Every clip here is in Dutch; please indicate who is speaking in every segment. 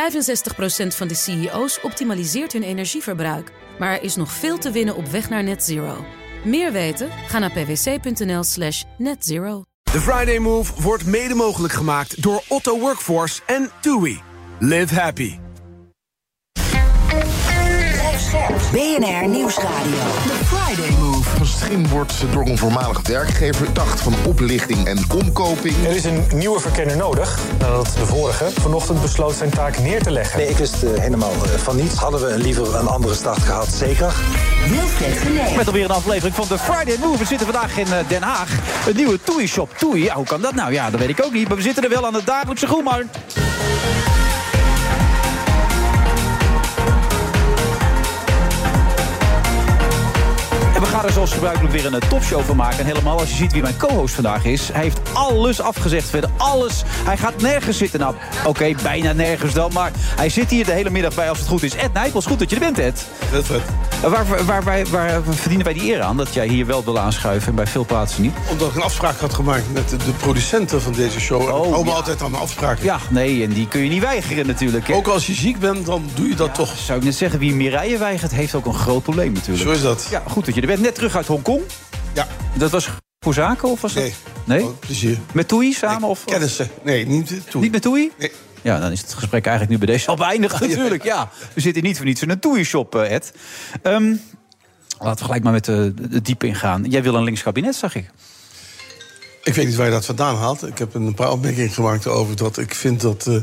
Speaker 1: 65% van de CEO's optimaliseert hun energieverbruik. Maar er is nog veel te winnen op weg naar net zero. Meer weten? Ga naar pwc.nl slash netzero.
Speaker 2: De Friday Move wordt mede mogelijk gemaakt door Otto Workforce en TUI. Live happy.
Speaker 3: BNR Nieuwsradio. The Friday Move.
Speaker 4: Misschien wordt door een voormalig werkgever verdacht van oplichting en omkoping.
Speaker 5: Er is een nieuwe verkenner nodig, nadat de vorige vanochtend besloot zijn taak neer te leggen.
Speaker 6: Nee, ik wist eh, helemaal eh, van niets. Hadden we liever een andere start gehad, zeker.
Speaker 3: Wilfred Genee.
Speaker 7: Met alweer een aflevering van de Friday Move. We zitten vandaag in eh, Den Haag. Een nieuwe Toei-shop. Toei, ja, hoe kan dat nou? Ja, dat weet ik ook niet. Maar we zitten er wel aan de dagelijkse groenmarkt. En we gaan er zoals gebruikelijk weer een eh, topshow van maken. En helemaal als je ziet wie mijn co-host vandaag is. Hij heeft alles afgezegd verder. Alles. Hij gaat nergens zitten. Nou, oké, bijna nergens dan. Maar hij zit hier de hele middag bij als het goed is. Ed Nijpels, goed dat je er bent, Ed. Waar, waar, waar, waar, waar verdienen wij die eer aan dat jij hier wel wil aanschuiven en bij veel plaatsen niet?
Speaker 8: Omdat ik een afspraak had gemaakt met de, de producenten van deze show. En
Speaker 7: Oh,
Speaker 8: ik hou me
Speaker 7: ja.
Speaker 8: altijd aan mijn afspraken.
Speaker 7: Ja, nee, en die kun je niet weigeren natuurlijk. hè.
Speaker 8: Ook als je ziek bent, dan doe je dat toch.
Speaker 7: Zou ik net zeggen, wie Mireille weigert, heeft ook een groot probleem natuurlijk.
Speaker 8: Zo is dat.
Speaker 7: Ja, goed dat je er bent. Net terug uit Hongkong.
Speaker 8: Ja.
Speaker 7: Dat was voor zaken of was dat?
Speaker 8: Nee.
Speaker 7: Nee?
Speaker 8: Oh, plezier.
Speaker 7: Met Toei samen? Of, of-
Speaker 8: Kennissen. Nee, niet toe.
Speaker 7: Niet met Toei?
Speaker 8: Nee.
Speaker 7: Ja, dan is het gesprek eigenlijk nu bij deze al beëindigd natuurlijk. Ja, we zitten niet voor niets in een Toei-shop, eh, Ed. Ehm, laten we gelijk maar met de, de diep ingaan. Jij wil een links kabinet, zag ik.
Speaker 8: Ik weet niet waar je dat vandaan haalt. Ik heb een paar opmerkingen gemaakt over dat ik vind dat eh,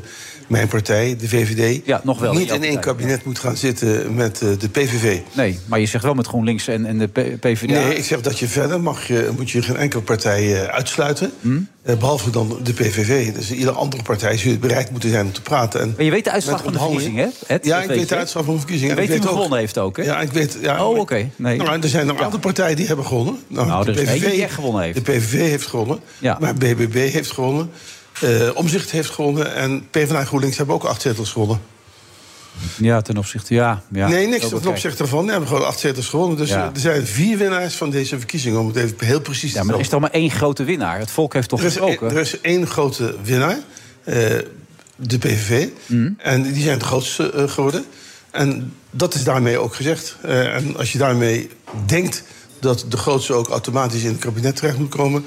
Speaker 8: mijn partij, de VVD,
Speaker 7: Ja, nog wel,
Speaker 8: niet
Speaker 7: jouw
Speaker 8: in één
Speaker 7: partij,
Speaker 8: kabinet moet gaan zitten met eh, de PVV.
Speaker 7: Nee, maar je zegt wel met GroenLinks en, en de P- PvdA.
Speaker 8: Nee, ik zeg dat je verder mag, je, moet je geen enkele partij eh, uitsluiten.
Speaker 7: Hm?
Speaker 8: Eh, behalve dan de PVV. Dus iedere andere partij zou bereid moeten zijn om te praten. En
Speaker 7: Maar je weet de uitslag
Speaker 8: met
Speaker 7: van de
Speaker 8: onderhandeling-
Speaker 7: verkiezing, hè, Ed?
Speaker 8: ja,
Speaker 7: Dat
Speaker 8: ik
Speaker 7: weet
Speaker 8: weet
Speaker 7: je,
Speaker 8: de
Speaker 7: hè?
Speaker 8: uitslag van de verkiezing.
Speaker 7: Je
Speaker 8: En ik
Speaker 7: weet wie
Speaker 8: ook-
Speaker 7: gewonnen heeft ook, hè?
Speaker 8: Ja, ik weet... Ja,
Speaker 7: Oh,
Speaker 8: maar-
Speaker 7: oké, nee.
Speaker 8: Nou, en er zijn een aantal partijen die hebben gewonnen.
Speaker 7: Nou,
Speaker 8: de
Speaker 7: er is
Speaker 8: PVV
Speaker 7: één die echt gewonnen heeft.
Speaker 8: De PVV heeft gewonnen.
Speaker 7: Ja.
Speaker 8: Maar BBB heeft gewonnen. eh, Omzicht heeft gewonnen. En PvdA en GroenLinks hebben ook acht zetels gewonnen.
Speaker 7: Ja, ten opzichte, ja. ja
Speaker 8: nee, niks
Speaker 7: Ook
Speaker 8: ten
Speaker 7: oké.
Speaker 8: opzichte daarvan. We hebben gewoon acht zetels gewonnen. Dus
Speaker 7: Ja.
Speaker 8: eh, er zijn vier winnaars van deze verkiezingen. Om het even heel precies
Speaker 7: Ja,
Speaker 8: te
Speaker 7: maar
Speaker 8: stellen.
Speaker 7: er is toch maar één grote winnaar. Het volk heeft toch
Speaker 8: Er is,
Speaker 7: gesproken.
Speaker 8: er is één grote winnaar, eh, de PVV.
Speaker 7: Hmm.
Speaker 8: En die zijn het grootste eh, geworden. En dat is daarmee ook gezegd. Eh, en als je daarmee denkt dat de grootste ook automatisch in het kabinet terecht moet komen...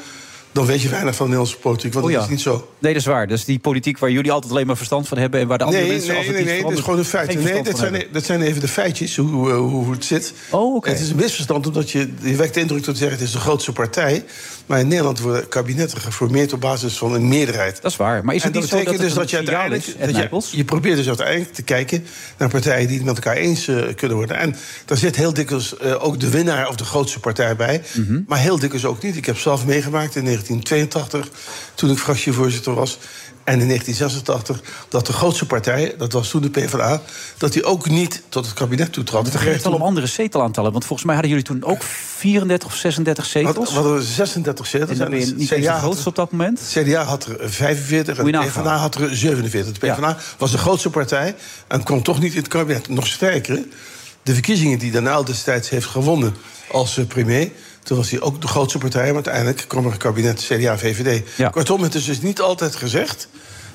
Speaker 8: dan weet je weinig van de Nederlandse politiek, want
Speaker 7: Oh
Speaker 8: dat
Speaker 7: ja.
Speaker 8: is niet zo.
Speaker 7: Nee, dat is waar. Dat is die politiek waar jullie altijd alleen maar verstand van hebben... en waar de andere
Speaker 8: Nee, nee,
Speaker 7: mensen
Speaker 8: nee,
Speaker 7: altijd
Speaker 8: nee,
Speaker 7: iets
Speaker 8: dat is gewoon een
Speaker 7: veranderen,
Speaker 8: feit.
Speaker 7: geen
Speaker 8: Nee, dat
Speaker 7: verstand van
Speaker 8: zijn, dat zijn even de feitjes, hoe, eh, hoe, hoe het zit.
Speaker 7: Oh, oké.
Speaker 8: Het is een misverstand, omdat je, je wekt de indruk dat je zegt... het is de grootste partij. Maar in Nederland worden kabinetten geformeerd op basis van een meerderheid.
Speaker 7: Dat is waar. Maar is
Speaker 8: En
Speaker 7: het
Speaker 8: dat
Speaker 7: niet zo dat
Speaker 8: betekent
Speaker 7: het
Speaker 8: dus
Speaker 7: een nou,
Speaker 8: dat je
Speaker 7: signaal
Speaker 8: uiteindelijk.
Speaker 7: is, Ed
Speaker 8: dat je-
Speaker 7: Nijpels?
Speaker 8: je, probeert dus uiteindelijk te kijken naar partijen die het met elkaar eens eh, kunnen worden. En daar zit heel dikwijls eh, ook de winnaar of de grootste partij bij.
Speaker 7: Mhm.
Speaker 8: Maar heel dikwijls ook niet. Ik heb zelf meegemaakt in 1982, toen ik fractievoorzitter was. En in 1986, dat de grootste partij, dat was toen de PvdA, dat die ook niet tot het kabinet toetrad.
Speaker 7: Het gaat wel om andere zetelaantallen. Want volgens mij hadden jullie toen ook 34 of 36 zetels.
Speaker 8: Wat, wat er 36 zetels
Speaker 7: en dan ben je
Speaker 8: het
Speaker 7: niet eens de
Speaker 8: CDA had
Speaker 7: grootste op dat moment.
Speaker 8: Het CDA had er 45 en
Speaker 7: Moet
Speaker 8: de
Speaker 7: je
Speaker 8: PvdA
Speaker 7: nagaan.
Speaker 8: had er 47. De
Speaker 7: Ja.
Speaker 8: PvdA was de grootste partij en kwam toch niet in het kabinet. Nog sterker, de verkiezingen die Den Uyl destijds heeft gewonnen als eh, premier... toen was hij ook de grootste partij, maar uiteindelijk kwam er een kabinet CDA-VVD.
Speaker 7: Ja.
Speaker 8: Kortom, het is dus niet altijd gezegd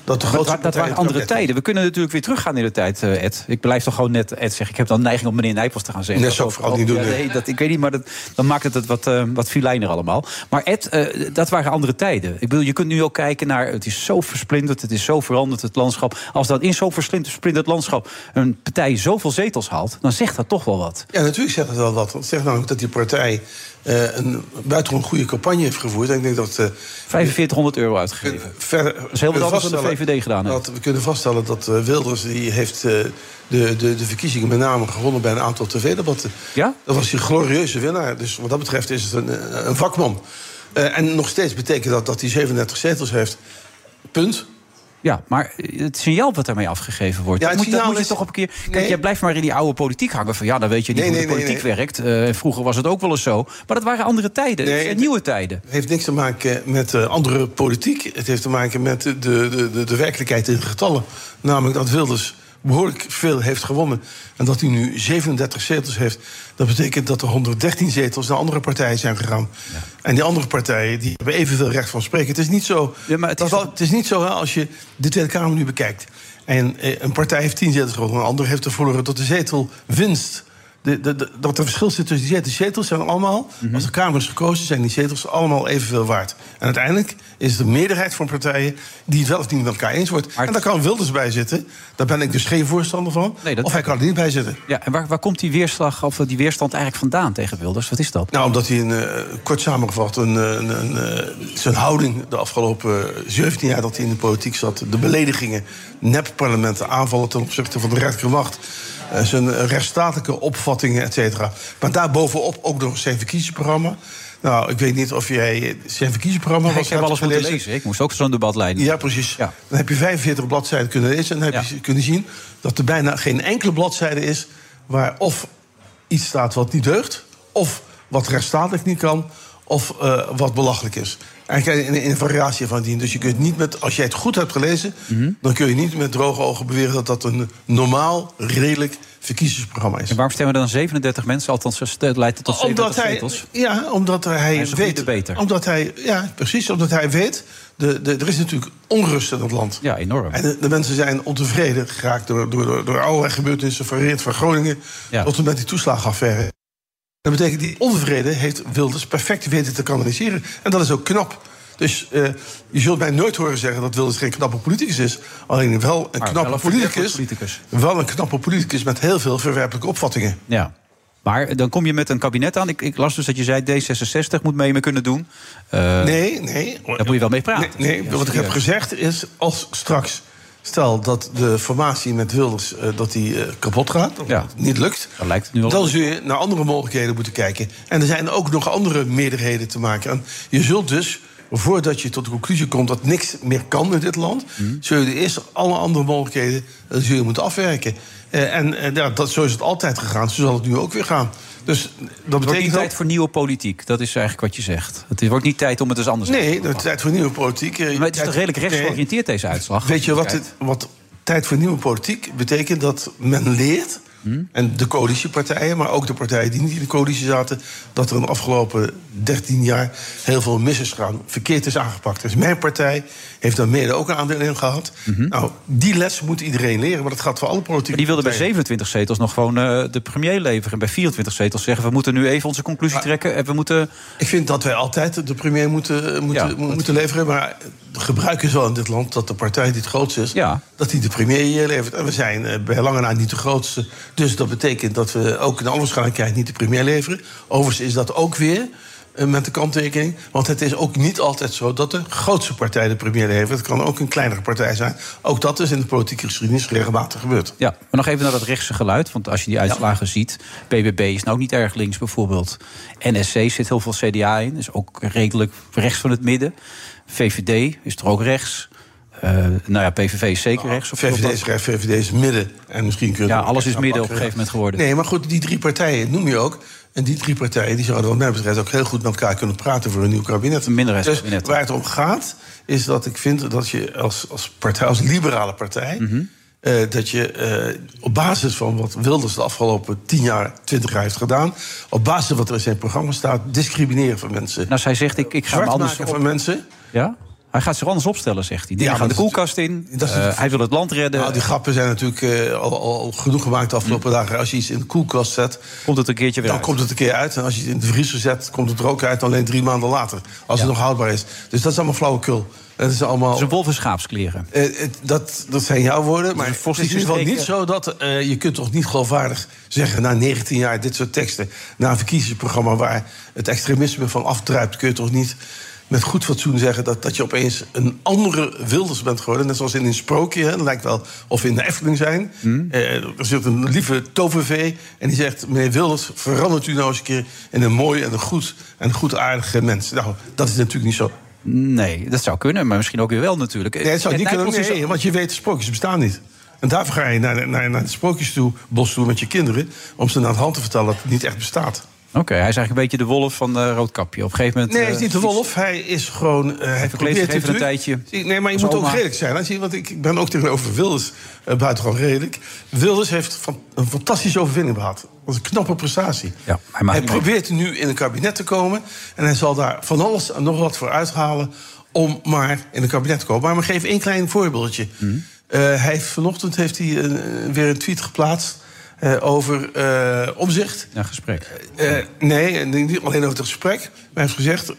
Speaker 8: dat de
Speaker 7: Dat,
Speaker 8: grootste
Speaker 7: wa- dat
Speaker 8: partij... in
Speaker 7: waren
Speaker 8: het
Speaker 7: andere
Speaker 8: kabinet-
Speaker 7: tijden. We kunnen natuurlijk weer teruggaan in de tijd, eh, Ed. Ik blijf toch gewoon net Ed zeggen. Ik heb dan neiging om meneer Nijpels te gaan zeggen.
Speaker 8: Nee, dat zou ik vooral niet doen,
Speaker 7: Ja,
Speaker 8: nee.
Speaker 7: nee, dat, ik weet niet, maar dat, dan maakt het het wat, eh wat filijner allemaal. Maar Ed, eh, dat waren andere tijden. Ik bedoel, je kunt nu ook kijken naar... het is zo versplinterd, het is zo veranderd, het landschap. Als dat in zo'n versplinterd versplinterd landschap... een partij zoveel zetels haalt, dan zegt dat toch wel wat.
Speaker 8: Ja, natuurlijk zegt het wel wat. Het zegt namelijk dat die partij eh, een buitengewoon goede campagne heeft gevoerd. En ik denk dat... eh,
Speaker 7: 4500 euro uitgegeven.
Speaker 8: kunnen verder dat
Speaker 7: is heel wat anders dan de VVD gedaan heeft.
Speaker 8: Dat we kunnen vaststellen dat eh, Wilders die heeft eh, de, de, de verkiezingen met name gewonnen bij een aantal tv-debatten.
Speaker 7: Ja?
Speaker 8: Dat was die glorieuze winnaar. Dus wat dat betreft is het een, eh, een vakman. Eh, en nog steeds betekent dat dat hij 37 zetels heeft. Punt.
Speaker 7: Ja, maar het signaal wat daarmee afgegeven wordt,
Speaker 8: Ja,
Speaker 7: dat
Speaker 8: het
Speaker 7: moet, dat
Speaker 8: signaal
Speaker 7: moet je
Speaker 8: is-
Speaker 7: toch op een keer. Kijk,
Speaker 8: Nee.
Speaker 7: jij blijft maar in die oude politiek hangen. Van ja, dan weet je niet
Speaker 8: Nee,
Speaker 7: hoe
Speaker 8: nee,
Speaker 7: de
Speaker 8: nee,
Speaker 7: politiek werkt. Eh, vroeger was het ook wel eens zo. Maar dat waren andere tijden.
Speaker 8: Nee,
Speaker 7: Het zijn
Speaker 8: het-
Speaker 7: nieuwe tijden.
Speaker 8: Het heeft niks te maken met eh, andere politiek. Het heeft te maken met de, de, de, de werkelijkheid in de getallen. Namelijk dat Wilders behoorlijk veel heeft gewonnen. En dat hij nu 37 zetels heeft. Dat betekent dat er 113 zetels naar andere partijen zijn gegaan. En die andere partijen die hebben evenveel recht van spreken. Het is niet zo,
Speaker 7: Ja, maar het
Speaker 8: dat
Speaker 7: is
Speaker 8: wel-
Speaker 7: toch-
Speaker 8: het is niet zo hè, als je de Tweede Kamer nu bekijkt. En eh, een partij heeft tien zetels gewonnen, een ander heeft er verloren tot de zetel winst. De, de, de- dat er verschil zit tussen die zetels. Die zetels zijn allemaal,
Speaker 7: Mhm.
Speaker 8: als de Kamer is gekozen, zijn die zetels allemaal evenveel waard. En uiteindelijk is het de meerderheid van partijen die het wel of niet met elkaar eens wordt.
Speaker 7: Maar-
Speaker 8: En daar kan Wilders bij zitten. Daar ben ik dus geen voorstander van.
Speaker 7: Nee, dat-
Speaker 8: Of hij kan er niet bij zitten.
Speaker 7: Ja, en waar, waar komt die weerslag of die weerstand eigenlijk vandaan tegen Wilders? Wat is dat?
Speaker 8: Nou, omdat hij een, eh, kort samengevat, een, eh, een, een, eh, zijn houding de afgelopen eh, 17 jaar dat hij in de politiek zat, de beledigingen, nepparlementen, aanvallen ten opzichte van de rechterwacht, eh, zijn eh, rechtsstatelijke opvattingen, et cetera. Maar daarbovenop ook nog zijn verkiezingsprogramma. Nou, ik weet niet of jij eh, zijn verkiezingsprogramma
Speaker 7: ik
Speaker 8: was
Speaker 7: heb alles moeten
Speaker 8: gelezen.
Speaker 7: lezen. Ik moest ook zo'n debat leiden.
Speaker 8: Ja, precies.
Speaker 7: Ja.
Speaker 8: Dan heb je 45 bladzijden kunnen lezen en dan heb je
Speaker 7: Ja.
Speaker 8: kunnen zien dat er bijna geen enkele bladzijde is waar of iets staat wat niet deugt, of wat rechtsstatelijk niet kan, of eh, wat belachelijk is. Eigenlijk in, in een variatie van die. Dus je kunt niet met, als jij het goed hebt gelezen,
Speaker 9: Mhm.
Speaker 8: dan kun je niet met droge ogen beweren dat dat een normaal, redelijk verkiezingsprogramma is.
Speaker 7: En waarom stemmen dan 37 mensen? Althans, het leidt het tot 37
Speaker 8: Omdat hij,
Speaker 7: zetels.
Speaker 8: ja, omdat hij,
Speaker 7: is een goede
Speaker 8: weet.
Speaker 7: debater.
Speaker 8: Omdat hij, ja, precies, omdat hij weet. De, de, er is natuurlijk onrust in het land.
Speaker 7: Ja, enorm.
Speaker 8: En de, de mensen zijn ontevreden geraakt door, door, door, door allerlei gebeurtenissen... van Reert van Groningen
Speaker 7: Ja.
Speaker 8: tot en met die toeslagenaffaire. Dat betekent, die onvrede heeft Wilders perfect weten te kanaliseren. En dat is ook knap. Dus eh, je zult mij nooit horen zeggen dat Wilders geen knappe politicus is. Alleen wel een
Speaker 7: Maar
Speaker 8: knappe
Speaker 7: wel een
Speaker 8: politicus,
Speaker 7: verwerpelijk politicus.
Speaker 8: Wel een knappe politicus met heel veel verwerpelijke opvattingen.
Speaker 7: Ja. Maar eh, dan kom je met een kabinet aan. Ik, ik las dus dat je zei D66 moet mee mee kunnen doen. Eh
Speaker 8: Nee, nee.
Speaker 7: Daar moet je wel mee praten.
Speaker 8: Nee, nee,
Speaker 7: Ja,
Speaker 8: wat ik heb
Speaker 7: serieus.
Speaker 8: gezegd is, als straks... Stel dat de formatie met Wilders eh, dat die, eh, kapot gaat, of
Speaker 7: Ja.
Speaker 8: dat het niet lukt...
Speaker 7: Dat lijkt het nu wel.
Speaker 8: dan zul je naar andere mogelijkheden moeten kijken. En er zijn ook nog andere meerderheden te maken. En je zult dus, voordat je tot de conclusie komt... dat niks meer kan in dit land...
Speaker 7: Mhm.
Speaker 8: zul je eerst alle andere mogelijkheden eh, zul je moeten afwerken. Eh, en eh, ja, dat, zo is het altijd gegaan, zo zal het nu ook weer gaan. Dus dat
Speaker 7: Het wordt niet
Speaker 8: betekent ook...
Speaker 7: tijd voor nieuwe politiek. Dat is eigenlijk wat je zegt. Het wordt niet tijd om het eens anders te
Speaker 8: Nee,
Speaker 7: doen.
Speaker 8: dat is tijd voor nieuwe politiek. eh,
Speaker 7: Maar het is
Speaker 8: tijd-
Speaker 7: toch redelijk
Speaker 8: nee.
Speaker 7: rechtsgeoriënteerd, deze uitslag?
Speaker 8: Weet je wat, het, wat tijd voor nieuwe politiek betekent? Dat men leert,
Speaker 7: Hm?
Speaker 8: en de coalitiepartijen, maar ook de partijen die niet in de coalitie zaten, dat er in de afgelopen 13 jaar heel veel mis is gegaan, verkeerd is aangepakt. Dus mijn partij heeft daar mede ook een aandeel in gehad. Nou, die les moet iedereen leren, maar dat gaat voor alle politieke
Speaker 7: Hm. Maar die wilde bij
Speaker 8: partijen.
Speaker 7: 27 zetels nog gewoon eh, de premier leveren. En bij 24 zetels zeggen we moeten nu even onze conclusie trekken. En we moeten.
Speaker 8: Ah. Ik vind dat wij altijd de premier moeten, moeten,
Speaker 7: Ja, dat-
Speaker 8: moeten leveren. Maar het gebruik is wel in dit land dat de partij die het grootste is...
Speaker 7: Ja.
Speaker 8: dat die de premier hier levert. En we zijn eh, bij lange na niet de grootste. Dus dat betekent dat we ook in alle waarschijnlijkheid niet de premier leveren. Overigens is dat ook weer eh, met de kanttekening. Want het is ook niet altijd zo dat de grootste partij de premier levert. Het kan ook een kleinere partij zijn. Ook dat is in de politieke geschiedenis regelmatig gebeurd.
Speaker 7: Ja, maar nog even naar dat rechtse geluid. Want als je die uitslagen ziet. BBB is nou ook niet erg links bijvoorbeeld. NSC zit heel veel CDA in. Is ook redelijk rechts van het midden. VVD is er ook rechts. Eh, nou ja, PVV is zeker
Speaker 8: Ah,
Speaker 7: rechts. Of
Speaker 8: VVD is rechts, VVD is midden. En misschien kunnen
Speaker 7: Ja,
Speaker 8: we
Speaker 7: Ah, alles is
Speaker 8: extra
Speaker 7: midden op
Speaker 8: pakken.
Speaker 7: een gegeven moment geworden.
Speaker 8: Nee, maar goed, die drie partijen noem je ook. En die drie partijen die zouden wat mij betreft ook heel goed met elkaar kunnen praten voor een nieuw kabinet.
Speaker 7: Een minderheidskabinet.
Speaker 8: Dus waar het om gaat, is dat ik vind dat je als, als partij, als liberale partij.
Speaker 10: Mhm.
Speaker 8: eh, dat je eh, op basis van wat Wilders de afgelopen 10 jaar, 20 jaar heeft gedaan. op basis van wat er in zijn programma staat. discrimineren van mensen.
Speaker 7: Nou, zij zegt ik, ik ga me
Speaker 8: zwart
Speaker 7: anders
Speaker 8: maken
Speaker 7: op-
Speaker 8: van mensen.
Speaker 7: Ja? Hij gaat zich anders opstellen, zegt hij. Die
Speaker 8: Ja,
Speaker 7: gaan de
Speaker 8: maar dat is
Speaker 7: koelkast in.
Speaker 8: dat is
Speaker 7: Eh,
Speaker 8: het-
Speaker 7: hij wil het land redden. Hm.
Speaker 8: nou, die grappen zijn natuurlijk eh, al, al genoeg gemaakt de afgelopen dagen. Als je iets in de koelkast zet.
Speaker 7: Komt het een keertje weer
Speaker 8: Dan
Speaker 7: uit.
Speaker 8: komt het een keer uit. En als je het in de vriezer zet, komt het er ook uit. Alleen drie maanden later. Als het nog houdbaar is. Dus dat is allemaal flauwekul. Dat is allemaal.
Speaker 7: Het is een wolf in schaapskleren.
Speaker 8: eh, het- dat, dat zijn jouw woorden. Maar het
Speaker 7: een
Speaker 8: is in
Speaker 7: volgens-
Speaker 8: ieder geval niet
Speaker 7: spreken-
Speaker 8: zo dat. eh, je kunt toch niet geloofwaardig zeggen. na 19 jaar dit soort teksten. na een verkiezingsprogramma waar het extremisme van afdruipt. kun je toch niet met goed fatsoen zeggen dat, dat je opeens een andere Wilders bent geworden. Net zoals in een sprookje. Hè. Het lijkt wel of we in de Efteling zijn.
Speaker 9: Hm?
Speaker 8: Eh, er zit een lieve tovervee en die zegt... meneer Wilders, verandert u nou eens een keer in een mooi en een goed... en een goedaardige mens. Nou, dat is natuurlijk niet zo.
Speaker 7: Nee, dat zou kunnen, maar misschien ook weer wel natuurlijk.
Speaker 8: Nee, het zou niet kunnen.
Speaker 7: Nijpels is-
Speaker 8: Nee, want je weet, sprookjes bestaan niet. En daarvoor ga je naar, naar, naar de sprookjes toe, bos toe met je kinderen... om ze naar de hand te vertellen dat het niet echt bestaat.
Speaker 7: Oké, hij is eigenlijk een beetje de wolf van eh, Roodkapje. Op een gegeven moment...
Speaker 8: Nee, hij is
Speaker 7: eh,
Speaker 8: niet de wolf. Hij is gewoon... eh, hij
Speaker 7: verkleedt zich
Speaker 8: probeert
Speaker 7: even een
Speaker 8: natuurlijk-
Speaker 7: tijdje.
Speaker 8: Zie- Nee, maar je
Speaker 7: Als
Speaker 8: moet ook
Speaker 7: oma.
Speaker 8: redelijk zijn. hè, zie je, Want ik ben ook tegenover Wilders eh, buitengewoon redelijk. Wilders heeft van, een fantastische overwinning behaald. Dat was een knappe prestatie.
Speaker 7: Ja, hij maakt niet mee.
Speaker 8: probeert nu in een kabinet te komen. En hij zal daar van alles en nog wat voor uithalen... om maar in een kabinet te komen. Maar, maar geef één klein voorbeeldje. Eh, hij heeft, vanochtend heeft hij een- weer een tweet geplaatst eh, over eh, omzicht.
Speaker 7: Ja, gesprek.
Speaker 8: Eh, nee, niet alleen over het gesprek. Maar hij heeft gezegd,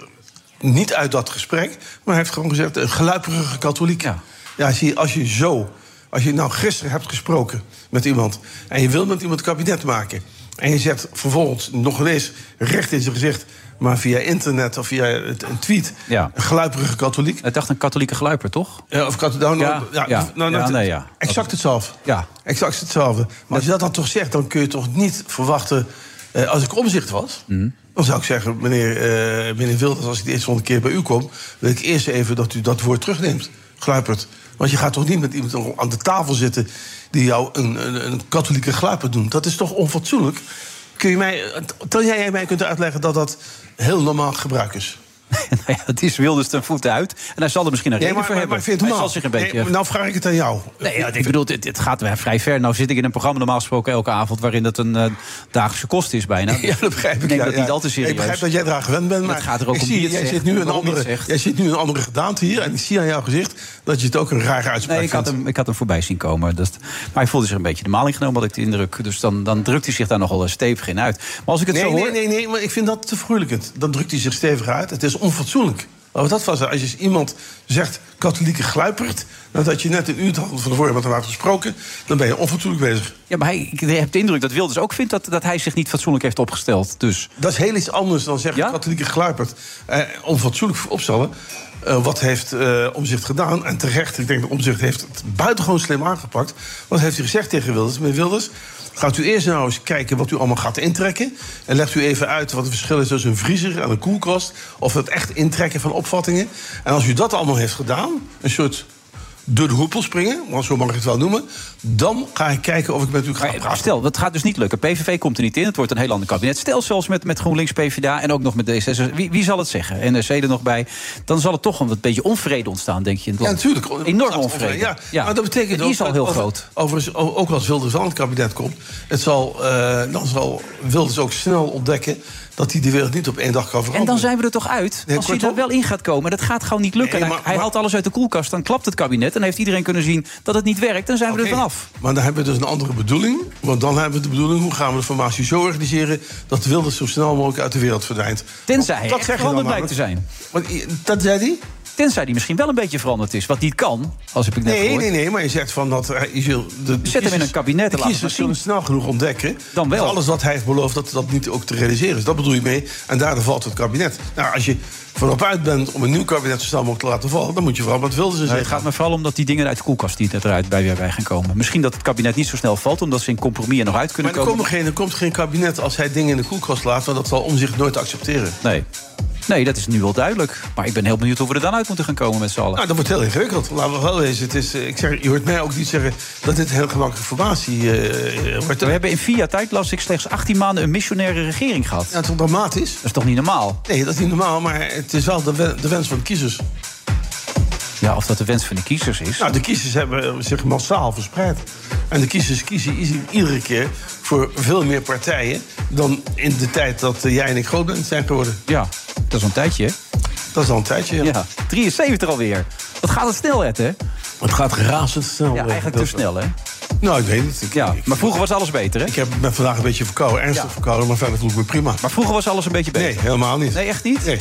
Speaker 8: niet uit dat gesprek... maar hij heeft gewoon gezegd, een geluiperige katholiek.
Speaker 7: Ja.
Speaker 8: Ja, als, je, als je zo... Als je nou gisteren hebt gesproken met iemand... en je wil met iemand kabinet maken... en je zet vervolgens nog eens recht in zijn gezicht... maar via internet of via het- een tweet...
Speaker 7: Ja.
Speaker 8: een geluiperige katholiek...
Speaker 7: Het dacht een katholieke gluiper, toch?
Speaker 8: eh, of kat, nou, nou,
Speaker 7: Ja, ja.
Speaker 8: nou,
Speaker 7: Ja,
Speaker 8: nou,
Speaker 7: nee, ja.
Speaker 8: Exact hetzelfde.
Speaker 7: Ja.
Speaker 8: Exact hetzelfde. Maar als je dat dan toch zegt, dan kun je toch niet verwachten... eh, als ik omzicht was,
Speaker 7: Mhm.
Speaker 8: dan zou ik zeggen... meneer, eh meneer Wilders, als ik de eerste volgende keer bij u kom... wil ik eerst even dat u dat woord terugneemt, gluipert. Want je gaat toch niet met iemand aan de tafel zitten... die jou een, een, een katholieke gluipert doet. Dat is toch onfatsoenlijk? Kun je mij, tel jij mij kunt uitleggen dat dat heel normaal gebruik is?
Speaker 7: nou ja, het is Wilders ten voet uit. En hij zal er misschien een reden voor hebben.
Speaker 8: vind je het
Speaker 7: hij zal
Speaker 8: normaal?
Speaker 7: zich een beetje...
Speaker 8: Nee, nou vraag ik het aan jou.
Speaker 7: Nee, ja, ik bedoel, dit, dit gaat wel vrij ver. Nou zit ik in een programma normaal gesproken elke avond... waarin dat een eh, dagelijkse kost is bijna.
Speaker 8: Ja, dat begrijp ik.
Speaker 7: Neem
Speaker 8: ja,
Speaker 7: dat
Speaker 8: ja.
Speaker 7: niet al te serieus.
Speaker 8: Ik begrijp dat jij eraan gewend bent, maar
Speaker 7: het gaat er ook
Speaker 8: ik
Speaker 7: om wie
Speaker 8: zie,
Speaker 7: het
Speaker 8: jij,
Speaker 7: zegt
Speaker 8: zit nu
Speaker 7: en
Speaker 8: een
Speaker 7: waarom je het
Speaker 8: andere,
Speaker 7: zegt.
Speaker 8: jij zit nu een andere gedaante hier... en ik zie aan jouw gezicht dat je het ook een rare uitspraak
Speaker 7: Nee, ik had,
Speaker 8: vindt.
Speaker 7: hem, ik had hem voorbij zien komen. Dat, maar hij voelde zich een beetje de maling genomen, had ik de indruk. Dus dan, dan drukt hij zich daar nogal eh, stevig in uit. Maar als ik het zo
Speaker 8: Nee,
Speaker 7: hoor...
Speaker 8: nee, nee, nee, maar ik vind dat te vergoeilijkend. Dan drukt hij zich stevig uit. Het is onfatsoenlijk. Laten we dat vast Als je iemand zegt katholieke gluipert... nadat je net een uur van tevoren met hem hebt gesproken... dan ben je onfatsoenlijk bezig.
Speaker 7: Ja, maar hij, ik heb de indruk dat Wilders ook vindt... dat, dat hij zich niet fatsoenlijk heeft opgesteld. Dus
Speaker 8: Dat is heel iets anders dan zeggen
Speaker 7: Ja?
Speaker 8: katholieke gluipert. Eh, onfatsoenlijk opstellen. Eh, wat heeft eh Omzicht gedaan? En terecht, ik denk dat Omzicht heeft het buitengewoon slim aangepakt. Wat heeft hij gezegd tegen Wilders? Meneer Wilders, gaat u eerst nou eens kijken wat u allemaal gaat intrekken. En legt u even uit wat het verschil is tussen een vriezer en een koelkast. Of het echt intrekken van opvattingen. En als u dat allemaal heeft gedaan, een soort door de hoepel springen, want zo mag ik het wel noemen. Dan ga ik kijken of ik met u ga
Speaker 7: Maar
Speaker 8: praten.
Speaker 7: stel, dat gaat dus niet lukken. PVV komt er niet in, het wordt een heel ander kabinet. Stel zelfs met, met GroenLinks, PvdA en ook nog met D66. Wie, wie zal het zeggen? NRC er nog bij. Dan zal er toch een beetje onvrede ontstaan, denk je, in het
Speaker 8: Ja,
Speaker 7: land.
Speaker 8: natuurlijk.
Speaker 7: Enorm
Speaker 8: Ja,
Speaker 7: onvrede.
Speaker 8: Ja, maar dat betekent
Speaker 7: En die
Speaker 8: ook
Speaker 7: is al
Speaker 8: dat-
Speaker 7: heel
Speaker 8: dat-
Speaker 7: groot.
Speaker 8: Overigens, o- ook als Wilders wel in het kabinet komt... Het zal, eh, dan zal Wilders ook snel ontdekken... dat hij de wereld niet op één dag kan veranderen.
Speaker 7: En dan zijn we er toch uit?
Speaker 8: Nee,
Speaker 7: Als hij er
Speaker 8: kortom.
Speaker 7: wel in gaat komen, dat gaat gewoon niet lukken.
Speaker 8: Nee,
Speaker 7: Hij-
Speaker 8: maar-
Speaker 7: hij
Speaker 8: maar-
Speaker 7: haalt alles uit de koelkast, dan klapt het kabinet... en heeft iedereen kunnen zien dat het niet werkt. Dan zijn we
Speaker 8: Oké,
Speaker 7: er vanaf.
Speaker 8: Maar dan hebben we dus een andere bedoeling. Want dan hebben we de bedoeling... hoe gaan we de formatie zo organiseren... dat Wilders zo snel mogelijk uit de wereld verdwijnt.
Speaker 7: Tenzij
Speaker 8: Want
Speaker 7: hij
Speaker 8: dat
Speaker 7: echt
Speaker 8: zeg je dan
Speaker 7: veranderd
Speaker 8: maar,
Speaker 7: blijkt te zijn.
Speaker 8: Want, i- dat zei hij?
Speaker 7: Tenzij die misschien wel een beetje veranderd is. Wat niet kan, als heb ik net
Speaker 8: Nee,
Speaker 7: gehoord.
Speaker 8: nee, nee, maar je zegt van dat... eh, Je zult de, de
Speaker 7: Zet hem in een kabinet
Speaker 8: De
Speaker 7: en laat hem maar
Speaker 8: kiezers zullen
Speaker 7: zien.
Speaker 8: snel genoeg ontdekken...
Speaker 7: Dan wel.
Speaker 8: dat alles wat hij heeft beloofd, dat dat niet ook te realiseren is. Dat bedoel je mee. En daardoor valt het kabinet. Nou, als je vanop uit bent om een nieuw kabinet zo snel mogelijk te laten vallen... dan moet je vooral met Wilders in
Speaker 7: Nee,
Speaker 8: zee
Speaker 7: Dus het gaat
Speaker 8: gaan.
Speaker 7: me vooral om dat die dingen uit de koelkast die net eruit bij weer bij gaan komen. Misschien dat het kabinet niet zo snel valt, omdat ze in compromis er nog uit kunnen
Speaker 8: Maar er,
Speaker 7: komen.
Speaker 8: komen geen, er komt geen kabinet als hij dingen in de koelkast laat... want dat zal om zich nooit accepteren.
Speaker 7: Nee. Nee, dat is nu wel duidelijk. Maar ik ben heel benieuwd hoe we er dan uit moeten gaan komen met z'n allen.
Speaker 8: Nou, dat wordt heel ingewikkeld. Laten we wel eens. Het is, eh, ik zeg, je hoort mij ook niet zeggen dat dit heel gemakkelijke formatie eh, eh, wordt.
Speaker 7: we hebben in vier jaar tijd, las ik, slechts 18 maanden een missionaire regering gehad.
Speaker 8: Ja,
Speaker 7: Dat
Speaker 8: het is dramatisch.
Speaker 7: is toch niet normaal?
Speaker 8: Nee, dat is niet normaal, maar het is wel de wen- de wens van de kiezers.
Speaker 7: Ja, of dat de wens van de kiezers is.
Speaker 8: Nou, de kiezers hebben zich massaal verspreid. En de kiezers kiezen i- iedere keer voor veel meer partijen... dan in de tijd dat eh, jij en ik groot bent zijn geworden.
Speaker 7: Ja, dat is al een tijdje. hè?
Speaker 8: Dat is al een tijdje. ja.
Speaker 7: Ja, 73 alweer. Wat gaat het snel, Ed, hè?
Speaker 8: Het gaat razendsnel.
Speaker 7: Ja,
Speaker 8: eh,
Speaker 7: eigenlijk te
Speaker 8: dat-
Speaker 7: snel, hè?
Speaker 8: Nou, ik weet het. Ik,
Speaker 7: Ja,
Speaker 8: ik,
Speaker 7: maar vroeger was alles beter, hè?
Speaker 8: ik heb, ben vandaag een beetje verkouden, ernstig
Speaker 7: Ja.
Speaker 8: verkouden... maar verder voel ik me prima.
Speaker 7: Maar vroeger was alles een beetje beter.
Speaker 8: Nee, helemaal niet.
Speaker 7: Nee, echt niet?
Speaker 8: Nee.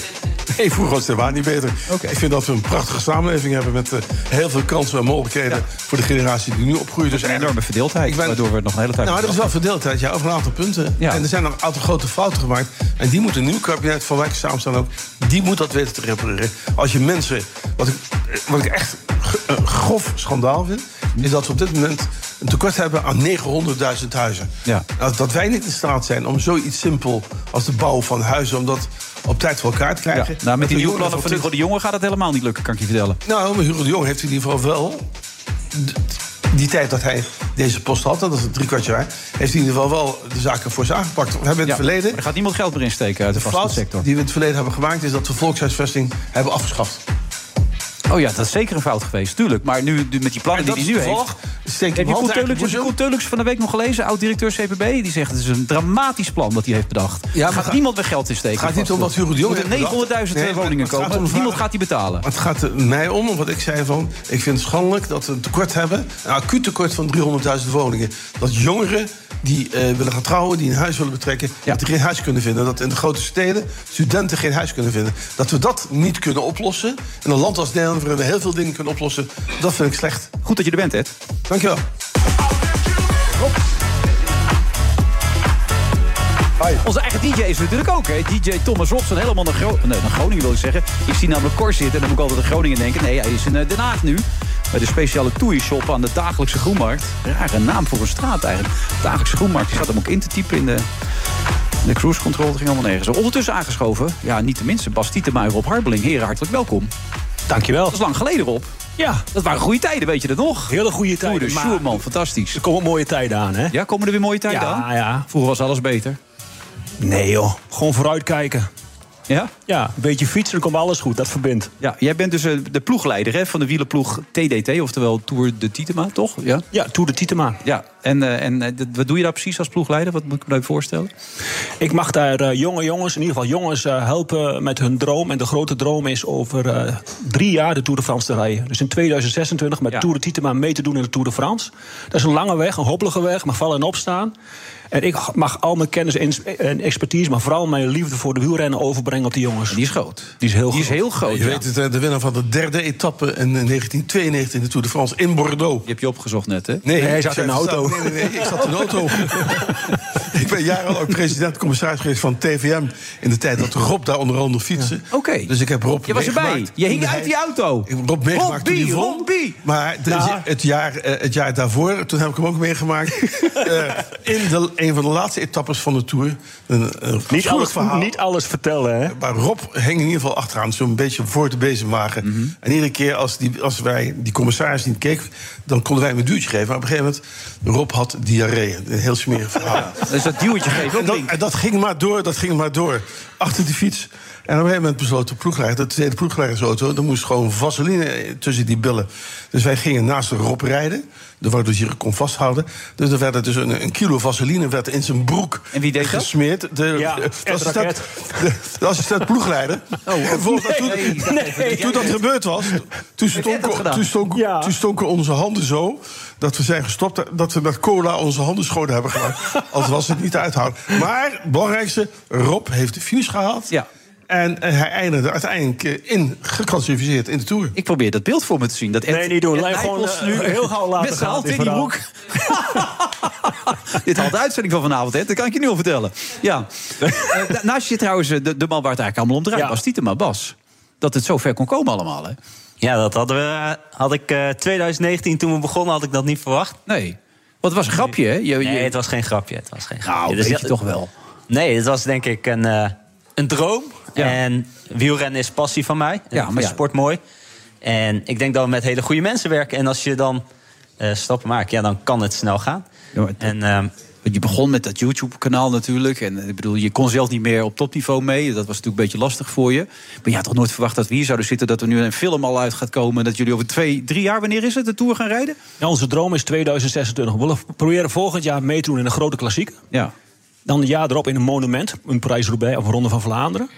Speaker 8: Nee, vroeger was het helemaal niet beter.
Speaker 7: Oké.
Speaker 8: Ik vind dat we een prachtige samenleving hebben... met eh, heel veel kansen en mogelijkheden
Speaker 7: Ja.
Speaker 8: voor de generatie die nu opgroeit. Dus
Speaker 7: Een enorme verdeeldheid,
Speaker 8: Ik ben-
Speaker 7: waardoor we nog een hele tijd...
Speaker 8: Nou, er is wel verdeeldheid, ja, over een aantal punten.
Speaker 7: Ja.
Speaker 8: En er zijn nog een aantal grote fouten gemaakt. En die moet een nieuw kabinet, van welke samenstaan ook... die moet dat weten te repareren. Als je mensen... Wat ik, eh, wat ik echt g- een grof schandaal vind... is dat we op dit moment een tekort hebben aan 900.000 huizen.
Speaker 7: Ja.
Speaker 8: Nou, dat wij niet in staat zijn om zoiets simpel als de bouw van huizen... om dat op tijd voor elkaar te
Speaker 7: Ja,
Speaker 8: krijgen.
Speaker 7: nou, met die nieuwe plannen van
Speaker 8: terug.
Speaker 7: Hugo de Jonge gaat het helemaal niet lukken, kan ik je vertellen.
Speaker 8: Nou, maar Hugo de Jong heeft in ieder geval wel... d- die tijd dat hij deze post had, dat is een driekwart jaar... heeft hij in ieder geval wel de zaken voor ze aangepakt. We hebben in
Speaker 7: Ja,
Speaker 8: het verleden...
Speaker 7: Er gaat niemand geld meer insteken uit de,
Speaker 8: De
Speaker 7: vaste
Speaker 8: fout
Speaker 7: sector.
Speaker 8: die we in het verleden hebben gemaakt... is dat we volkshuisvesting hebben afgeschaft.
Speaker 7: Oh ja, dat is zeker een fout geweest, tuurlijk. Maar nu, nu met die plannen
Speaker 8: dat
Speaker 7: die
Speaker 8: is
Speaker 7: hij nu
Speaker 8: toevallig
Speaker 7: heeft...
Speaker 8: Steekt
Speaker 7: Heb je
Speaker 8: hem
Speaker 7: Koen
Speaker 8: altijd uit de
Speaker 7: Teulux- heb je
Speaker 8: boezem.
Speaker 7: Koen Teulux van de week nog gelezen? Oud-directeur CPB. Die zegt het is een dramatisch plan dat hij heeft bedacht.
Speaker 8: Ja, maar
Speaker 7: gaat
Speaker 8: ga-
Speaker 7: niemand weer geld in steken.
Speaker 8: Het gaat niet om wat Hugo de Jonge
Speaker 7: Er moeten
Speaker 8: heeft bedacht.
Speaker 7: 900.000
Speaker 8: Nee, maar
Speaker 7: woningen
Speaker 8: het gaat
Speaker 7: komen.
Speaker 8: om de
Speaker 7: Niemand
Speaker 8: vraag-
Speaker 7: gaat die betalen.
Speaker 8: Maar Het gaat er mij om, om wat ik zei van... ik vind het schandelijk dat we een tekort hebben... een acuut tekort van 300.000 woningen. Dat jongeren die eh, willen gaan trouwen, die een huis willen betrekken...
Speaker 7: Ja.
Speaker 8: dat die geen huis kunnen vinden. Dat in de grote steden studenten geen huis kunnen vinden. Dat we dat niet kunnen oplossen. In een land als Nederland waarin we heel veel dingen kunnen oplossen... dat vind ik slecht.
Speaker 7: Goed dat je er bent, Ed.
Speaker 8: Dankjewel.
Speaker 7: Onze eigen DJ is er natuurlijk ook, hè? DJ Thomas Robson, helemaal naar, Gro- nee, naar Groningen wil ik zeggen. Ik zie namelijk Cor zitten en dan moet ik altijd aan Groningen denken. Nee, hij is in eh, Den Haag nu. Bij de speciale Toei-shop aan de dagelijkse groenmarkt. Rare naam voor een straat eigenlijk. Dagelijkse groenmarkt, die gaat hem ook in te typen in de... De cruise control dat ging allemaal nergens. Ondertussen aangeschoven, ja, niet de minste, Bas Tietema en Rob Harbeling. Heren, hartelijk welkom.
Speaker 9: Dankjewel.
Speaker 7: Dat is lang geleden, Rob.
Speaker 9: Ja,
Speaker 7: Dat waren goede tijden, weet je dat nog?
Speaker 9: hele goede
Speaker 7: Goede
Speaker 9: tijden. maar
Speaker 7: Sjoerman, fantastisch.
Speaker 9: Er komen mooie tijden aan, hè?
Speaker 7: Ja, komen er weer mooie tijden
Speaker 9: Ja,
Speaker 7: aan?
Speaker 9: ja.
Speaker 7: Vroeger was alles beter.
Speaker 9: Nee, joh. Gewoon vooruitkijken.
Speaker 7: Ja?
Speaker 9: Ja, een beetje fietsen, dan komt alles goed. Dat verbindt.
Speaker 7: Ja, jij bent dus eh, de ploegleider hè, van de wielenploeg TDT, oftewel Tour de Titema, toch? Ja.
Speaker 9: Ja, Tour de Titema.
Speaker 7: Ja, en, eh, en eh, dat- wat doe je daar precies als ploegleider? Wat moet ik me daarbij voorstellen?
Speaker 9: Ik mag daar eh, jonge jongens, in ieder geval jongens, eh, helpen met hun droom. En de grote droom is over eh, drie jaar de Tour de France te rijden. Dus in 2026 met
Speaker 7: Ja.
Speaker 9: Tour de Titema mee te doen in de Tour de France. Dat is een lange weg, een hobbelige weg, maar vallen en opstaan. En ik mag al mijn kennis en- en expertise, maar vooral mijn liefde voor de wielrennen overbrengen op de jongens.
Speaker 7: Die is groot.
Speaker 9: Die is heel
Speaker 7: Die is
Speaker 9: groot.
Speaker 7: heel groot.
Speaker 8: Je
Speaker 7: ja.
Speaker 8: weet het, eh, de winnaar van de derde etappe in eh, 1992 in de Tour de France in Bordeaux.
Speaker 7: Je hebt je opgezocht net, hè?
Speaker 8: Nee,
Speaker 9: hij
Speaker 8: ik
Speaker 9: zat in een
Speaker 8: ik
Speaker 9: auto.
Speaker 8: nee, nee, nee, ik zat in een auto. ik ben jarenlang president-commissaris geweest van TVM... in de tijd dat Rob daar onder andere fietsen.
Speaker 7: Oké.
Speaker 8: Dus ik heb Rob
Speaker 7: Je was erbij.
Speaker 8: meegemaakt.
Speaker 7: Je hing
Speaker 8: Nee,
Speaker 7: uit die auto.
Speaker 8: Ik heb Rob meegemaakt toen
Speaker 7: Robbie,
Speaker 8: hij won.
Speaker 7: Robbie.
Speaker 8: Maar de-
Speaker 9: Nou.
Speaker 8: het, jaar, eh, het jaar daarvoor, toen heb ik hem ook meegemaakt... eh, in de, een van de laatste etappes van de Tour. Een, een
Speaker 9: Niet
Speaker 8: afschuwelijk
Speaker 9: alles,
Speaker 8: verhaal.
Speaker 9: niet alles vertellen, hè?
Speaker 8: Maar Rob hing in ieder geval achteraan, zo'n beetje voor de bezemwagen.
Speaker 9: Mhm.
Speaker 8: En iedere keer als, die, als wij die commissaris niet keken, dan konden wij hem een duwtje geven. Maar op een gegeven moment, Rob had diarree. Een heel smerig verhaal.
Speaker 7: Dus dat duwtje geven
Speaker 8: En
Speaker 7: ook
Speaker 8: dat,
Speaker 7: link.
Speaker 8: en dat ging maar door, dat ging maar door. Achter die fiets. En op een gegeven moment besloot de ploegleider, de tweede ploegleidersauto... er moest gewoon vaseline tussen die billen. Dus wij gingen naast Rob rijden, de- waardoor je kon vasthouden. Dus er werd dus een, een kilo vaseline werd in zijn broek
Speaker 7: En wie deed dat?
Speaker 8: gesmeerd. De,
Speaker 9: Ja,
Speaker 8: de- de
Speaker 9: Ed
Speaker 8: assistent,
Speaker 9: Raket.
Speaker 8: de, de assistent ploegleider.
Speaker 7: Oh,
Speaker 8: En volgens- toen, toen dat gebeurd was, toen
Speaker 7: dat
Speaker 8: stonken,
Speaker 7: gedaan?
Speaker 8: toen, stonken,
Speaker 9: Ja.
Speaker 8: toen stonken onze handen zo... dat we zijn gestopt, dat we met cola onze handen schoon hebben gemaakt. Als was het niet te uithouden. Maar, het belangrijkste, Rob heeft de finish gehaald.
Speaker 7: Ja.
Speaker 8: En, eh, hij eindigde uiteindelijk eh, in, geclassificeerd in de Tour.
Speaker 7: Ik probeer dat beeld voor me te zien. Dat Ed-
Speaker 9: Nee, niet doen.
Speaker 7: Ed
Speaker 9: Lijn gewoon,
Speaker 7: Nijpels
Speaker 9: eh, heel gauw laten
Speaker 7: Met
Speaker 9: gaan,
Speaker 7: zijn hand
Speaker 9: dit
Speaker 7: in die
Speaker 9: verhaal.
Speaker 7: hoek. dit haalt de uitzending van vanavond, hè? Dat kan ik je nu al vertellen. Ja. Eh, da- naast je trouwens eh, de, de man waar het eigenlijk allemaal om draait,
Speaker 9: Ja.
Speaker 7: was Tietema Bas. Dat het zo ver kon komen allemaal, hè?
Speaker 11: Ja, dat hadden we, had ik eh 2019 toen we begonnen, had ik dat niet verwacht.
Speaker 7: Nee. Want het was een grapje, hè? Je, je-
Speaker 11: Nee, het was geen grapje. Het was geen grapje.
Speaker 7: Nou,
Speaker 11: Dus
Speaker 7: weet
Speaker 11: ja,
Speaker 7: je toch wel.
Speaker 11: Nee, het was denk ik een, eh, een droom.
Speaker 7: Ja.
Speaker 11: En wielrennen is passie van mij.
Speaker 7: Ja,
Speaker 11: Ja, ik
Speaker 7: maar
Speaker 11: vind
Speaker 7: ja.
Speaker 11: sport mooi. En ik denk dat we met hele goede mensen werken. En als je dan eh, stappen maakt, ja, dan kan het snel gaan.
Speaker 7: Ja, maar het-
Speaker 11: en ehm,
Speaker 7: Want je begon met dat YouTube-kanaal natuurlijk. En eh, ik bedoel, je kon zelf niet meer op topniveau mee. Dat was natuurlijk een beetje lastig voor je. Maar je had toch nooit verwacht dat we hier zouden zitten... dat er nu een film al uit gaat komen... dat jullie over twee, drie jaar, wanneer is het, de Tour gaan rijden?
Speaker 9: Ja, onze droom is 2026. We willen proberen volgend jaar mee te doen in een grote klassiek.
Speaker 7: Ja.
Speaker 9: Dan het jaar erop in een monument, een Parijs-Roubaix of een Ronde van Vlaanderen.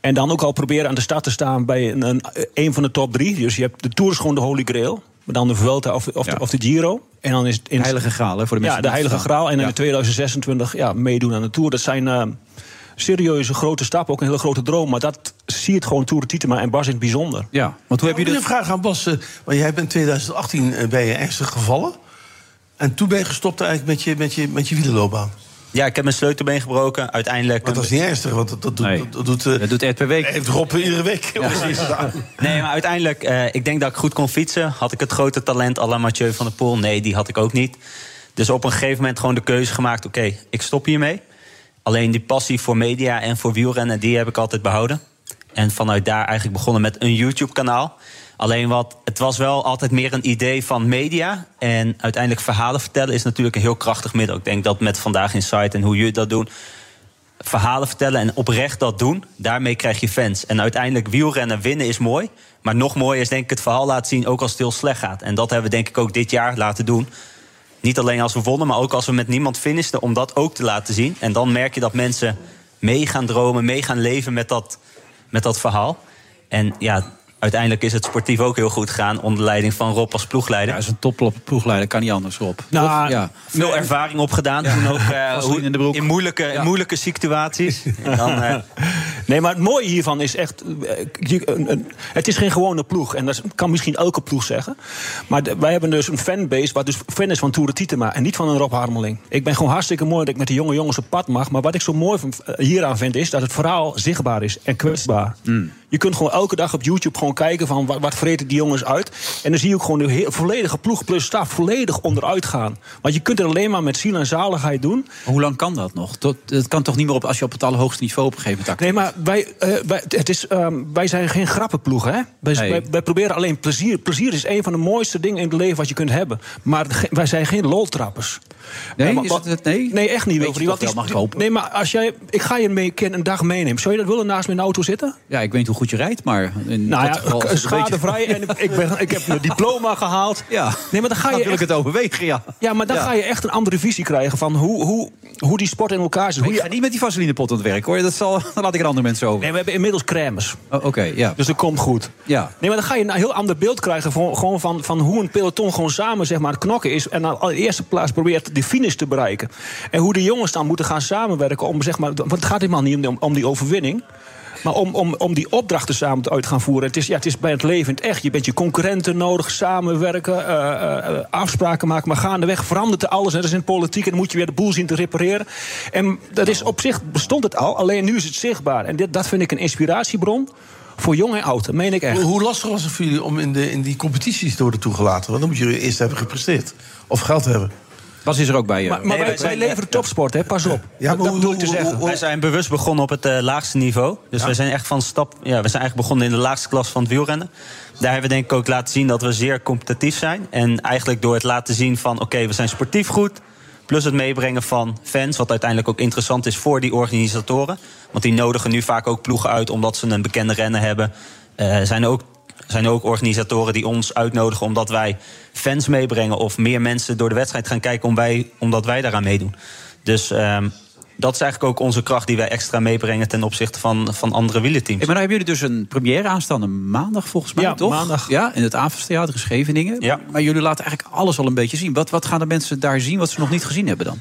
Speaker 9: En dan ook al proberen aan de start te staan bij een, een, een van de top drie. Dus je hebt de Tour is gewoon de Holy Grail. Maar dan de Vuelta of, of,
Speaker 7: Ja.
Speaker 9: de, of de Giro. En dan is het in
Speaker 7: Heilige Graal, hè, voor de mensen
Speaker 9: ja,
Speaker 7: die
Speaker 9: de
Speaker 7: het
Speaker 9: Heilige
Speaker 7: verstaan.
Speaker 9: Graal. En dan
Speaker 7: Ja.
Speaker 9: in 2026 ja, meedoen aan de Tour. Dat zijn eh, serieuze grote stappen, ook een hele grote droom. Maar dat zie je het gewoon Tour de Titema en Bas in het bijzonder.
Speaker 7: Ja, want hoe heb je
Speaker 8: Ik heb
Speaker 7: dat...
Speaker 8: een vraag aan Bas. eh, Want jij bent in 2018 eh, ben je ernstig gevallen. En toen ben je gestopt eigenlijk met je, met je, met je wielerloopbaan.
Speaker 11: ja, ik heb mijn sleutelbeen gebroken. Uiteindelijk.
Speaker 8: Maar dat is niet ernstig, want dat, dat, doet-
Speaker 7: Nee.
Speaker 8: dat, dat doet... eh,
Speaker 7: Dat doet Ed per week.
Speaker 8: Heeft Rob iedere week. precies gedaan.
Speaker 11: Nee, maar uiteindelijk, eh, ik denk dat ik goed kon fietsen. Had ik het grote talent à la Mathieu van der Poel? Nee, die had ik ook niet. Dus op een gegeven moment gewoon de keuze gemaakt... oké, ik stop hiermee. Alleen die passie voor media en voor wielrennen... die heb ik altijd behouden. En vanuit daar eigenlijk begonnen met een YouTube-kanaal. Alleen wat, het was wel altijd meer een idee van media. En uiteindelijk verhalen vertellen is natuurlijk een heel krachtig middel. Ik denk dat met Vandaag in Sight en hoe jullie dat doen verhalen vertellen en oprecht dat doen, daarmee krijg je fans. En uiteindelijk wielrennen winnen is mooi. Maar nog mooier is denk ik het verhaal laten zien, ook als het heel slecht gaat. En dat hebben we denk ik ook dit jaar laten doen. Niet alleen als we wonnen, maar ook als we met niemand finishten. Om dat ook te laten zien. En dan merk je dat mensen mee gaan dromen, mee gaan leven met dat, met dat verhaal. En ja, uiteindelijk is het sportief ook heel goed gegaan. Onder leiding van Rob als ploegleider.
Speaker 7: Hij is een top ploegleider, kan niet anders, Rob.
Speaker 9: Nou,
Speaker 7: ja.
Speaker 11: Veel ervaring opgedaan. Toen ook eh,
Speaker 7: Vaseline
Speaker 11: hoe,
Speaker 7: in de broek.
Speaker 11: in moeilijke, in moeilijke situaties. En dan, eh,
Speaker 9: Nee, maar het mooie hiervan is echt... eh, je- een- een- Het is geen gewone ploeg. En dat is- kan misschien elke ploeg zeggen. Maar de- wij hebben dus een fanbase... waar dus fan is van Toure Tietema en niet van een Rob Harmeling. Ik ben gewoon hartstikke mooi dat ik met de jonge jongens op pad mag. Maar wat ik zo mooi van, eh, hieraan vind... is dat het verhaal zichtbaar is en kwetsbaar.
Speaker 7: Mm.
Speaker 9: Je kunt gewoon elke dag op YouTube gewoon kijken... van wat, wat vreten die jongens uit. En dan zie je ook gewoon de heel- volledige ploeg plus staf... volledig onderuit gaan. Want je kunt het alleen maar met ziel en zaligheid doen...
Speaker 7: Hoe lang kan dat nog? Tot, dat kan toch niet meer op als je op het allerhoogste niveau op een gegeven moment
Speaker 9: Nee,
Speaker 7: actief
Speaker 9: maar wij, eh, wij, het is, ehm, wij zijn geen grappenploeg, hè? Wij,
Speaker 7: Nee.
Speaker 9: wij, wij proberen alleen plezier. Plezier is een van de mooiste dingen in het leven wat je kunt hebben. Maar ge- wij zijn geen loltrappers.
Speaker 7: Nee,
Speaker 9: Eh, maar
Speaker 7: is
Speaker 9: wa-
Speaker 7: het het- nee?
Speaker 9: Nee, echt niet,
Speaker 7: je
Speaker 9: Wilfried.
Speaker 7: toch
Speaker 9: want die-
Speaker 7: wel, mag ik hopen.
Speaker 9: Nee, maar als jij, ik ga je mee, een keer een dag meenemen. Zou je dat willen naast mijn auto zitten?
Speaker 7: Ja, ik weet niet hoe goed je rijdt, maar in
Speaker 9: Nou
Speaker 7: dat geval is
Speaker 9: ja,
Speaker 7: het een
Speaker 9: schadevrij. En ik- ik, ben, ik heb mijn diploma gehaald.
Speaker 7: beetje- Ja,
Speaker 9: Nee, maar dan ga je
Speaker 7: wil ik
Speaker 9: echt
Speaker 7: het overwegen, ja.
Speaker 9: ja, maar dan
Speaker 7: Ja.
Speaker 9: ga je echt een andere visie krijgen van hoe, hoe, hoe die sport in elkaar zit. Hoe
Speaker 7: Ik
Speaker 9: je-
Speaker 7: ga niet met die vaselinepot aan het werk, hoor. Dat zal, dan laat ik er andere mensen over.
Speaker 9: Nee, we hebben inmiddels crèmes.
Speaker 7: Oh, Oké, ja.
Speaker 9: Dus dat komt goed.
Speaker 7: Ja.
Speaker 9: Nee, maar dan ga je een heel ander beeld krijgen van, gewoon van, van hoe een peloton gewoon samen zeg maar, aan het knokken is. En aan de eerste plaats probeert de finish te bereiken. En hoe de jongens dan moeten gaan samenwerken om zeg maar. Want het gaat helemaal niet om, om die overwinning. Maar om, om, om die opdrachten samen te- uit te gaan voeren. Het is, ja, het is bij het leven in het echt. Je bent je concurrenten nodig, samenwerken, eh, eh, eh, afspraken maken. Maar gaandeweg verandert er alles. En dat is in politiek. En dan moet je weer de boel zien te repareren. En dat is op zich bestond het al. Alleen nu is het zichtbaar. En dit, dat vind ik een inspiratiebron voor jong en oud. Dat meen ik echt.
Speaker 8: Hoe- Hoe lastig was het voor jullie om in, de, in die competities te worden toegelaten? Want dan moet je eerst hebben gepresteerd. Of geld hebben.
Speaker 7: Bas is er ook bij je.
Speaker 9: Maar, maar wij, wij leveren topsport, hè? pas op.
Speaker 8: Ja, maar
Speaker 9: dat
Speaker 8: hoe-
Speaker 9: bedoel ik te
Speaker 8: hoe-
Speaker 9: zeggen.
Speaker 11: Wij zijn bewust begonnen op het eh, laagste niveau. Dus wij zijn echt van stap. Ja, we zijn eigenlijk begonnen in de laagste klas van het wielrennen. Daar hebben we denk ik ook laten zien dat we zeer competitief zijn. En eigenlijk door het laten zien van oké, we zijn sportief goed. Plus het meebrengen van fans, wat uiteindelijk ook interessant is voor die organisatoren. Want die nodigen nu vaak ook ploegen uit omdat ze een bekende renner hebben. Er zijn ook, zijn ook organisatoren die ons uitnodigen omdat wij fans meebrengen. Of meer mensen door de wedstrijd gaan kijken om wij, omdat wij daaraan meedoen. Dus ehm, dat is eigenlijk ook onze kracht die wij extra meebrengen ten opzichte van, van andere wielerteams.
Speaker 7: Hey, maar nou hebben jullie dus een première aanstaande maandag volgens mij,
Speaker 9: Ja,
Speaker 7: toch?
Speaker 9: maandag.
Speaker 7: Ja, in het Avondstheater in Scheveningen.
Speaker 11: Ja.
Speaker 7: Maar jullie laten eigenlijk alles al een beetje zien. Wat, wat gaan de mensen daar zien wat ze nog niet gezien hebben dan?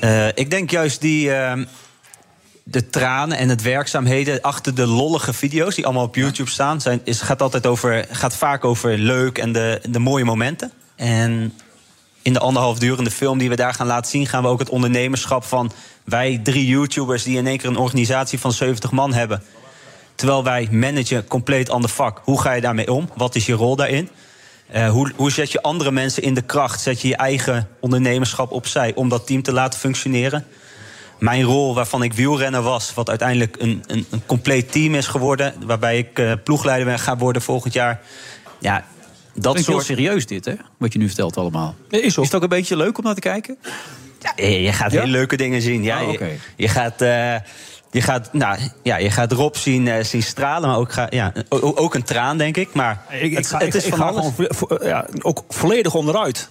Speaker 11: Eh, ik denk juist die. ehm, de tranen en het werkzaamheden achter de lollige video's die allemaal op YouTube staan, zijn, is, gaat altijd over, gaat vaak over leuk en de, de mooie momenten. En in de anderhalf durende film die we daar gaan laten zien, gaan we ook het ondernemerschap van wij drie YouTubers die in één keer een organisatie van 70 man hebben. Terwijl wij managen compleet ander vak. Hoe ga je daarmee om? Wat is je rol daarin? Eh, hoe, hoe zet je andere mensen in de kracht? Zet je je eigen ondernemerschap opzij om dat team te laten functioneren? Mijn rol, waarvan ik wielrenner was, wat uiteindelijk een, een, een compleet team is geworden, waarbij ik eh, ploegleider ben, ga worden volgend jaar. Ja, dat
Speaker 7: Dat is heel
Speaker 11: soort
Speaker 7: serieus dit, hè? Wat je nu vertelt allemaal.
Speaker 9: Nee, is zo.
Speaker 7: Is het ook een beetje leuk om naar te kijken?
Speaker 11: Je je gaat
Speaker 7: Ja?
Speaker 11: hele leuke dingen zien. Ja,
Speaker 7: Ah,
Speaker 11: je-
Speaker 7: oké.
Speaker 11: je, gaat. eh, je gaat, nou, ja, je gaat Rob zien, eh, zien stralen, maar ook, ga, ja, o- o- ook een traan, denk ik. Maar
Speaker 9: Ik, ik
Speaker 11: het,
Speaker 9: ga,
Speaker 11: het is
Speaker 9: ik, ik
Speaker 11: van
Speaker 9: ga
Speaker 11: alles.
Speaker 9: gewoon vo- vo- ja, ook volledig onderuit.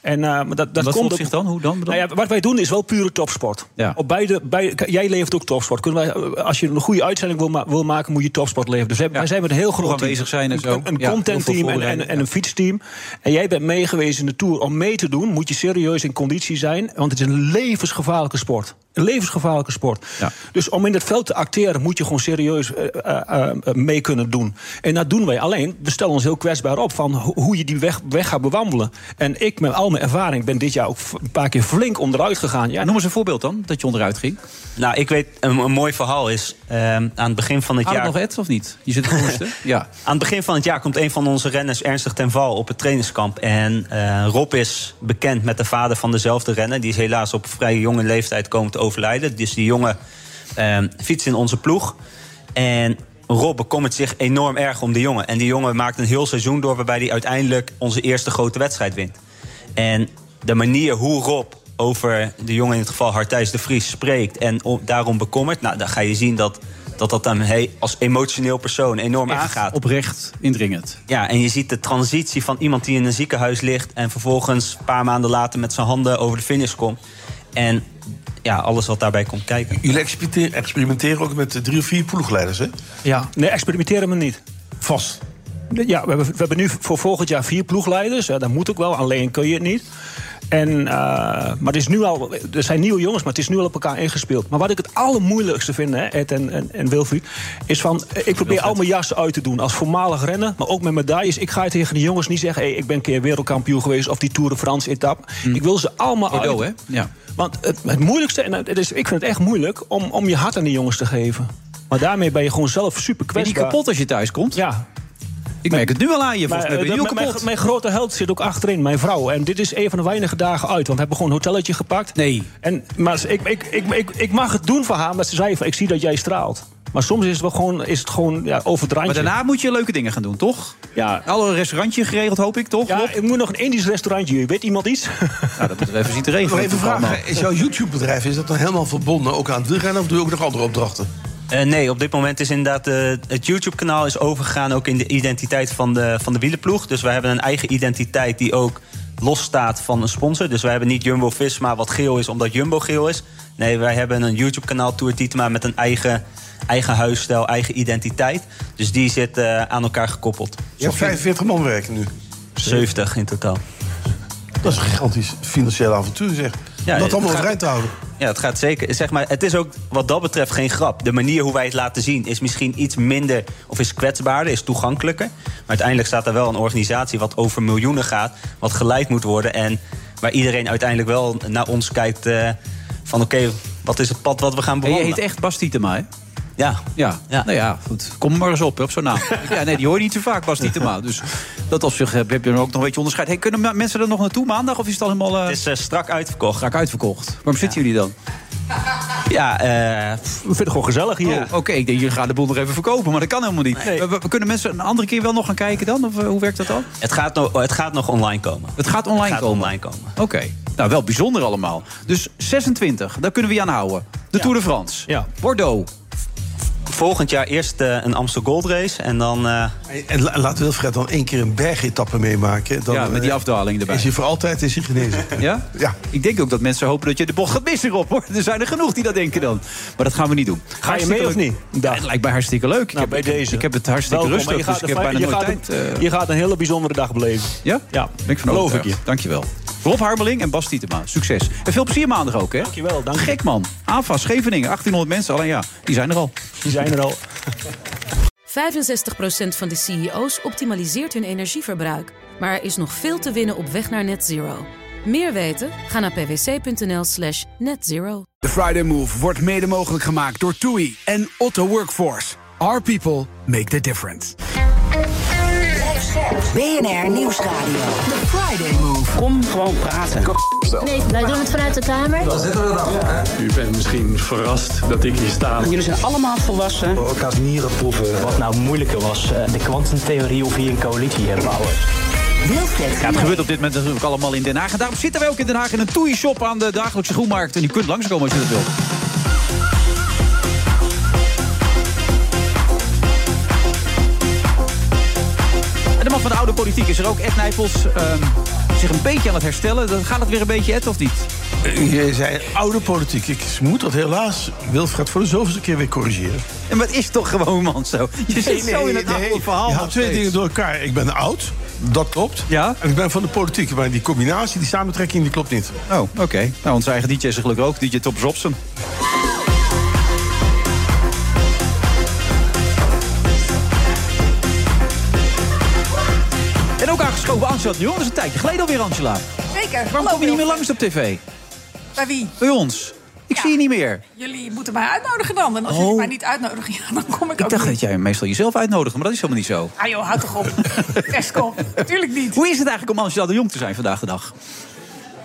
Speaker 9: En eh, maar dat, dat
Speaker 7: Wat
Speaker 9: komt
Speaker 7: komt
Speaker 9: ook-
Speaker 7: zich dan? Hoe dan? bedoel-
Speaker 9: Nou ja, wat wij doen is wel pure topsport.
Speaker 7: Ja.
Speaker 9: Op beide, bij, k- jij levert ook topsport. Kunnen wij, als je een goede uitzending wil, ma- wil maken, moet je topsport leveren. Dus wij, wij zijn met een heel groot
Speaker 7: Goed
Speaker 9: team.
Speaker 7: aanwezig zijn en
Speaker 9: Een-
Speaker 7: zo.
Speaker 9: Een, een
Speaker 7: Ja, heel
Speaker 9: contentteam
Speaker 7: veel
Speaker 9: en, en, en
Speaker 7: voorbereiding,
Speaker 9: een fietsteam. En jij bent meegewezen in de Tour. Om mee te doen moet je serieus in conditie zijn. Want het is een levensgevaarlijke sport. Een levensgevaarlijke sport.
Speaker 7: Ja.
Speaker 9: Dus om in dat veld te acteren moet je gewoon serieus eh, eh, eh, mee kunnen doen. En dat doen wij. Alleen, we stellen ons heel kwetsbaar op van ho- hoe je die weg, weg gaat bewandelen. En ik met al mijn ervaring ben dit jaar ook f- een paar keer flink onderuit gegaan. Ja,
Speaker 7: Ja, noem eens een voorbeeld dan, dat je onderuit ging.
Speaker 11: Nou, ik weet, een, een mooi verhaal is, ehm, aan het begin van het
Speaker 7: Had het
Speaker 11: jaar...
Speaker 7: nog Ed of niet? Je zit te hoesten. ja.
Speaker 11: Aan het begin van het jaar komt een van onze renners ernstig ten val op het trainingskamp. En eh, Rob is bekend met de vader van dezelfde renner. Die is helaas op vrij jonge leeftijd komen te overlijden. Dus die jongen eh, fietst in onze ploeg. En Rob bekommert zich enorm erg om die jongen. En die jongen maakt een heel seizoen door waarbij hij uiteindelijk onze eerste grote wedstrijd wint. En de manier hoe Rob over de jongen, in het geval Hartijs de Vries, spreekt en o- daarom bekommert. Nou, dan ga je zien dat dat dat aan mij als emotioneel persoon enorm aangaat.
Speaker 7: Oprecht indringend.
Speaker 11: Ja, en je ziet de transitie van iemand die in een ziekenhuis ligt... en vervolgens een paar maanden later met zijn handen over de finish komt. En ja, alles wat daarbij komt kijken.
Speaker 8: Jullie experimenteren- experimenteren ook met eh, drie of vier ploegleiders, hè?
Speaker 9: Ja, nee, experimenteren we niet.
Speaker 8: Vast.
Speaker 9: Ja, we hebben, we hebben nu voor volgend jaar vier ploegleiders. Ja, dat moet ook wel, alleen kun je het niet. En, eh, maar het is nu al, er zijn nieuwe jongens, maar het is nu al op elkaar ingespeeld. Maar wat ik het allermoeilijkste vind, hè, Ed en, en, en Wilfried... is van, eh, ik probeer al mijn jas uit te doen als voormalig renner... maar ook met medailles. Ik ga tegen de jongens niet zeggen... Hey, ik ben een keer wereldkampioen geweest of die Tour de France etap. Ik wil ze allemaal
Speaker 7: Hmm. Bordeaux,
Speaker 9: uit.
Speaker 7: hè? Ja.
Speaker 9: Want het, het moeilijkste, en het is, ik vind het echt moeilijk... Om, om je hart aan die jongens te geven. Maar daarmee ben je gewoon zelf super
Speaker 7: Ben je niet
Speaker 9: kwetsbaar.
Speaker 7: kapot als je thuis komt?
Speaker 9: Ja,
Speaker 7: Ik merk het nu al aan
Speaker 9: maar,
Speaker 7: je. Volgens mij ben je
Speaker 9: eh,
Speaker 7: heel
Speaker 9: dat- mijn,
Speaker 7: kapot.
Speaker 9: mijn grote held zit ook achterin, mijn vrouw. En dit is een van de weinige dagen uit, want we hebben gewoon een hotelletje gepakt.
Speaker 7: Nee.
Speaker 9: En, maar ze- ik, ik, ik, ik, ik mag het doen voor haar, maar ze zei van, ik zie dat jij straalt. Maar soms is het, wel gewoon, is het gewoon ja, over het randje.
Speaker 7: Maar daarna moet je leuke dingen gaan doen, toch?
Speaker 9: Ja.
Speaker 7: Al een restaurantje geregeld, hoop ik, toch?
Speaker 9: Ja,
Speaker 7: Rob?
Speaker 9: ik moet nog een Indisch restaurantje. Weet iemand iets?
Speaker 7: Nou, dat moeten we even zien te regelen.
Speaker 8: Nog even
Speaker 7: natuurlijk
Speaker 8: vragen,
Speaker 7: allemaal.
Speaker 8: is jouw YouTube-bedrijf is dat dan helemaal verbonden ook aan het wielrennen... of doe je ook nog andere opdrachten?
Speaker 11: Eh, nee, op dit moment is inderdaad eh, het YouTube-kanaal is overgegaan ook in de identiteit van de, van de wielenploeg. Dus wij hebben een eigen identiteit die ook losstaat van een sponsor. Dus wij hebben niet Jumbo Visma wat geel is omdat Jumbo geel is. Nee, wij hebben een YouTube-kanaal Tour Tietema met een eigen, eigen huisstijl, eigen identiteit. Dus die zit eh, aan elkaar gekoppeld.
Speaker 8: Je hebt 45 man werken nu.
Speaker 11: 70 in totaal.
Speaker 8: Dat is een gigantisch financieel avontuur, zeg.
Speaker 11: Ja,
Speaker 8: Om dat
Speaker 11: eh, het
Speaker 8: allemaal op
Speaker 11: gaat-
Speaker 8: rij te houden.
Speaker 11: Ja, het gaat zeker. Zeg maar, het is ook wat dat betreft geen grap. De manier hoe wij het laten zien is misschien iets minder of is kwetsbaarder, is toegankelijker. Maar uiteindelijk staat er wel een organisatie wat over miljoenen gaat, wat geleid moet worden en waar iedereen uiteindelijk wel naar ons kijkt eh, van oké, wat is het pad wat we gaan
Speaker 7: En je
Speaker 11: bewandelen?
Speaker 7: heet echt Bas Tietema, hè?
Speaker 11: Ja.
Speaker 7: Ja.
Speaker 11: Ja.
Speaker 7: nou ja, goed. Kom maar eens op, hè, op zo'n naam. ja, nee, die hoor je niet zo vaak, Bas Tietema. Dus dat op zich heb je hem ook nog een beetje onderscheid. Hey, kunnen ma- mensen er nog naartoe maandag? Of is het al helemaal eh,
Speaker 11: Het is eh, strak uitverkocht.
Speaker 7: raak uitverkocht? Waarom zitten jullie dan?
Speaker 11: Ja,
Speaker 9: We
Speaker 11: eh,
Speaker 9: vinden het gewoon gezellig hier.
Speaker 7: Oh, Oké, ik denk, jullie gaan de boel nog even verkopen. Maar dat kan helemaal niet. We- we- we kunnen mensen een andere keer wel nog gaan kijken dan? Of eh, hoe werkt dat dan?
Speaker 11: het, gaat nog, het gaat nog online komen.
Speaker 7: Het gaat online
Speaker 11: Het gaat
Speaker 7: komen.
Speaker 11: online komen.
Speaker 7: Oké. Nou, wel bijzonder allemaal. Dus 26, daar kunnen we je aan houden. De Tour de France.
Speaker 9: Ja.
Speaker 7: Bordeaux.
Speaker 11: Volgend jaar eerst eh, een Amstel Gold Race en dan... eh,
Speaker 8: En, en la- laat Wilfred dan één keer een bergetappe meemaken. Dan,
Speaker 7: ja, met die
Speaker 8: eh,
Speaker 7: afdaling erbij.
Speaker 8: Is hij voor altijd is hij genezen.
Speaker 7: Ja?
Speaker 8: Ja.
Speaker 7: Ik denk ook dat mensen hopen dat je de bocht gaat missen, Rob. Hoor. Er zijn er genoeg die dat denken dan. Maar dat gaan we niet doen.
Speaker 9: Ga je mee of niet?
Speaker 7: Ja,
Speaker 9: Dag.
Speaker 7: het lijkt mij hartstikke leuk.
Speaker 9: Nou,
Speaker 7: ik,
Speaker 9: bij
Speaker 7: heb,
Speaker 9: deze.
Speaker 7: ik heb het hartstikke
Speaker 9: Welkom,
Speaker 7: rustig,
Speaker 9: en je
Speaker 7: dus
Speaker 9: gaat
Speaker 7: ik
Speaker 9: een
Speaker 7: heb bijna
Speaker 9: fijn-
Speaker 7: nooit
Speaker 9: je gaat
Speaker 7: tijd.
Speaker 9: een-
Speaker 7: eh.
Speaker 9: Je gaat een hele bijzondere dag beleven.
Speaker 7: Ja?
Speaker 9: Ja.
Speaker 7: Ben ik van
Speaker 9: Geloof
Speaker 7: overtuigd.
Speaker 9: ik je.
Speaker 7: Dankjewel. Rob Harmeling en Bas Tietema. Succes. En veel plezier maandag ook, hè?
Speaker 9: Dankjewel, dank je.
Speaker 7: Gek, man. AFAS, Scheveningen, 1800 mensen. Alleen ja, die zijn er al.
Speaker 9: Die zijn er al.
Speaker 1: 65% van de CEO's optimaliseert hun energieverbruik. Maar er is nog veel te winnen op weg naar net zero. Meer weten? Ga naar pwc.nl slash netzero.
Speaker 2: De Friday Move wordt mede mogelijk gemaakt door TUI en Otto Workforce. Our people make the difference.
Speaker 3: BNR Nieuwsradio. The Friday Move.
Speaker 12: Wij doen het vanuit de Kamer.
Speaker 5: U bent misschien verrast dat ik hier sta.
Speaker 6: Elkaars nieren proeven.
Speaker 12: Wat nou moeilijker was, eh, de kwantumtheorie of hier een coalitie herbouwen.
Speaker 3: Wilfred
Speaker 7: Ja, het
Speaker 3: Gené.
Speaker 7: gebeurt op dit moment natuurlijk allemaal in Den Haag. En daarom zitten wij ook in Den Haag in een toei-shop aan de dagelijkse groenmarkt. En je kunt langskomen als je dat wilt. En de man van de oude politiek is er ook, Ed Nijpels. ehm, zich een beetje aan het herstellen. Dan gaat het weer een beetje, Ed, of niet?
Speaker 8: Je zei oude politiek. Ik moet dat helaas Wilfred voor de zoveelste keer weer corrigeren.
Speaker 7: En wat is toch gewoon, man, zo? Je zit zo in het
Speaker 8: Nee,
Speaker 7: oude verhaal.
Speaker 8: Je
Speaker 7: nog
Speaker 8: haalt twee
Speaker 7: steeds.
Speaker 8: dingen door elkaar. Ik ben oud, dat klopt.
Speaker 7: Ja.
Speaker 8: En ik ben van de politiek. Maar die combinatie, die samentrekking, die klopt niet.
Speaker 7: Oh, oké. Nou, onze eigen DJ is er gelukkig ook. DJ Top Robson. En ook aangeschoven Angela de Jong. Dat is een tijdje geleden alweer, Angela.
Speaker 13: Zeker.
Speaker 7: Waarom kom je niet meer langs op tv?
Speaker 13: Bij wie?
Speaker 7: Bij ons. Ik
Speaker 13: Ja.
Speaker 7: zie je niet meer.
Speaker 13: Jullie moeten mij uitnodigen dan. En als jullie mij niet uitnodigen, ja, dan kom ik,
Speaker 7: Oh. Ik
Speaker 13: ook
Speaker 7: dacht dat
Speaker 13: niet.
Speaker 7: jij meestal jezelf uitnodigde, maar dat is helemaal niet zo.
Speaker 13: Ah joh, houd toch op. Fresco, natuurlijk niet.
Speaker 7: Hoe is het eigenlijk om Angela de Jong te zijn vandaag de dag?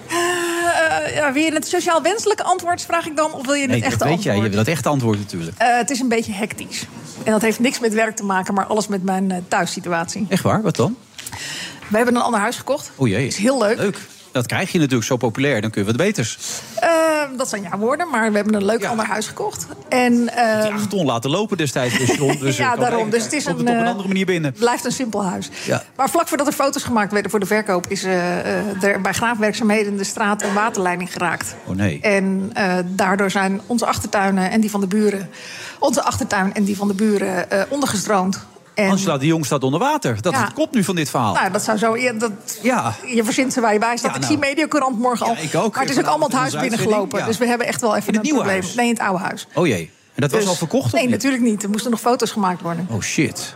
Speaker 13: Eh, ja, wil je het sociaal wenselijke antwoord, vraag ik dan? Of wil je het
Speaker 7: Nee,
Speaker 13: echte
Speaker 7: dat weet jij.
Speaker 13: antwoord?
Speaker 7: Je wil dat echt antwoord natuurlijk.
Speaker 13: Eh, het is een beetje hectisch. En dat heeft niks met werk te maken, maar alles met mijn eh, thuissituatie.
Speaker 7: Echt waar? Wat dan?
Speaker 13: We hebben een ander huis gekocht.
Speaker 7: O jee.
Speaker 13: Is heel leuk.
Speaker 7: Leuk. dat krijg je natuurlijk zo populair. Dan kun je wat beters.
Speaker 13: Eh, dat zijn jouw woorden, maar we hebben een leuk ander huis gekocht. En, eh,
Speaker 7: Die acht ton laten lopen destijds. Dus, John, dus
Speaker 13: ja,
Speaker 7: ik kan
Speaker 13: daarom.
Speaker 7: denken,
Speaker 13: Dus het is
Speaker 7: komt
Speaker 13: een,
Speaker 7: het op een
Speaker 13: eh,
Speaker 7: andere manier binnen.
Speaker 13: blijft een simpel huis.
Speaker 7: Ja.
Speaker 13: Maar vlak voordat er foto's gemaakt werden voor de verkoop... is eh, eh, er bij graafwerkzaamheden de straat een waterleiding geraakt.
Speaker 7: Oh nee.
Speaker 13: En eh, daardoor zijn onze achtertuinen en die van de buren... onze achtertuin en die van de buren eh, ondergestroomd. En,
Speaker 7: Angela de Jong staat onder water. Dat
Speaker 13: Ja.
Speaker 7: is het kop nu van dit verhaal.
Speaker 13: nou, dat zou zo... Ja, dat,
Speaker 7: Ja.
Speaker 13: Je verzint ze waar je bij staat.
Speaker 7: Ja,
Speaker 13: Ik
Speaker 7: nou.
Speaker 13: zie Mediacorant morgen al.
Speaker 7: ik ook.
Speaker 13: Maar het is ook allemaal het
Speaker 7: Vanavond
Speaker 13: huis
Speaker 7: in onze
Speaker 13: binnengelopen.
Speaker 7: uitzending, ja.
Speaker 13: Dus we hebben echt wel even
Speaker 7: In het
Speaker 13: een
Speaker 7: nieuwe
Speaker 13: probleem.
Speaker 7: huis?
Speaker 13: Nee, in het oude huis.
Speaker 7: Oh jee. En dat was
Speaker 13: Dus-
Speaker 7: al verkocht?
Speaker 13: Nee,
Speaker 7: of niet?
Speaker 13: natuurlijk niet. Er moesten nog foto's gemaakt worden.
Speaker 7: Oh shit.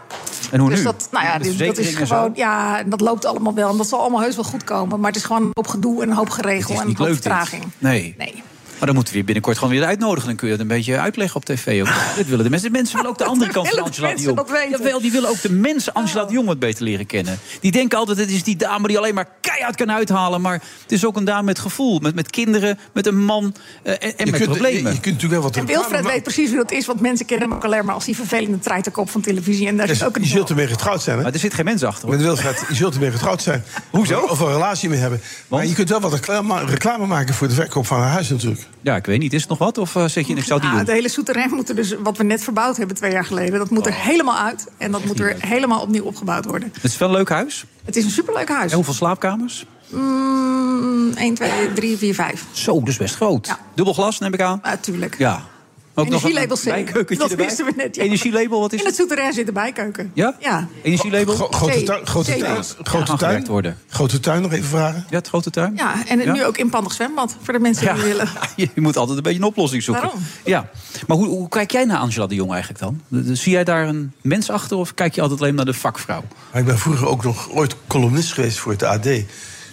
Speaker 7: En hoe
Speaker 13: dus
Speaker 7: Oh, nu?
Speaker 13: dat, nou ja,
Speaker 7: Met
Speaker 13: dit- dat is
Speaker 7: verzekeringen en zo?
Speaker 13: gewoon, ja, en dat loopt allemaal wel. En dat zal allemaal heus wel goed komen. Maar het is gewoon een hoop gedoe en een hoop
Speaker 7: Het
Speaker 13: geregel
Speaker 7: is
Speaker 13: en een
Speaker 7: niet
Speaker 13: hoop
Speaker 7: leuk
Speaker 13: vertraging.
Speaker 7: dit. Nee.
Speaker 13: Nee.
Speaker 7: Maar dan moeten we je binnenkort gewoon weer uitnodigen. Dan kun je het een beetje uitleggen op tv. Ook. Dit willen de mensen. De mensen willen ook de andere kant van
Speaker 13: Ah. willen de
Speaker 7: Angela de
Speaker 13: mensen
Speaker 7: Jong.
Speaker 13: dat weten. Oh.
Speaker 7: Jawel, die willen ook de mensen Angela de Jong wat beter leren kennen. Die denken altijd, het is die dame die alleen maar keihard kan uithalen. Maar het is ook een dame met gevoel. Met, met kinderen, met een man eh, en, en met
Speaker 8: kunt-
Speaker 7: problemen.
Speaker 8: je- je kunt natuurlijk wel wat
Speaker 13: En Wilfred weet precies hoe dat is, want mensen kennen hem ook alleen maar als die vervelende treiterkop van televisie. En daar
Speaker 7: Dus
Speaker 13: is ook
Speaker 8: Dus Je
Speaker 13: een
Speaker 8: zult ermee getrouwd zijn, hè?
Speaker 7: Maar er zit geen mens achter.
Speaker 8: Met Wilfred, je zult ermee getrouwd zijn. Hoezo? Of een relatie mee hebben. Maar je kunt wel wat reclame, reclame maken voor de verkoop van haar huis natuurlijk.
Speaker 7: Ja, ik weet niet. Is het nog wat? Of eh, zeg je, ik zou het
Speaker 13: Ah,
Speaker 7: niet
Speaker 13: het
Speaker 7: doen?
Speaker 13: hele souterrain moet er dus, wat we net verbouwd hebben twee jaar geleden, dat
Speaker 7: Oh.
Speaker 13: moet er helemaal uit. En dat moet er helemaal opnieuw opgebouwd worden.
Speaker 7: Het is wel een leuk huis.
Speaker 13: Het is een superleuk huis.
Speaker 7: En hoeveel slaapkamers?
Speaker 13: Mm, 1, 2, 3, 4, 5.
Speaker 7: Zo, dus best groot. Dubbel glas, neem ik aan.
Speaker 13: Natuurlijk.
Speaker 7: Ja. Maar
Speaker 13: Energielabel C.
Speaker 7: bijkeukentje
Speaker 13: Dat
Speaker 7: erbij.
Speaker 13: wisten we net. ja.
Speaker 7: Energielabel, wat is
Speaker 13: In het souterrain zit de bijkeuken.
Speaker 7: Ja?
Speaker 13: Ja.
Speaker 7: Energielabel?
Speaker 8: Gro- grote
Speaker 13: C.
Speaker 8: tuin, grote
Speaker 13: C.
Speaker 8: tuin,
Speaker 13: Ja,
Speaker 8: grote
Speaker 7: aangewerkt
Speaker 8: tuin.
Speaker 7: worden.
Speaker 8: Grote tuin nog even vragen.
Speaker 7: Ja, het grote tuin.
Speaker 13: Ja, en nu ook inpandig zwembad voor de mensen die willen.
Speaker 7: Je moet altijd een beetje een oplossing zoeken.
Speaker 13: Daarom.
Speaker 7: Ja. Maar hoe, hoe kijk jij naar Angela de Jong eigenlijk dan? De- de- Zie jij daar een mens achter of kijk je altijd alleen naar de vakvrouw?
Speaker 8: Maar ik ben vroeger ook nog ooit columnist geweest voor het AD.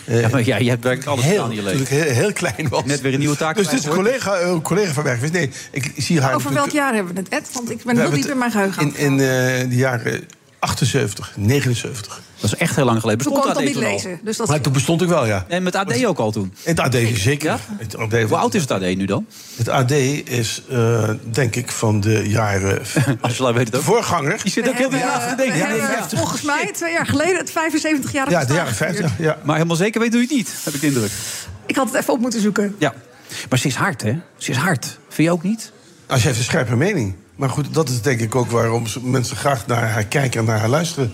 Speaker 8: Eh,
Speaker 7: Ja, maar jij, jij werkt alles
Speaker 8: heel,
Speaker 7: aan in je
Speaker 8: toen ik
Speaker 7: leven.
Speaker 8: heel, heel klein was.
Speaker 7: Net weer een nieuwe taak.
Speaker 8: Dus dit is een
Speaker 7: kwijt,
Speaker 8: collega, een collega van mij geweest. Nee, ik zie haar
Speaker 13: Over
Speaker 8: natuurlijk-
Speaker 13: welk jaar hebben we het, Ed? Want ik ben
Speaker 8: We
Speaker 13: heel
Speaker 8: hebben
Speaker 13: diep
Speaker 8: het
Speaker 13: in mijn geheugen.
Speaker 8: In, in eh, de jaren 78, 79.
Speaker 7: hoor. Dat is echt heel lang geleden.
Speaker 13: Toen
Speaker 7: Bestond
Speaker 13: kon ik dat
Speaker 7: AD
Speaker 13: niet
Speaker 7: toen al?
Speaker 13: lezen. Dus dat
Speaker 8: Maar toen bestond ik wel, ja.
Speaker 7: En met AD ook al toen.
Speaker 8: Het AD zeker.
Speaker 7: Ja?
Speaker 8: Het AD,
Speaker 7: Hoe oud is het AD nu dan?
Speaker 8: het AD is, eh, denk ik, van de jaren...
Speaker 7: Angela weet het
Speaker 8: De
Speaker 7: ook.
Speaker 8: voorganger.
Speaker 7: Je zit ook heel
Speaker 13: hebben,
Speaker 7: diep
Speaker 13: eh,
Speaker 7: aan te
Speaker 13: we
Speaker 7: denken.
Speaker 13: hebben,
Speaker 7: Ja,
Speaker 13: volgens mij twee jaar geleden het 75-jarige
Speaker 8: Ja, de
Speaker 13: bestaan
Speaker 8: jaren
Speaker 13: gevierd.
Speaker 8: 50. Ja.
Speaker 7: Maar helemaal zeker weet doe je het niet, heb ik de indruk.
Speaker 13: Ik had het even op moeten zoeken.
Speaker 7: Ja. Maar ze is hard, hè? Ze is hard. Vind je ook niet?
Speaker 8: Als je heeft een scherpe mening. Maar goed, dat is denk ik ook waarom ze- mensen graag naar haar kijken en naar haar luisteren.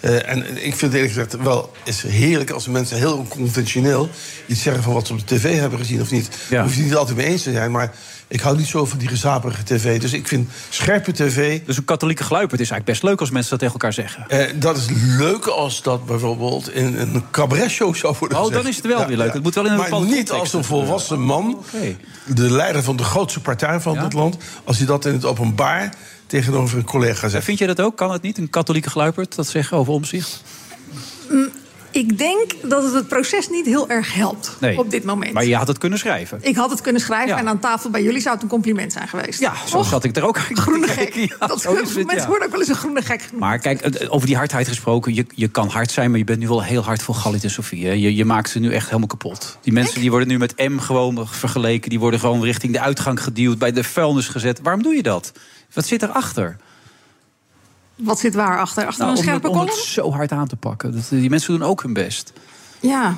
Speaker 8: Eh, en en ik vind het eerlijk gezegd wel is heerlijk als mensen heel onconventioneel iets zeggen van wat ze op de tv hebben gezien of niet.
Speaker 7: Ja.
Speaker 8: Hoef je niet altijd mee eens te zijn, maar ik hou niet zo van die gezapige tv. Dus ik vind scherpe tv,
Speaker 7: Dus een katholieke gluiper. Het is eigenlijk best leuk als mensen dat tegen elkaar zeggen.
Speaker 8: eh, dat is leuk als dat bijvoorbeeld in een cabaret-show zou worden
Speaker 7: Oh, dan
Speaker 8: gezegd.
Speaker 7: is het wel weer leuk. Het moet wel in een
Speaker 8: Maar
Speaker 7: bepaalde
Speaker 8: niet
Speaker 7: context
Speaker 8: als een
Speaker 7: natuurlijk.
Speaker 8: volwassen man,
Speaker 7: Oké.
Speaker 8: de leider van de grootste partij van
Speaker 7: Ja?
Speaker 8: dit land... als hij dat in het openbaar tegenover een collega zegt.
Speaker 7: Vind jij dat ook? Kan het niet? Een katholieke gluipert dat zeggen over omzicht?
Speaker 13: Mm, Ik denk dat het het proces niet heel erg helpt op dit moment.
Speaker 7: Maar je had het kunnen schrijven.
Speaker 13: Ik had het kunnen schrijven
Speaker 7: Ja.
Speaker 13: en aan tafel bij jullie zou het een compliment zijn geweest.
Speaker 7: Ja, zo
Speaker 13: Toch?
Speaker 7: zat ik er ook aan. te
Speaker 13: Groene gek.
Speaker 7: kijken. Ja,
Speaker 13: dat
Speaker 7: zo is het,
Speaker 13: mensen
Speaker 7: ja.
Speaker 13: worden ook wel eens een groene gek genoemd.
Speaker 7: Maar kijk, het- eh, over die hardheid gesproken. Je, je kan hard zijn, maar je bent nu wel heel hard voor Galit en Sofie. hè. Je, je maakt ze nu echt helemaal kapot. Die mensen die worden nu met M gewoon vergeleken. Die worden gewoon richting de uitgang geduwd. Bij de vuilnis gezet. Waarom doe je dat? Wat zit erachter?
Speaker 13: Wat zit waar achter? Achter
Speaker 7: Nou,
Speaker 13: een
Speaker 7: om, het,
Speaker 13: scherpe
Speaker 7: om het
Speaker 13: kolom?
Speaker 7: zo hard aan te pakken. Dat, die mensen doen ook hun best.
Speaker 13: Ja,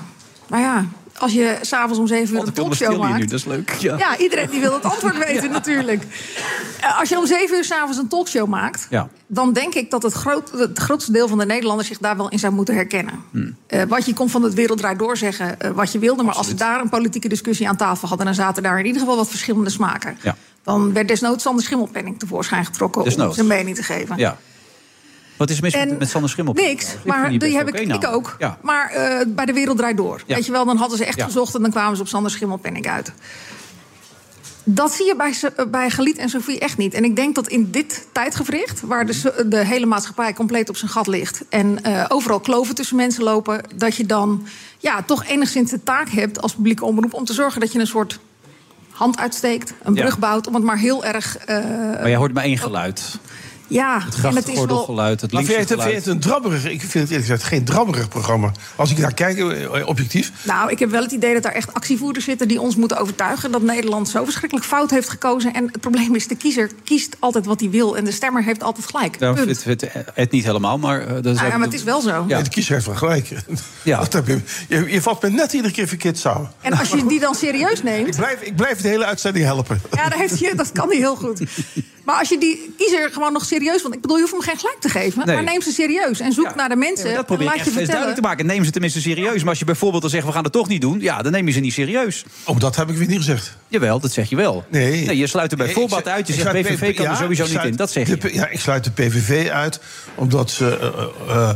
Speaker 13: maar ja, als je s'avonds om zeven uur
Speaker 7: Want
Speaker 13: een
Speaker 7: ik wil me
Speaker 13: talkshow
Speaker 7: stil hier nu,
Speaker 13: maakt...
Speaker 7: dat is leuk.
Speaker 13: Ja. iedereen die wil het antwoord weten natuurlijk. Eh, Als je om zeven uur s'avonds een talkshow maakt...
Speaker 7: Ja.
Speaker 13: dan denk ik dat het, groot, het grootste deel van de Nederlanders... zich daar wel in zou moeten herkennen.
Speaker 7: Hmm.
Speaker 13: Eh, wat je kon van het werelddraai door zeggen eh, wat je wilde... maar als ze daar een politieke discussie aan tafel hadden... dan zaten daar in ieder geval wat verschillende smaken.
Speaker 7: Ja.
Speaker 13: Dan werd desnoods Sander Schimmelpenning tevoorschijn getrokken... om
Speaker 7: Desnoods.
Speaker 13: zijn mening te geven.
Speaker 7: Ja. Wat is er mis met,
Speaker 13: En
Speaker 7: met Sander Schimmel?
Speaker 13: Niks, maar die, heb ik, ik ook.
Speaker 7: Ja.
Speaker 13: Maar eh, bij de Wereld Draait Door.
Speaker 7: Ja.
Speaker 13: Weet je wel, dan hadden ze echt
Speaker 7: Ja.
Speaker 13: gezocht... en dan kwamen ze op Sander Schimmelpenning uit. Dat zie je bij, ze- eh, bij Galit en Sofie echt niet. En ik denk dat in dit tijdgevricht... waar de, so- de hele maatschappij compleet op zijn gat ligt... en eh, overal kloven tussen mensen lopen... dat je dan ja, toch enigszins de taak hebt als publieke omroep... om te zorgen dat je een soort hand uitsteekt, een
Speaker 7: Ja.
Speaker 13: brug bouwt... om het maar heel erg eh,
Speaker 7: Maar jij hoort maar één geluid.
Speaker 13: Ja, en het is wel...
Speaker 8: Maar vind je het- vind je het een drabberig... Ik vind het eerlijk gezegd geen drabberig programma. Als ik naar kijk, eh, objectief...
Speaker 13: Nou, ik heb wel het idee dat daar echt actievoerders zitten die ons moeten overtuigen dat Nederland zo verschrikkelijk fout heeft gekozen. En het probleem is, de kiezer kiest altijd wat hij wil en de stemmer heeft altijd gelijk.
Speaker 7: Ja,
Speaker 13: Punt.
Speaker 7: Nou, het, het, het niet helemaal, maar... eh, dat is
Speaker 13: Ah,
Speaker 7: ook-
Speaker 13: ja, maar het is wel zo.
Speaker 8: Ja. De kiezer heeft wel gelijk. Ja. Je, je valt me net iedere keer verkeerd samen.
Speaker 13: En als je die dan serieus neemt.
Speaker 8: Blijf, ik blijf de hele uitzending helpen.
Speaker 13: Ja, daar heeft je, dat kan hij heel goed. Maar als je die kiezer gewoon nog serieus... Want ik bedoel, je hoeft hem geen gelijk te geven.
Speaker 7: Nee.
Speaker 13: Maar neem ze serieus en zoek naar de mensen.
Speaker 7: Dat
Speaker 13: en
Speaker 7: probeer ik
Speaker 13: laat
Speaker 7: echt eens
Speaker 13: je vertellen.
Speaker 7: duidelijk te maken. Neem ze tenminste serieus. Maar als je bijvoorbeeld dan zegt, we gaan het toch niet doen... ja, dan neem je ze niet serieus.
Speaker 8: Ook Oh, dat heb ik weer niet gezegd.
Speaker 7: Jawel, dat zeg je wel.
Speaker 8: Nee.
Speaker 7: je sluit er bij
Speaker 8: Nee,
Speaker 7: voorbaat
Speaker 8: ik zeg-
Speaker 7: uit. Je
Speaker 8: ik
Speaker 7: zegt,
Speaker 8: sluit
Speaker 7: PVV kan
Speaker 8: ja,
Speaker 7: er sowieso
Speaker 8: ik
Speaker 7: niet
Speaker 8: sluit
Speaker 7: in. Dat zeg
Speaker 8: de
Speaker 7: je.
Speaker 8: P- ja, ik sluit de PVV uit omdat ze eh, eh, eh,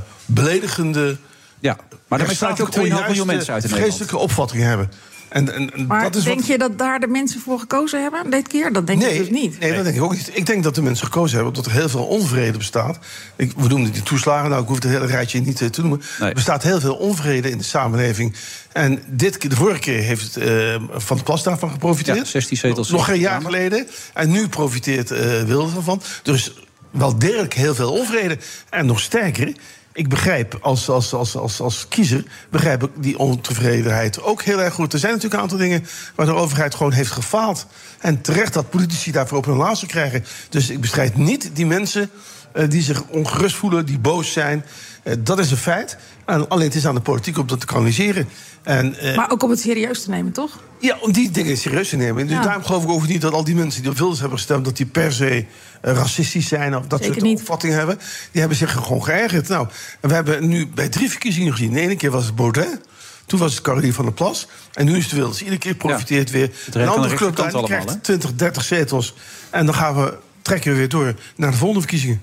Speaker 8: beledigende...
Speaker 7: Ja, maar daarmee sluit je ook 2,5 miljoen mensen uit in Nederland.
Speaker 8: ...geestelijke opvattingen hebben. En, en, en
Speaker 13: Maar
Speaker 8: dat is
Speaker 13: denk
Speaker 8: wat...
Speaker 13: je dat daar de mensen voor gekozen hebben dit keer? Dat denk ik dus niet.
Speaker 8: Nee, dat denk ik ook niet. Ik denk dat de mensen gekozen hebben omdat er heel veel onvrede bestaat. Ik, we noemden die toeslagen, nou, ik hoef het hele rijtje niet eh, te noemen. Er bestaat heel veel onvrede in de samenleving. En dit, keer- de vorige keer heeft eh, Van der Plas daarvan geprofiteerd.
Speaker 7: Ja, 16 zetels.
Speaker 8: Nog geen jaar geleden. En nu profiteert eh Wilders ervan. Dus wel degelijk heel veel onvrede. En nog sterker... Ik begrijp als, als, als, als, als kiezer begrijp ik die ontevredenheid ook heel erg goed. Er zijn natuurlijk een aantal dingen waar de overheid gewoon heeft gefaald. En terecht dat politici daarvoor op hun laarzen krijgen. Dus ik bestrijd niet die mensen eh, die zich ongerust voelen, die boos zijn. Eh, dat is een feit. En alleen het is aan de politiek om dat te kanaliseren. En, eh,
Speaker 13: Maar ook om het serieus te nemen, toch?
Speaker 8: ja, om die dingen serieus te nemen. Dus
Speaker 13: Ja.
Speaker 8: daarom geloof ik ook niet dat al die mensen die op Wilders hebben gestemd... dat die per se eh, racistisch zijn of dat
Speaker 13: Zeker
Speaker 8: soort opvattingen hebben. Die hebben zich gewoon geërgerd. Nou, en we hebben nu bij drie verkiezingen gezien. De ene keer was het Baudet, toen was het Caroline van der Plas... en nu is het Wilders. Iedere keer profiteert weer
Speaker 7: Het
Speaker 8: een
Speaker 7: recht aan
Speaker 8: andere
Speaker 7: de
Speaker 8: club.
Speaker 7: rechterkant
Speaker 8: daar, die
Speaker 7: allemaal,
Speaker 8: krijgt 20, 30 zetels. En dan gaan we, trekken we weer door naar de volgende verkiezingen.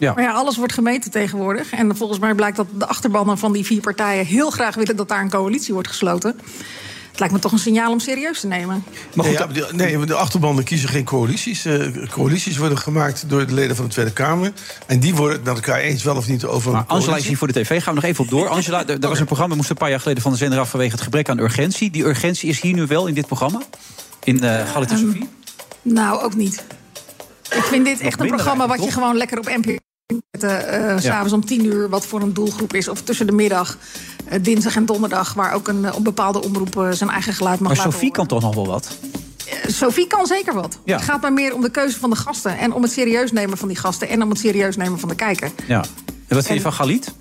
Speaker 13: Maar ja, alles wordt gemeten tegenwoordig. En volgens mij blijkt dat de achterbannen van die vier partijen... heel graag willen dat daar een coalitie wordt gesloten. Het lijkt me toch een signaal om serieus te nemen.
Speaker 8: Maar goed, nee, ja, nee, de achterbanden kiezen geen coalities. Eh, coalities worden gemaakt door de leden van de Tweede Kamer. En die worden het met elkaar eens wel of niet over. een
Speaker 7: Angela is
Speaker 8: coalitie.
Speaker 7: hier voor de tv. Gaan we nog even op door. Angela, er, er was een programma, moest een paar jaar geleden van de zender af... vanwege het gebrek aan urgentie. Die urgentie is hier nu wel in dit programma. In eh Galit en Sofie.
Speaker 13: Ehm, Nou, ook niet. Ik vind dit echt een
Speaker 7: minder
Speaker 13: programma wat je
Speaker 7: eigenlijk,
Speaker 13: gewoon lekker op NPO kunt zetten. eh, S'avonds om tien uur, wat voor een doelgroep is. Of tussen de middag, eh, dinsdag en donderdag... waar ook een, eh, een bepaalde omroep eh, zijn eigen geluid mag
Speaker 7: Maar
Speaker 13: laten
Speaker 7: Sofie kan toch nog wel wat?
Speaker 13: horen. Eh, Sophie kan zeker wat.
Speaker 7: Ja.
Speaker 13: Het gaat maar meer om de keuze van de gasten... en om het serieus nemen van die gasten... en om het serieus nemen van de kijker.
Speaker 7: Ja. En wat vind je van Galit?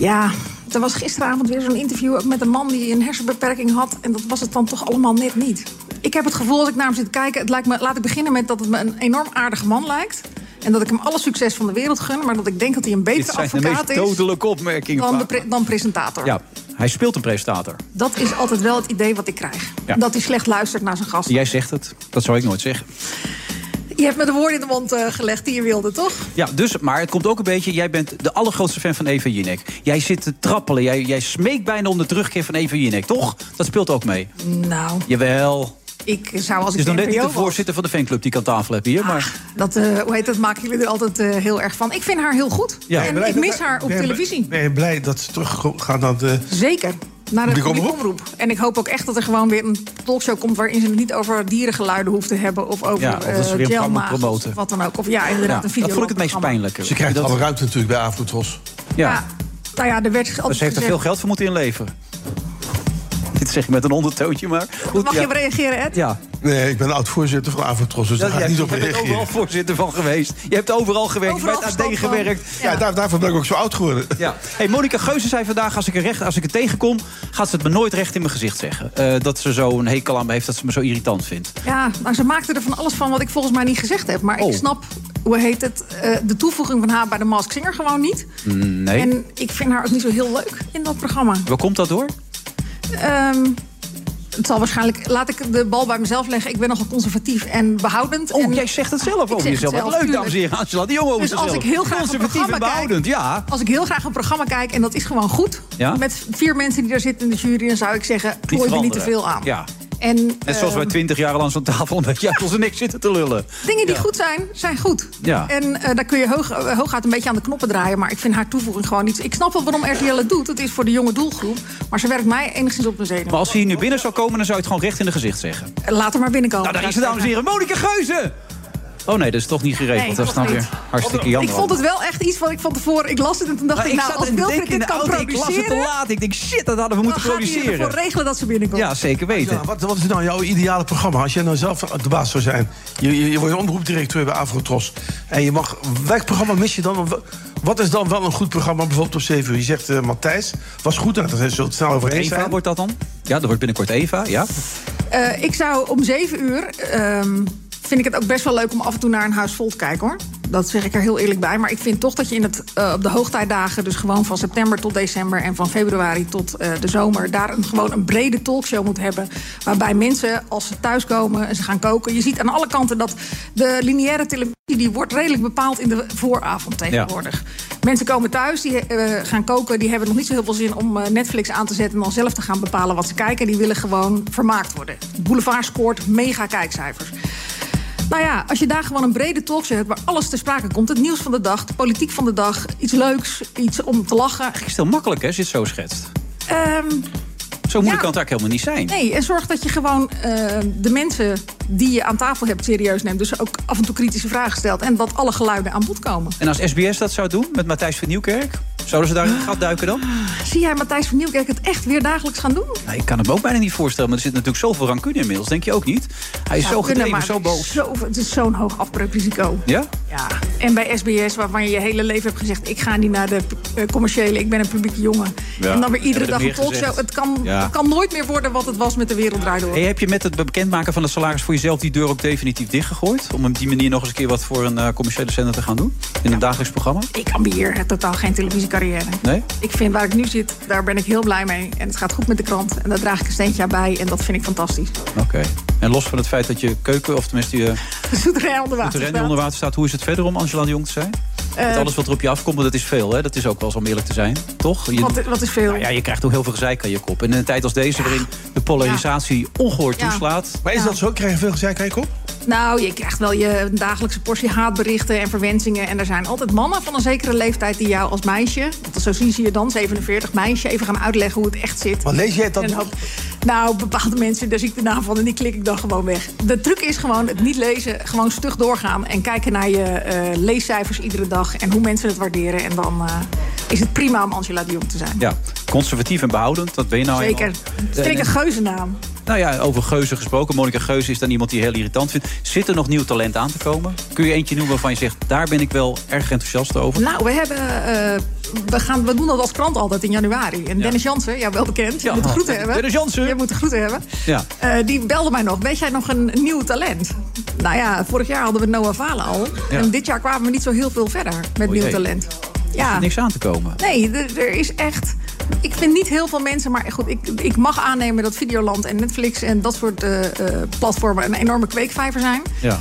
Speaker 13: Ja, er was gisteravond weer zo'n interview ook met een man die een hersenbeperking had. En dat was het dan toch allemaal net niet. Ik heb het gevoel als ik naar hem zit te kijken. Het lijkt me, laat ik beginnen met dat het me een enorm aardige man lijkt. En dat ik hem alle succes van de wereld gun. Maar dat ik denk dat hij een
Speaker 7: Dit
Speaker 13: betere
Speaker 7: zijn de meest
Speaker 13: advocaat is
Speaker 7: dodelijke opmerkingen.
Speaker 13: dan, de
Speaker 7: vaak.
Speaker 13: pre- dan presentator.
Speaker 7: ja, hij speelt een presentator.
Speaker 13: Dat is altijd wel het idee wat ik krijg.
Speaker 7: Ja.
Speaker 13: Dat hij slecht luistert naar zijn gast.
Speaker 7: Jij zegt het. Dat zou ik nooit zeggen.
Speaker 13: Je hebt me de woorden in de mond eh, gelegd die je wilde, toch?
Speaker 7: Ja, dus, maar het komt ook een beetje... Jij bent de allergrootste fan van Eva Jinek. Jij zit te trappelen. Jij, jij smeekt bijna om de terugkeer van Eva Jinek, toch? Dat speelt ook mee.
Speaker 13: Nou,
Speaker 7: Jawel.
Speaker 13: ik zou als
Speaker 7: Het is nog
Speaker 13: ik
Speaker 7: net
Speaker 13: de
Speaker 7: niet
Speaker 13: NPO
Speaker 7: de
Speaker 13: was...
Speaker 7: voorzitter van de fanclub die ik aan tafel heb hier. Maar
Speaker 13: Dat, eh, hoe heet dat, maken jullie er altijd eh, heel erg van. Ik vind haar heel goed.
Speaker 7: Ja.
Speaker 13: en
Speaker 7: Ben je
Speaker 13: ik
Speaker 7: blij
Speaker 13: mis
Speaker 7: dat-
Speaker 13: haar op
Speaker 8: Ben je-
Speaker 13: televisie.
Speaker 8: Ben je blij dat ze teruggaan naar de.
Speaker 13: Zeker. Naar de
Speaker 8: Publieke
Speaker 13: publieke omroep. En ik hoop ook echt dat er gewoon weer een talkshow komt... waarin ze het niet over dierengeluiden hoeft te hebben... of over
Speaker 7: Ja,
Speaker 13: ja,
Speaker 7: of dat ze weer een programma promoten.
Speaker 13: of wat dan ook. Of ja, inderdaad,
Speaker 7: Ja,
Speaker 13: een video.
Speaker 7: dat vond ik het meest pijnlijke.
Speaker 8: Ze krijgt
Speaker 7: dat,
Speaker 8: alle ruimte natuurlijk bij Avondros.
Speaker 7: ja,
Speaker 13: Nou ja, er werd altijd
Speaker 7: dus ze heeft er
Speaker 13: gezegd-
Speaker 7: veel geld voor moeten inleveren. Dit zeg ik met een ondertootje, maar... Goed,
Speaker 13: Mag
Speaker 7: ja.
Speaker 13: je op reageren, Ed?
Speaker 7: Ja.
Speaker 8: Nee, ik ben oud-voorzitter van Avondros, dus
Speaker 7: Dat,
Speaker 8: daar ga ik
Speaker 7: jij-
Speaker 8: niet op
Speaker 7: je bent
Speaker 8: reageren.
Speaker 7: overal voorzitter van geweest. Je hebt overal gewerkt.
Speaker 8: Overal
Speaker 7: je bent
Speaker 8: verstand
Speaker 7: AD
Speaker 8: van.
Speaker 7: gewerkt.
Speaker 8: Ja, daar- daarvoor ben ik ook zo oud geworden.
Speaker 7: Ja. Hey, Monika Geuze zei vandaag, als ik, er recht, als ik er tegenkom... gaat ze het me nooit recht in mijn gezicht zeggen. Eh, dat ze zo een hekel aan me heeft, dat ze me zo irritant vindt.
Speaker 13: Ja, maar ze maakte er van alles van wat ik volgens mij niet gezegd heb. Maar
Speaker 7: Oh.
Speaker 13: ik snap, hoe heet het, eh, de toevoeging van haar bij de Mask Singer gewoon niet.
Speaker 7: Nee.
Speaker 13: En ik vind haar ook niet zo heel leuk in dat programma.
Speaker 7: Waar komt dat door?
Speaker 13: Ehm, het zal waarschijnlijk. Laat ik de bal bij mezelf leggen. Ik ben nogal conservatief en behoudend. Oh,
Speaker 7: jij zegt het zelf over jezelf. Wat leuk, dames en heren. Angela de Jong over
Speaker 13: Dus als
Speaker 7: zichzelf.
Speaker 13: ik heel graag een
Speaker 7: Conservatief en
Speaker 13: programma kijk-
Speaker 7: behoudend, ja.
Speaker 13: Als ik heel graag een programma kijk en dat is gewoon goed.
Speaker 7: Ah. Ja?
Speaker 13: Met vier mensen die daar zitten in de jury, dan zou ik zeggen:
Speaker 7: Niet
Speaker 13: gooi er niet te
Speaker 7: veranderen.
Speaker 13: veel aan.
Speaker 7: Ja.
Speaker 13: En,
Speaker 7: Net zoals wij
Speaker 13: ehm,
Speaker 7: twintig jaar lang zo'n tafel een beetje uit onze nek zitten te lullen.
Speaker 13: Dingen die
Speaker 7: Ja.
Speaker 13: goed zijn, zijn goed.
Speaker 7: Ja.
Speaker 13: En eh, daar kun je hoog, eh, hooguit een beetje aan de knoppen draaien. Maar ik vind haar toevoeging gewoon niet. Ik snap wel waarom RTL het doet. Het is voor de jonge doelgroep. Maar ze werkt mij enigszins op mijn zenuwen.
Speaker 7: Maar als hij hier nu binnen zou komen, dan zou je het gewoon recht in de gezicht zeggen.
Speaker 13: Eh, Laat haar maar binnenkomen.
Speaker 7: Nou, daar is het, dames en heren. Monika Geuze! Oh nee, dat is toch niet geregeld.
Speaker 13: Nee,
Speaker 7: dat is dan
Speaker 13: toch
Speaker 7: weer
Speaker 13: niet.
Speaker 7: hartstikke jammer.
Speaker 13: Ik vond het wel echt iets van ik van tevoren. Ik las het en toen dacht
Speaker 7: Maar
Speaker 13: ik,
Speaker 7: ik
Speaker 13: nou,
Speaker 7: zat
Speaker 13: als
Speaker 7: en
Speaker 13: Wilfried
Speaker 7: denk in
Speaker 13: dit
Speaker 7: de
Speaker 13: kan
Speaker 7: auto, ik las het te
Speaker 13: produceren...
Speaker 7: laat. Ik denk, shit, dat hadden we moeten
Speaker 13: Dan gaat hij
Speaker 7: produceren.
Speaker 13: ervoor regelen dat ze binnenkomt.
Speaker 7: Ja, zeker weten.
Speaker 8: Ja, wat, wat is nou jouw ideale programma? Als jij nou zelf de baas zou zijn. Je, je, je wordt omroepdirecteur bij Avrotros. En je mag... Welk programma mis je dan? Wat is dan wel een goed programma bijvoorbeeld op 7 uur? Je zegt, eh, Matthijs, was goed. Nou, daar zult het snel over eens
Speaker 7: Eva
Speaker 8: zijn.
Speaker 7: wordt dat dan? Ja, dat wordt binnenkort Eva, ja.
Speaker 13: Eh, ik zou om zeven uur. ehm, vind ik het ook best wel leuk om af en toe naar een huis vol te kijken hoor. Dat zeg ik er heel eerlijk bij. Maar ik vind toch dat je in het, eh, op de hoogtijdagen, dus gewoon van september tot december en van februari tot eh, de zomer, daar een, gewoon een brede talkshow moet hebben. Waarbij mensen, als ze thuiskomen en ze gaan koken. Je ziet aan alle kanten dat de lineaire televisie die wordt redelijk bepaald in de vooravond tegenwoordig. Mensen komen thuis, die eh, gaan koken, die hebben nog niet zo heel veel zin om eh, Netflix aan te zetten en dan zelf te gaan bepalen wat ze kijken. Die willen gewoon vermaakt worden. Boulevard scoort mega kijkcijfers. Nou ja, als je daar gewoon een brede talkshow hebt waar alles ter sprake komt: het nieuws van de dag, de politiek van de dag, iets leuks, iets om te lachen.
Speaker 7: Het is heel makkelijk, hè, als je het zo schetst.
Speaker 13: Ehm,
Speaker 7: Zo moeilijk
Speaker 13: Ja.
Speaker 7: kan het eigenlijk helemaal niet zijn.
Speaker 13: nee, en zorg dat je gewoon eh, de mensen die je aan tafel hebt serieus neemt. Dus ook af en toe kritische vragen stelt en dat alle geluiden aan bod komen.
Speaker 7: En als SBS dat zou doen, met Matthijs van Nieuwkerk... zouden ze daar in het gat duiken dan?
Speaker 13: Zie jij Matthijs van Nieuwkerk het echt weer dagelijks gaan doen?
Speaker 7: Nou, ik kan het me ook bijna niet voorstellen, maar er zit natuurlijk zoveel rancune inmiddels. Denk je ook niet? Hij is
Speaker 13: Zou
Speaker 7: zo
Speaker 13: kunnen,
Speaker 7: gedreven,
Speaker 13: maar
Speaker 7: zo
Speaker 13: het is
Speaker 7: boos.
Speaker 13: zo- het is zo'n hoog afbreukrisico.
Speaker 7: Ja?
Speaker 13: Ja. En bij SBS, waarvan je je hele leven hebt gezegd... ik ga niet naar de eh, commerciële, ik ben een publieke jongen.
Speaker 7: Ja,
Speaker 13: En dan weer iedere
Speaker 7: hebben
Speaker 13: dag
Speaker 7: we
Speaker 13: een
Speaker 7: meer gezegd.
Speaker 13: talkshow. Het kan,
Speaker 7: Ja.
Speaker 13: het kan nooit meer worden wat het was met de wereld draait door.
Speaker 7: Hey, heb je met het bekendmaken van het salaris voor jezelf die deur ook definitief dichtgegooid? Om op die manier nog eens een keer wat voor een eh, commerciële zender te gaan doen? In een dagelijks programma?
Speaker 13: Ik ambieer eh, totaal geen televisiecarrière.
Speaker 7: Nee?
Speaker 13: Ik vind waar ik nu zit, daar ben ik heel blij mee. En het gaat goed met de krant. En daar draag ik een steentje aan bij. En dat vind ik fantastisch.
Speaker 7: Oké. En los van het feit dat je keuken, of tenminste je
Speaker 13: Zoeterijn onder water
Speaker 7: terrein
Speaker 13: staat.
Speaker 7: onder water staat... hoe is het verder om Angela de Jong te zijn?
Speaker 13: Eh,
Speaker 7: Met alles wat er op je afkomt, dat is veel, hè? Dat is ook wel zo om eerlijk te zijn, toch? Je,
Speaker 13: Wat, wat is veel.
Speaker 7: nou ja, je krijgt ook heel veel gezeik aan je kop. En in een tijd als deze, waarin de polarisatie ongehoord
Speaker 13: Ja.
Speaker 7: toeslaat...
Speaker 8: Maar is dat zo? Krijg je veel gezeik aan je kop?
Speaker 13: Nou, je krijgt wel je dagelijkse portie haatberichten en verwensingen. En er zijn altijd mannen van een zekere leeftijd die jou als meisje... want zo zien ze je dan, 47, meisje, even gaan uitleggen hoe het echt zit.
Speaker 8: Maar lees jij het dan
Speaker 13: En ook- nou, bepaalde mensen, daar zie ik de naam van en die klik ik dan gewoon weg. De truc is gewoon het niet lezen, gewoon stug doorgaan... en kijken naar je eh, leescijfers iedere dag en hoe mensen het waarderen. En dan eh, is het prima om Angela de Jong te zijn.
Speaker 7: Ja, conservatief en behoudend, dat ben je nou
Speaker 13: Zeker.
Speaker 7: eenmaal.
Speaker 13: Het vind ik een geuzennaam.
Speaker 7: Nou ja, over Geuze gesproken. Monika Geuze is dan iemand die heel irritant vindt. Zit er nog nieuw talent aan te komen? Kun je eentje noemen waarvan je zegt... daar ben ik wel erg enthousiast over?
Speaker 13: Nou, we hebben. eh, we, gaan, we doen dat als krant altijd in januari. En Dennis Jansen, ja, wel bekend. Je moet de groeten hebben.
Speaker 7: Dennis Jansen.
Speaker 13: Je moet de groeten hebben.
Speaker 7: Ja.
Speaker 13: Eh, die belde mij nog. Weet jij nog een nieuw talent? Nou ja, vorig jaar hadden we Noah Valen al.
Speaker 7: Ja.
Speaker 13: En dit jaar kwamen we niet zo heel veel verder met
Speaker 7: O
Speaker 13: nieuw
Speaker 7: jee.
Speaker 13: talent.
Speaker 7: Er
Speaker 13: Ja.
Speaker 7: zit niks aan te komen.
Speaker 13: Nee, er, er is echt. Ik vind niet heel veel mensen, maar goed, ik, ik mag aannemen dat Videoland en Netflix en dat soort eh, eh, platformen een enorme kweekvijver zijn.
Speaker 7: Ja.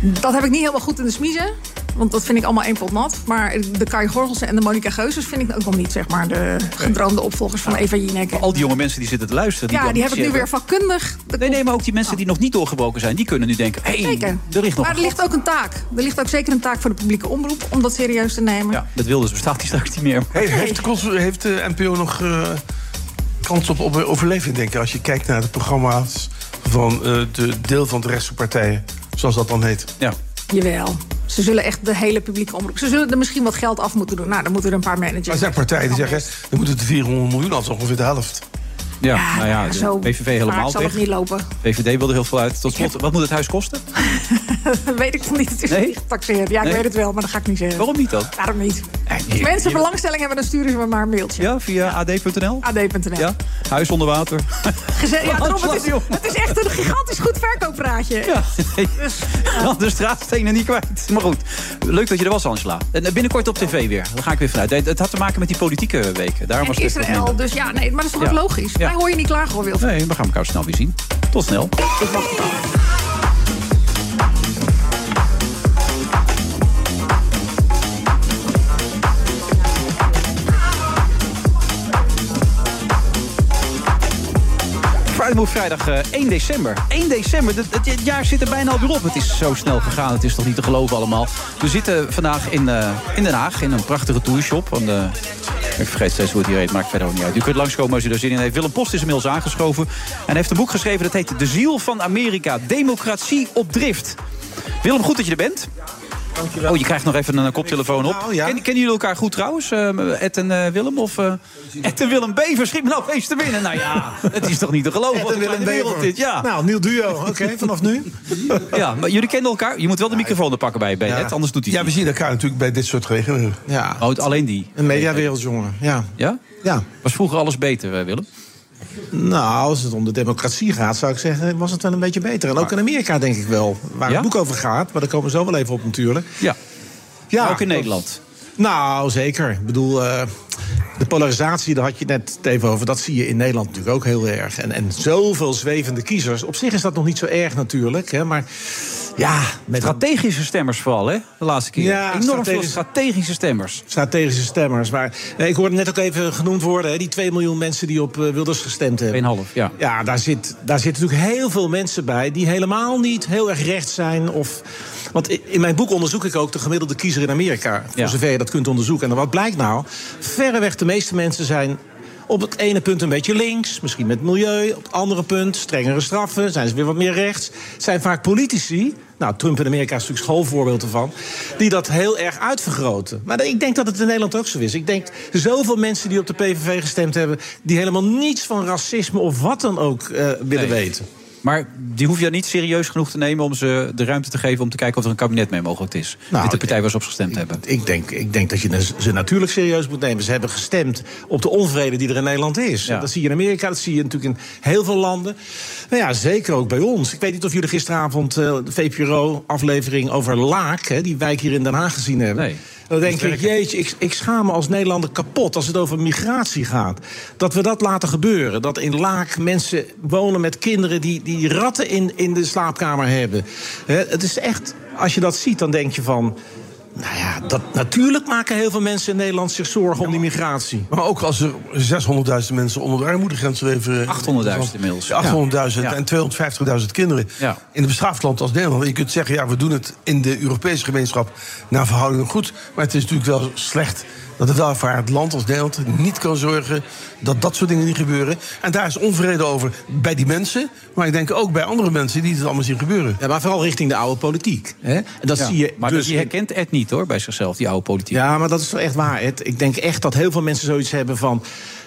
Speaker 13: Dat heb ik niet helemaal goed in de smiezen. Want dat vind ik allemaal één pot nat. Maar de Kai Gorgelsen en de Monica Geuzes vind ik ook nog niet, zeg maar, de gedroomde opvolgers van Eva Jinek.
Speaker 7: Maar al die jonge mensen die zitten te luisteren...
Speaker 13: Ja,
Speaker 7: dan
Speaker 13: die
Speaker 7: iets
Speaker 13: heb ik nu weer
Speaker 7: hebben.
Speaker 13: vakkundig. De-
Speaker 7: Nee, nee, maar ook die mensen die nog niet doorgebroken zijn... die kunnen nu denken, hé, hey,
Speaker 13: Zeker.
Speaker 7: er ligt nog
Speaker 13: Maar er ligt ook een taak. Er ligt ook zeker een taak voor de publieke omroep om dat serieus te nemen.
Speaker 7: Dat Wilders bestaat die straks niet meer.
Speaker 8: Hey, heeft, de cons- heeft de NPO nog eh, kans op, op overleving, denk ik? Als je kijkt naar de programma's van eh, de deel van de rechtse partijen. Zoals dat dan heet.
Speaker 7: Ja.
Speaker 13: Jawel. Ze zullen echt de hele publieke omroep. Ze zullen er misschien wat geld af moeten doen. Nou, dan moeten er een paar
Speaker 8: Maar er
Speaker 13: managers.
Speaker 8: zijn partijen die zeggen, dan moeten het 400 miljoen af, ongeveer de helft.
Speaker 7: Ja, nou ja, de
Speaker 13: zo
Speaker 7: PVV
Speaker 13: vaak
Speaker 7: helemaal
Speaker 13: zal
Speaker 7: weg.
Speaker 13: het niet lopen.
Speaker 7: VVD wil er heel veel uit. Tot slot, wat moet het huis kosten?
Speaker 13: weet ik nog niet. Het is
Speaker 7: Nee?
Speaker 13: niet getaxeerd. Ja, ik
Speaker 7: Nee?
Speaker 13: weet het wel, maar dat ga ik niet zeggen.
Speaker 7: Waarom niet dan?
Speaker 13: Waarom niet? Als
Speaker 7: je-
Speaker 13: mensen
Speaker 7: je-
Speaker 13: belangstelling hebben, dan sturen ze me maar een mailtje.
Speaker 7: Ja, via ad.nl?
Speaker 13: AD.nl.
Speaker 7: Ja, huis onder water.
Speaker 13: Geze- ja, daarom, het, is, het is echt een gigantisch goed verkooppraatje.
Speaker 7: Ja. De straatstenen niet kwijt. Maar goed, leuk dat je er was, Angela. En eh, binnenkort op tv weer. Daar ga ik weer vanuit. Nee, Het had te maken met die politieke weken. Daarom
Speaker 13: En
Speaker 7: was het even wat
Speaker 13: Israël,
Speaker 7: minder.
Speaker 13: dus ja, nee, maar dat is toch
Speaker 7: Ja.
Speaker 13: ook logisch?
Speaker 7: Ja.
Speaker 13: Wij hoor je niet klagen, hoor, Wilfried.
Speaker 7: Nee, we gaan elkaar snel weer zien. Tot snel.
Speaker 13: Ik wacht erop.
Speaker 7: Friday Move vrijdag eh, 1 december. 1 december, het, het- het jaar zit er bijna alweer op. Het is zo snel gegaan, het is toch niet te geloven allemaal. We zitten vandaag in, eh, in Den Haag in een prachtige tourshop. Van de, ik vergeet steeds hoe het hier heet, maakt verder ook niet uit. U kunt langskomen als u daar zin in heeft. Willem Post is inmiddels aangeschoven. En hij heeft een boek geschreven dat heet De Ziel van Amerika. Democratie op drift. Willem, goed dat je er bent. Dankjewel. Oh, je krijgt nog even een koptelefoon op. Ken- kennen jullie elkaar goed trouwens, eh, Ed en eh, Willem? Of eh, Ed en Willem Bever, schiet me nou eens te binnen. Nou ja, het is toch niet te geloven.
Speaker 10: Ed
Speaker 7: wat
Speaker 10: en
Speaker 7: een
Speaker 10: Willem
Speaker 7: kleine wereld
Speaker 10: Bever.
Speaker 7: Dit, ja.
Speaker 10: Nou, nieuw duo. Oké, vanaf nu.
Speaker 7: ja, maar jullie kennen elkaar. Je moet wel de microfoon er pakken bij, bij Ed, anders doet hij
Speaker 8: Ja, we zien elkaar natuurlijk bij dit soort regelingen.
Speaker 10: Ja.
Speaker 7: Oh, het- alleen die?
Speaker 10: Een mediawereldjongen, ja.
Speaker 7: Ja?
Speaker 10: Ja.
Speaker 7: Was vroeger alles beter, eh, Willem?
Speaker 10: Nou, als het om de democratie gaat, zou ik zeggen, was het wel een beetje beter. En ook in Amerika, denk ik wel. Waar het boek over gaat, maar daar komen we zo wel even op natuurlijk.
Speaker 7: Ja.
Speaker 10: ja
Speaker 7: ook in Nederland.
Speaker 10: Nou, zeker. Ik bedoel, eh, de polarisatie, daar had je net het even over. Dat zie je in Nederland natuurlijk ook heel erg. En, en zoveel zwevende kiezers. Op zich is dat nog niet zo erg natuurlijk. Hè, maar ja, met
Speaker 7: Strategische stemmers vooral, hè? De laatste keer.
Speaker 10: Ja,
Speaker 7: Enorm veel
Speaker 10: strategisch-
Speaker 7: strategische stemmers.
Speaker 10: strategische stemmers. Maar eh, ik hoorde net ook even genoemd worden, hè, die 2 miljoen mensen die op eh, Wilders gestemd hebben.
Speaker 7: 2,5, ja.
Speaker 10: Ja, daar zit, daar zitten natuurlijk heel veel mensen bij die helemaal niet heel erg rechts zijn. Of, want i- in mijn boek onderzoek ik ook de gemiddelde kiezer in Amerika. Voor
Speaker 7: Ja.
Speaker 10: zover je dat kunt onderzoeken. En wat blijkt nou? Verreweg de meeste mensen zijn. Op het ene punt een beetje links, misschien met milieu. Op het andere punt strengere straffen, zijn ze weer wat meer rechts. Het Zijn vaak politici, nou Trump in Amerika is natuurlijk schoolvoorbeeld ervan... die dat heel erg uitvergroten. Maar ik denk dat het in Nederland ook zo is. Ik denk zoveel mensen die op de PVV gestemd hebben... die helemaal niets van racisme of wat dan ook eh, willen weten.
Speaker 7: Maar die hoef je niet serieus genoeg te nemen om ze de ruimte te geven om te kijken of er een kabinet mee mogelijk is. dit de partij waar ze op gestemd hebben.
Speaker 10: Nou, Ik denk, ik denk dat je dus- ze natuurlijk serieus moet nemen. Ze hebben gestemd op de onvrede die er in Nederland is. Dat zie je in Amerika, dat zie je natuurlijk in heel veel landen. Nou ja, zeker ook bij ons. Ik weet niet of jullie gisteravond eh, de VPRO-aflevering over Laak... Hè, die wijk hier in Den Haag gezien hebben. Dan denk ik, jeetje, ik, ik schaam me als Nederlander kapot als het over migratie gaat. Dat we dat laten gebeuren. Dat in Laak mensen wonen met kinderen die, die ratten in, in de slaapkamer hebben. Hè, het is echt, als je dat ziet, dan denk je van... Nou ja, dat, natuurlijk maken heel veel mensen in Nederland zich zorgen om die migratie.
Speaker 8: Maar ook als er 600.000 mensen onder de armoedegrens leven.
Speaker 7: 800.000 inmiddels.
Speaker 8: Ja, 800.000
Speaker 7: Ja.
Speaker 8: en 250.000 kinderen.
Speaker 7: Ja.
Speaker 8: In een beschaafd land als Nederland. Je kunt zeggen, ja, we doen het in de Europese gemeenschap naar verhouding goed. Maar het is natuurlijk wel slecht dat een welvaart land als Nederland niet kan zorgen dat dat soort dingen niet gebeuren. En daar is onvrede over bij die mensen, maar ik denk ook bij andere mensen die het allemaal zien gebeuren.
Speaker 10: Ja, maar vooral richting de oude politiek. Hè? En dat
Speaker 7: Ja,
Speaker 10: zie je
Speaker 7: maar
Speaker 10: dus
Speaker 7: die herkent Ed niet hoor, bij zichzelf, die oude politiek.
Speaker 10: Ja, maar dat is wel echt waar. Ed. Ik denk echt dat heel veel mensen zoiets hebben van...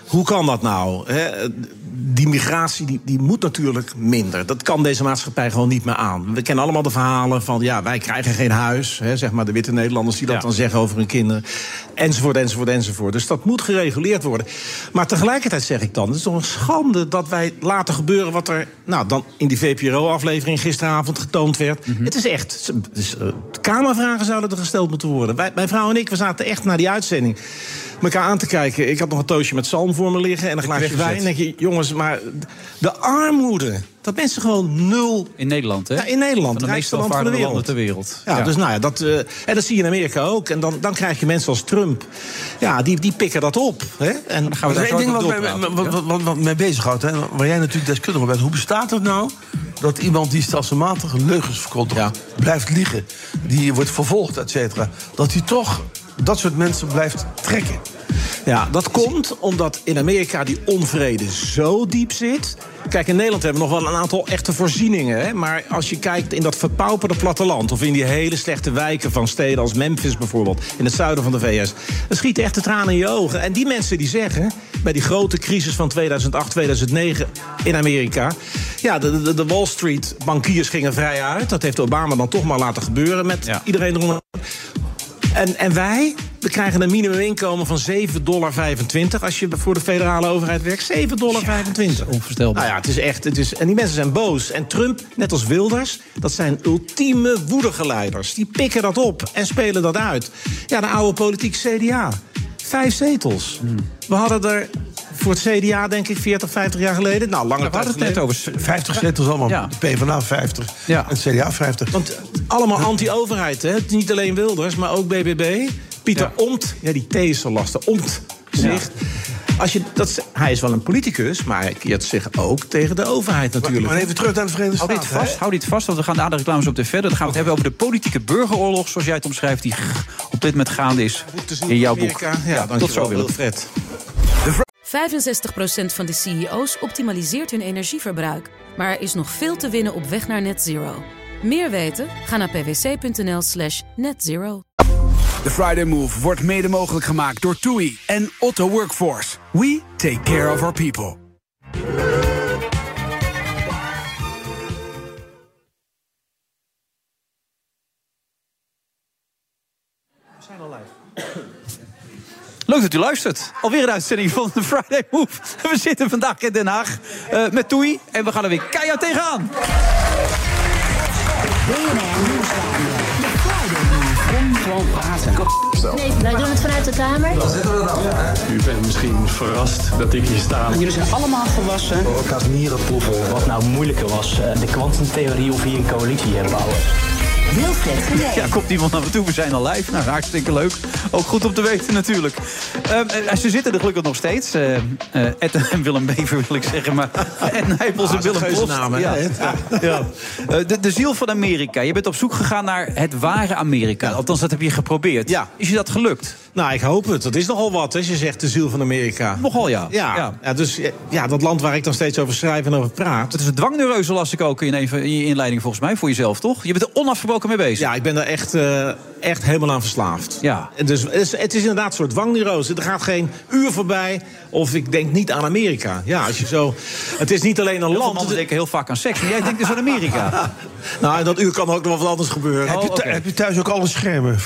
Speaker 10: hoe kan dat nou? Hè? Die migratie die, die moet natuurlijk minder. Dat kan deze maatschappij gewoon niet meer aan. We kennen allemaal de verhalen van... ja, wij krijgen geen huis. Hè? Zeg maar de witte Nederlanders die dat
Speaker 14: Ja.
Speaker 10: dan zeggen over hun kinderen. Enzovoort, enzovoort, enzovoort. Dus dat moet gereguleerd worden. Maar tegelijkertijd zeg ik dan... het is toch een schande dat wij laten gebeuren wat er... nou, dan in die VPRO-aflevering gisteravond getoond werd.
Speaker 7: Mhm.
Speaker 10: Het is echt... het is, eh, kamervragen zouden er gesteld moeten worden. Wij, mijn vrouw en ik, we zaten echt naar die uitzending... elkaar aan te kijken. Ik had nog een toosje met zalm voor me liggen... en een glaasje
Speaker 7: weggezet.
Speaker 10: wijn. En denk je, jongens, maar de armoede... dat mensen gewoon nul...
Speaker 7: In Nederland, hè?
Speaker 10: Ja, in Nederland,
Speaker 7: Van de meest
Speaker 10: rijkste land van de
Speaker 7: welvarende
Speaker 10: wereld.
Speaker 7: landen ter
Speaker 10: Ja,
Speaker 7: wereld. Ja.
Speaker 10: dus nou ja, dat, eh, en dat zie je in Amerika ook. En dan, dan krijg je mensen als Trump. Ja, die, die pikken dat op. Hè? En dan
Speaker 8: Er is één ding wat mij, wat, wat, wat, wat mij bezighoudt, hè, waar jij natuurlijk deskundige op bent. Hoe bestaat het nou dat iemand die stelselmatig leugens verkondigt, blijft liegen, die wordt vervolgd, et cetera, dat hij toch dat soort mensen blijft trekken?
Speaker 10: Ja, dat komt omdat in Amerika die onvrede zo diep zit. Kijk, in Nederland hebben we nog wel een aantal echte voorzieningen. Hè? Maar als je kijkt in dat verpauperde platteland... of in die hele slechte wijken van steden als Memphis bijvoorbeeld... in het zuiden van de VS, dan schieten echt de tranen in je ogen. En die mensen die zeggen, bij die grote crisis van 2008, 2009 in Amerika... ja, de, de, de Wall Street bankiers gingen vrij uit. Dat heeft Obama dan toch maar laten gebeuren met iedereen eronder. En, en wij, we krijgen een minimuminkomen van 7,25 dollar als je voor de federale overheid werkt. 7,25 dollar.
Speaker 7: onvoorstelbaar.
Speaker 10: Nou ja, het is echt. Het is, en die mensen zijn boos. En Trump, net als Wilders, dat zijn ultieme woedegeleiders. Die pikken dat op en spelen dat uit. Ja, de oude politiek CDA. Vijf zetels.
Speaker 8: Hmm.
Speaker 10: We hadden er voor het CDA, denk ik, 40, 50 jaar geleden. Nou, lange
Speaker 8: Ja, we
Speaker 10: tijd
Speaker 8: hadden het net
Speaker 10: geleden.
Speaker 8: over 50 zetels allemaal. De PvdA 50 en het CDA 50.
Speaker 10: Want allemaal anti-overheid, hè? Niet alleen Wilders, maar ook BBB. Pieter Omt, ja, die T is zo lastig. Omt zegt. Als je, dat, is- hij is wel een politicus, maar hij keert zich ook tegen de overheid natuurlijk. Oh,
Speaker 8: Maar even terug naar de Verenigde
Speaker 7: Hou dit
Speaker 8: Staten.
Speaker 7: vast, hou dit vast, want we gaan na de reclames op de verder. Dan gaan we het hebben over de politieke burgeroorlog, zoals jij het omschrijft, die op dit moment gaande is in jouw boek.
Speaker 10: Amerika. Ja,
Speaker 7: tot
Speaker 10: dankjewel,
Speaker 7: zo Willem.
Speaker 10: Wilfred.
Speaker 1: 65% van de E CEO's optimaliseert hun energieverbruik. Maar er is nog veel te winnen op weg naar net zero. Meer weten? Ga naar pwc.nl slash netzero.
Speaker 2: De Friday Move wordt mede mogelijk gemaakt door TUI en Otto Workforce. We take care of our people.
Speaker 7: Leuk dat u luistert. Alweer een uitzending van de Friday Move. We zitten vandaag in Den Haag eh, met Toei. En we gaan er weer keihard tegenaan.
Speaker 3: Kom gewoon praten.
Speaker 14: Nee, wij doen het vanuit de kamer.
Speaker 6: U bent misschien verrast dat ik hier sta.
Speaker 12: Jullie zijn allemaal volwassen. Elkaars nieren proeven. Wat nou moeilijker was, eh, de kwantumtheorie of hier een coalitie herbouwen.
Speaker 7: Ja, komt iemand naar me toe. We zijn al live. Nou, hartstikke leuk. Ook goed om te weten natuurlijk. Ehm, eh, ze zitten er gelukkig nog steeds. Eh, eh, Ed en Willem Bever wil ik zeggen. Maar Ed Nijpels en
Speaker 10: Ah, dat
Speaker 7: Willem
Speaker 10: is een
Speaker 7: Post.
Speaker 10: geuzennaam, hè,
Speaker 7: ja.
Speaker 10: Ed?
Speaker 7: ja. Eh, de, de ziel van Amerika. Je bent op zoek gegaan naar het ware Amerika. Althans, dat heb je geprobeerd. Ja. Is je dat gelukt?
Speaker 10: Nou, ik hoop het. Dat is nogal wat, als je zegt de ziel van Amerika.
Speaker 7: Nogal, ja.
Speaker 10: Ja, ja. dus ja, dat land waar ik dan steeds over schrijf en over praat.
Speaker 7: Het is een dwangneuroze, las ik ook in, een van- in je inleiding volgens mij, voor jezelf, toch? Je bent er onafgebroken mee bezig.
Speaker 10: Ja, ik ben daar echt, eh, echt helemaal aan verslaafd.
Speaker 7: Ja.
Speaker 10: En Dus het is, het is inderdaad een soort dwangneurose. Er gaat geen uur voorbij of ik denk niet aan Amerika. Ja, als je zo... Het is niet alleen een land...
Speaker 7: mannen denken heel vaak aan seks, maar jij denkt dus aan Amerika.
Speaker 10: nou, en dat uur kan ook nog wel wat anders gebeuren. Oh,
Speaker 8: Heb je thu- heb je thuis ook alle schermen?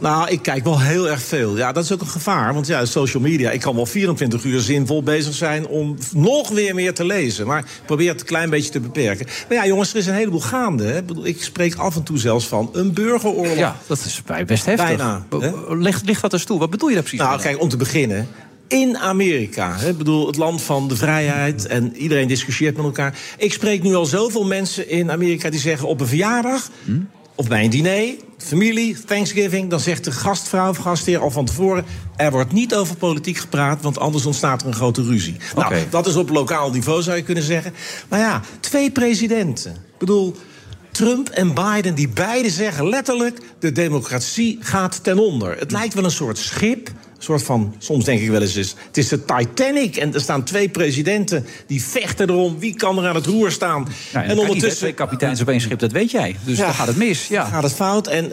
Speaker 10: Nou, ik kijk wel heel erg veel. Ja, dat is ook een gevaar. Want ja, social media, ik kan wel 24 uur zinvol bezig zijn om nog weer meer te lezen. Maar ik probeer het een klein beetje te beperken. Maar ja, jongens, er is een heleboel gaande. Hè. Ik bedoel, Ik spreek af en toe zelfs van een burgeroorlog.
Speaker 7: Ja, dat is bij- best heftig.
Speaker 10: Bijna.
Speaker 7: Eh, Ligt, dat eens toe? Wat bedoel je daar precies
Speaker 10: Nou, kijk, om te beginnen. In Amerika, hè, Ik bedoel, het land van de vrijheid en iedereen discussieert met elkaar. Ik spreek nu al zoveel mensen in Amerika die zeggen op een verjaardag
Speaker 7: Hm?
Speaker 10: of bij een diner, familie, Thanksgiving, dan zegt de gastvrouw of gastheer al van tevoren: er wordt niet over politiek gepraat, want anders ontstaat er een grote ruzie. Nou, dat is op lokaal niveau zou je kunnen zeggen. Maar ja, twee presidenten. Ik bedoel, Trump en Biden, die beide zeggen letterlijk: de democratie gaat ten onder. Het lijkt wel een soort schip. Een soort van, soms denk ik wel eens, eens, het is de Titanic. En er staan twee presidenten die vechten erom. Wie kan er aan het roer staan?
Speaker 7: Ja, en ondertussen... kapiteins op één schip, dat weet jij. Dus dan gaat het mis. Ja.
Speaker 10: Dan gaat het fout. En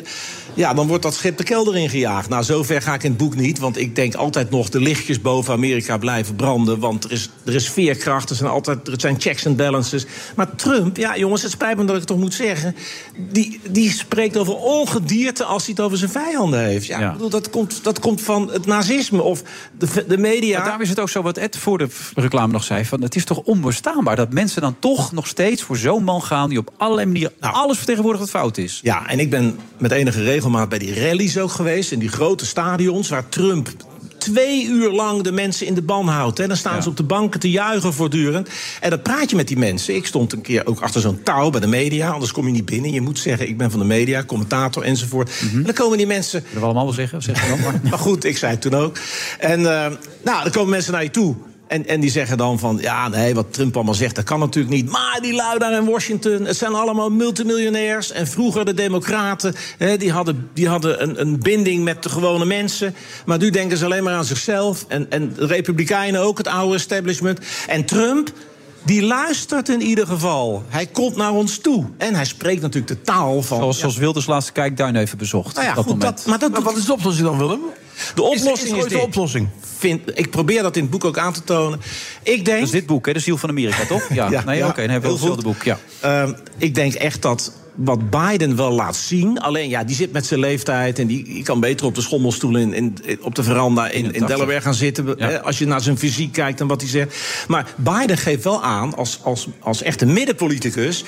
Speaker 10: ja, dan wordt dat schip de kelder ingejaagd. Nou, zover ga ik in het boek niet. Want ik denk altijd nog de lichtjes boven Amerika blijven branden. Want er is, er is veerkracht. Er zijn altijd er zijn checks en balances. Maar Trump, ja jongens, het spijt me dat ik het toch moet zeggen. Die, die spreekt over ongedierte als hij het over zijn vijanden heeft. Ja,
Speaker 7: Ja.
Speaker 10: Ik bedoel, dat, komt, dat komt van het nazisme of de, de media.
Speaker 7: Maar daarom is het ook zo wat Ed voor de reclame nog zei: van het is toch onbestaanbaar dat mensen dan toch nog steeds voor zo'n man gaan die op allerlei manieren
Speaker 10: Nou.
Speaker 7: alles vertegenwoordigt wat fout is.
Speaker 10: Ja, en ik ben met enige regelmaat bij die rallies ook geweest. In die grote stadions waar Trump twee uur lang de mensen in de ban houdt. En dan staan ze op de banken te juichen voortdurend. En dan praat je met die mensen. Ik stond een keer ook achter zo'n touw bij de media. Anders kom je niet binnen. Je moet zeggen, ik ben van de media, commentator enzovoort. En dan komen die mensen... Dat
Speaker 7: Mhm. we allemaal wel zeggen, zeg dan maar.
Speaker 10: maar goed, ik zei het toen ook. En eh, nou, dan komen mensen naar je toe. En, en die zeggen dan van, ja, nee, wat Trump allemaal zegt, dat kan natuurlijk niet. Maar die lui daar in Washington, het zijn allemaal multimiljonairs. En vroeger de democraten, hè, die hadden, die hadden een, een binding met de gewone mensen. Maar nu denken ze alleen maar aan zichzelf. En, en de republikeinen ook, het oude establishment. En Trump, die luistert in ieder geval. Hij komt naar ons toe. En hij spreekt natuurlijk de taal van...
Speaker 7: Zoals,
Speaker 10: Ja.
Speaker 7: zoals Wilders laatste kijkduin even bezocht.
Speaker 10: Nou ja,
Speaker 7: op dat
Speaker 10: goed,
Speaker 7: moment.
Speaker 10: dat, maar dat wat is de oplossing dan, Willem? De oplossing is,
Speaker 7: ooit de
Speaker 10: dit. Vind, ik probeer dat in het boek ook aan te tonen. Ik denk...
Speaker 7: Dat is dit boek, hè? De ziel van Amerika, toch? Ja.
Speaker 10: Ja,
Speaker 7: nee,
Speaker 10: ja.
Speaker 7: oké, dan hebben we
Speaker 10: Heel
Speaker 7: hetzelfde boek. Ja.
Speaker 10: Ehm, ik denk echt dat wat Biden wel laat zien... alleen ja, die zit met zijn leeftijd... en die, die kan beter op de schommelstoel in, in- in- op de veranda in, in
Speaker 7: 81.
Speaker 10: Delaware gaan zitten...
Speaker 7: Ja.
Speaker 10: hè, als je naar zijn fysiek kijkt en wat hij zegt. Maar Biden geeft wel aan, als, als, als echte middenpoliticus...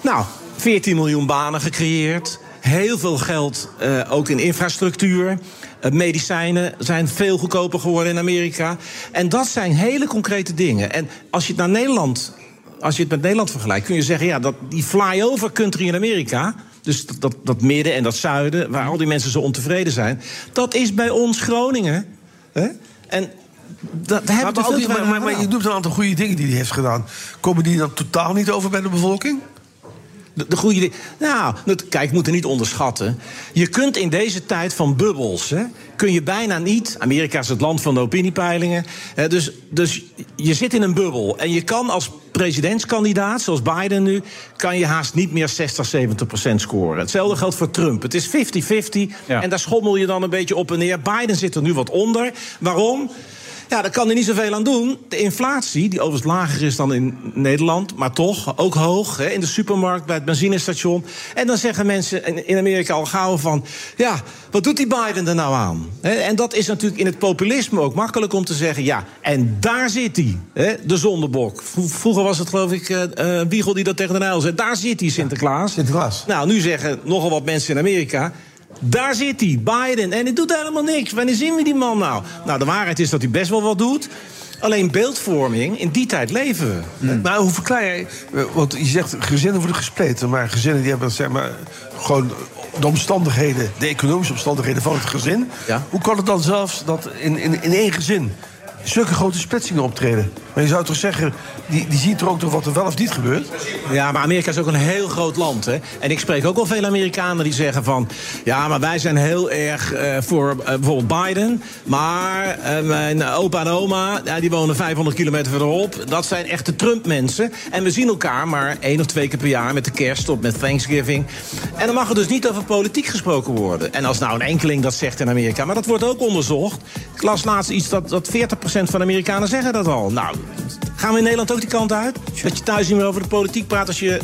Speaker 10: nou, 14 miljoen banen gecreëerd... Heel veel geld eh, ook in infrastructuur. Eh, medicijnen zijn veel goedkoper geworden in Amerika. En dat zijn hele concrete dingen. En als je het naar Nederland als je het met Nederland vergelijkt, kun je zeggen: ja, dat, die flyover country in Amerika. Dus dat, dat, dat midden en dat zuiden, waar al die mensen zo ontevreden zijn. Dat is bij ons Groningen. Hè? En dat, daar
Speaker 8: Maar,
Speaker 10: hebben we
Speaker 8: maar,
Speaker 10: veel
Speaker 8: ook
Speaker 10: te
Speaker 8: die- maar,
Speaker 10: weinig
Speaker 8: maar, maar
Speaker 10: gedaan.
Speaker 8: je noemt een aantal goede dingen die hij heeft gedaan. Komen die dan totaal niet over bij de bevolking?
Speaker 10: de, de goede dingen. Nou, dat, kijk, moeten niet onderschatten. Je kunt in deze tijd van bubbels, hè, kun je bijna niet. Amerika is het land van de opiniepeilingen. Hè, dus, dus je zit in een bubbel. En je kan als presidentskandidaat, zoals Biden nu, kan je haast niet meer 60, 70 procent scoren. Hetzelfde geldt voor Trump. Het is 50-50. En daar schommel je dan een beetje op en neer. Biden zit er nu wat onder. Waarom? Ja, daar kan hij niet zoveel aan doen. De inflatie, die overigens lager is dan in Nederland, maar toch ook hoog. Hè, in de supermarkt, bij het benzinestation. En dan zeggen mensen in- in Amerika al gauw van... ja, wat doet die Biden er nou aan? Hè, En dat is natuurlijk in het populisme ook makkelijk om te zeggen... ja, en daar zit hij, hè, de zondebok. Vro- Vroeger was het geloof ik eh eh, Wiegel die dat tegen de Nijl zei. Daar zit hij, Sinterklaas. Sinterklaas. Nou, nu zeggen nogal wat mensen in Amerika... Daar zit hij, Biden. En hij doet helemaal niks. Wanneer zien we die man nou? Nou, de waarheid is dat hij best wel wat doet. Alleen beeldvorming, in die tijd leven we.
Speaker 8: Maar Nou, hoe verklaar jij... Want je zegt, gezinnen worden gespleten. Maar gezinnen die hebben, zeg maar, gewoon de omstandigheden... de economische omstandigheden van het gezin. Hoe kan het dan zelfs dat in, in, in één gezin... zulke grote splitsingen optreden? Maar je zou toch zeggen, die, die ziet er ook toch wat er wel of niet gebeurt?
Speaker 10: Ja, maar Amerika is ook een heel groot land. Hè? En ik spreek ook al veel Amerikanen die zeggen van... ja, maar wij zijn heel erg eh, voor eh, bijvoorbeeld Biden... maar eh, mijn opa en oma, ja, die wonen 500 kilometer verderop... dat zijn echte Trump-mensen. En we zien elkaar maar één of twee keer per jaar... met de kerst of met Thanksgiving. En dan mag er dus niet over politiek gesproken worden. En als nou een enkeling dat zegt in Amerika... maar dat wordt ook onderzocht. Ik las laatst iets dat, dat 40% van Amerikanen zeggen dat al. Nou, gaan we in Nederland ook die kant uit? Dat je thuis niet meer over de politiek praat als je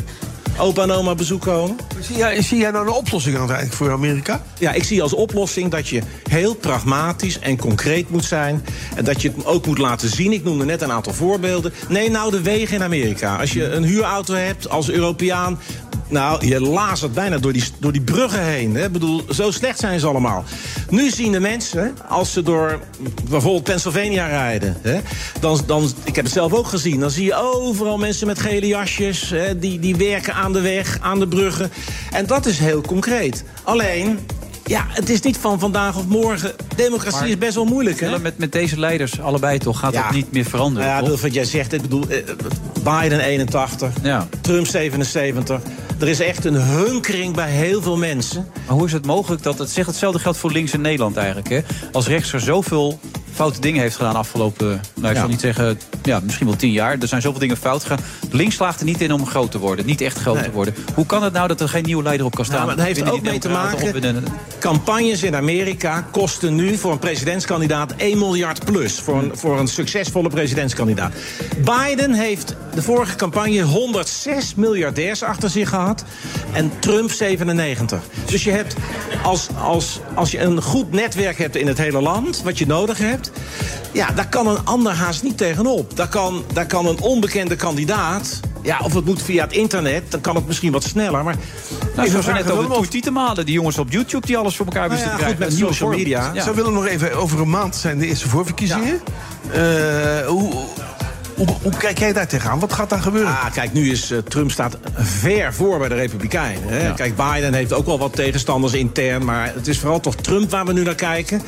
Speaker 10: opa en oma op bezoek komen?
Speaker 8: Zie jij, zie jij nou een oplossing aan het eind voor Amerika?
Speaker 10: Ja, ik zie als oplossing dat je heel pragmatisch en concreet moet zijn. En dat je het ook moet laten zien. Ik noemde net een aantal voorbeelden. Nee, nou de wegen in Amerika. Als je een huurauto hebt als Europeaan. Nou, je lazert bijna door die, door die bruggen heen. Hè. Ik bedoel, zo slecht zijn ze allemaal. Nu zien de mensen, als ze door bijvoorbeeld Pennsylvania rijden... Hè, dan, dan, ik heb het zelf ook gezien, dan zie je overal mensen met gele jasjes... Hè, die, die werken aan de weg, aan de bruggen. En dat is heel concreet. Alleen, ja, het is niet van vandaag of morgen. Democratie
Speaker 7: Maar-
Speaker 10: is best wel moeilijk, hè?
Speaker 7: Met, met deze leiders, allebei toch, gaat
Speaker 10: Ja.
Speaker 7: het niet meer veranderen.
Speaker 10: Nou ja,
Speaker 7: toch?
Speaker 10: dat wat jij zegt, ik bedoel, eh, Biden 81, Trump 77. Er is echt een hunkering bij heel veel mensen.
Speaker 7: Maar hoe is het mogelijk dat het zegt hetzelfde geldt voor links in Nederland eigenlijk? Hè? Als rechts er zoveel foute dingen heeft gedaan afgelopen, nou ik
Speaker 10: Ja.
Speaker 7: zal niet zeggen, ja, misschien wel tien jaar. Er zijn zoveel dingen fout gegaan. Links slaagt er niet in om groot te worden, niet echt groot te worden. Hoe kan het nou dat er geen nieuwe leider op kan staan?
Speaker 10: Nou, maar dat heeft
Speaker 7: Binnen
Speaker 10: ook
Speaker 7: die
Speaker 10: mee te
Speaker 7: Democraten of
Speaker 10: maken.
Speaker 7: binnen-
Speaker 10: Campagnes in Amerika kosten nu voor een presidentskandidaat 1 miljard plus. Voor een, voor een succesvolle presidentskandidaat. Biden heeft de vorige campagne 106 miljardairs achter zich gehad. En Trump 97. Dus je hebt, als, als, als je een goed netwerk hebt in het hele land, wat je nodig hebt. Ja, daar kan een ander haast niet tegenop. Daar kan, daar kan een onbekende kandidaat. Ja, of het moet via het internet, dan kan het misschien wat sneller. Maar
Speaker 7: Nou,
Speaker 10: Even
Speaker 7: zoals we
Speaker 10: vragen,
Speaker 7: net over
Speaker 10: Willem, of-
Speaker 7: Toetie te malen, die jongens op YouTube die alles voor elkaar wisten te krijgen. Een nieuwe vorm. Ja.
Speaker 8: Zou willen nog even, over een maand zijn de eerste voorverkiezingen. Eh, hoe, hoe, hoe kijk jij daar tegenaan? Wat gaat daar gebeuren?
Speaker 10: Ah, kijk, nu is eh, Trump staat ver voor bij de Republikeinen. Hè? Kijk, Biden heeft ook wel wat tegenstanders intern. Maar het is vooral toch Trump waar we nu naar kijken.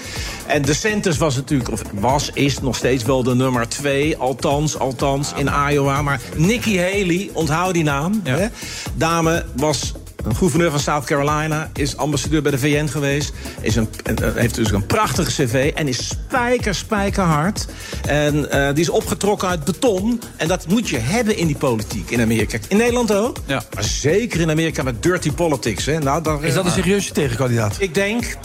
Speaker 10: En DeSantis was natuurlijk, of was, is nog steeds wel de nummer twee. Althans, althans, in Iowa. Maar Nikki Haley, onthoud die naam. Hè? Dame was gouverneur van South Carolina, is ambassadeur bij de VN geweest. Is een, en, eh, heeft dus een prachtige cv en is spijker, spijkerhard. En eh, die is opgetrokken uit beton. En dat moet je hebben in die politiek in Amerika. In Nederland ook, maar zeker in Amerika met dirty politics. Hè. Nou, daar,
Speaker 8: Is dat een serieuze tegenkandidaat?
Speaker 10: Ik denk,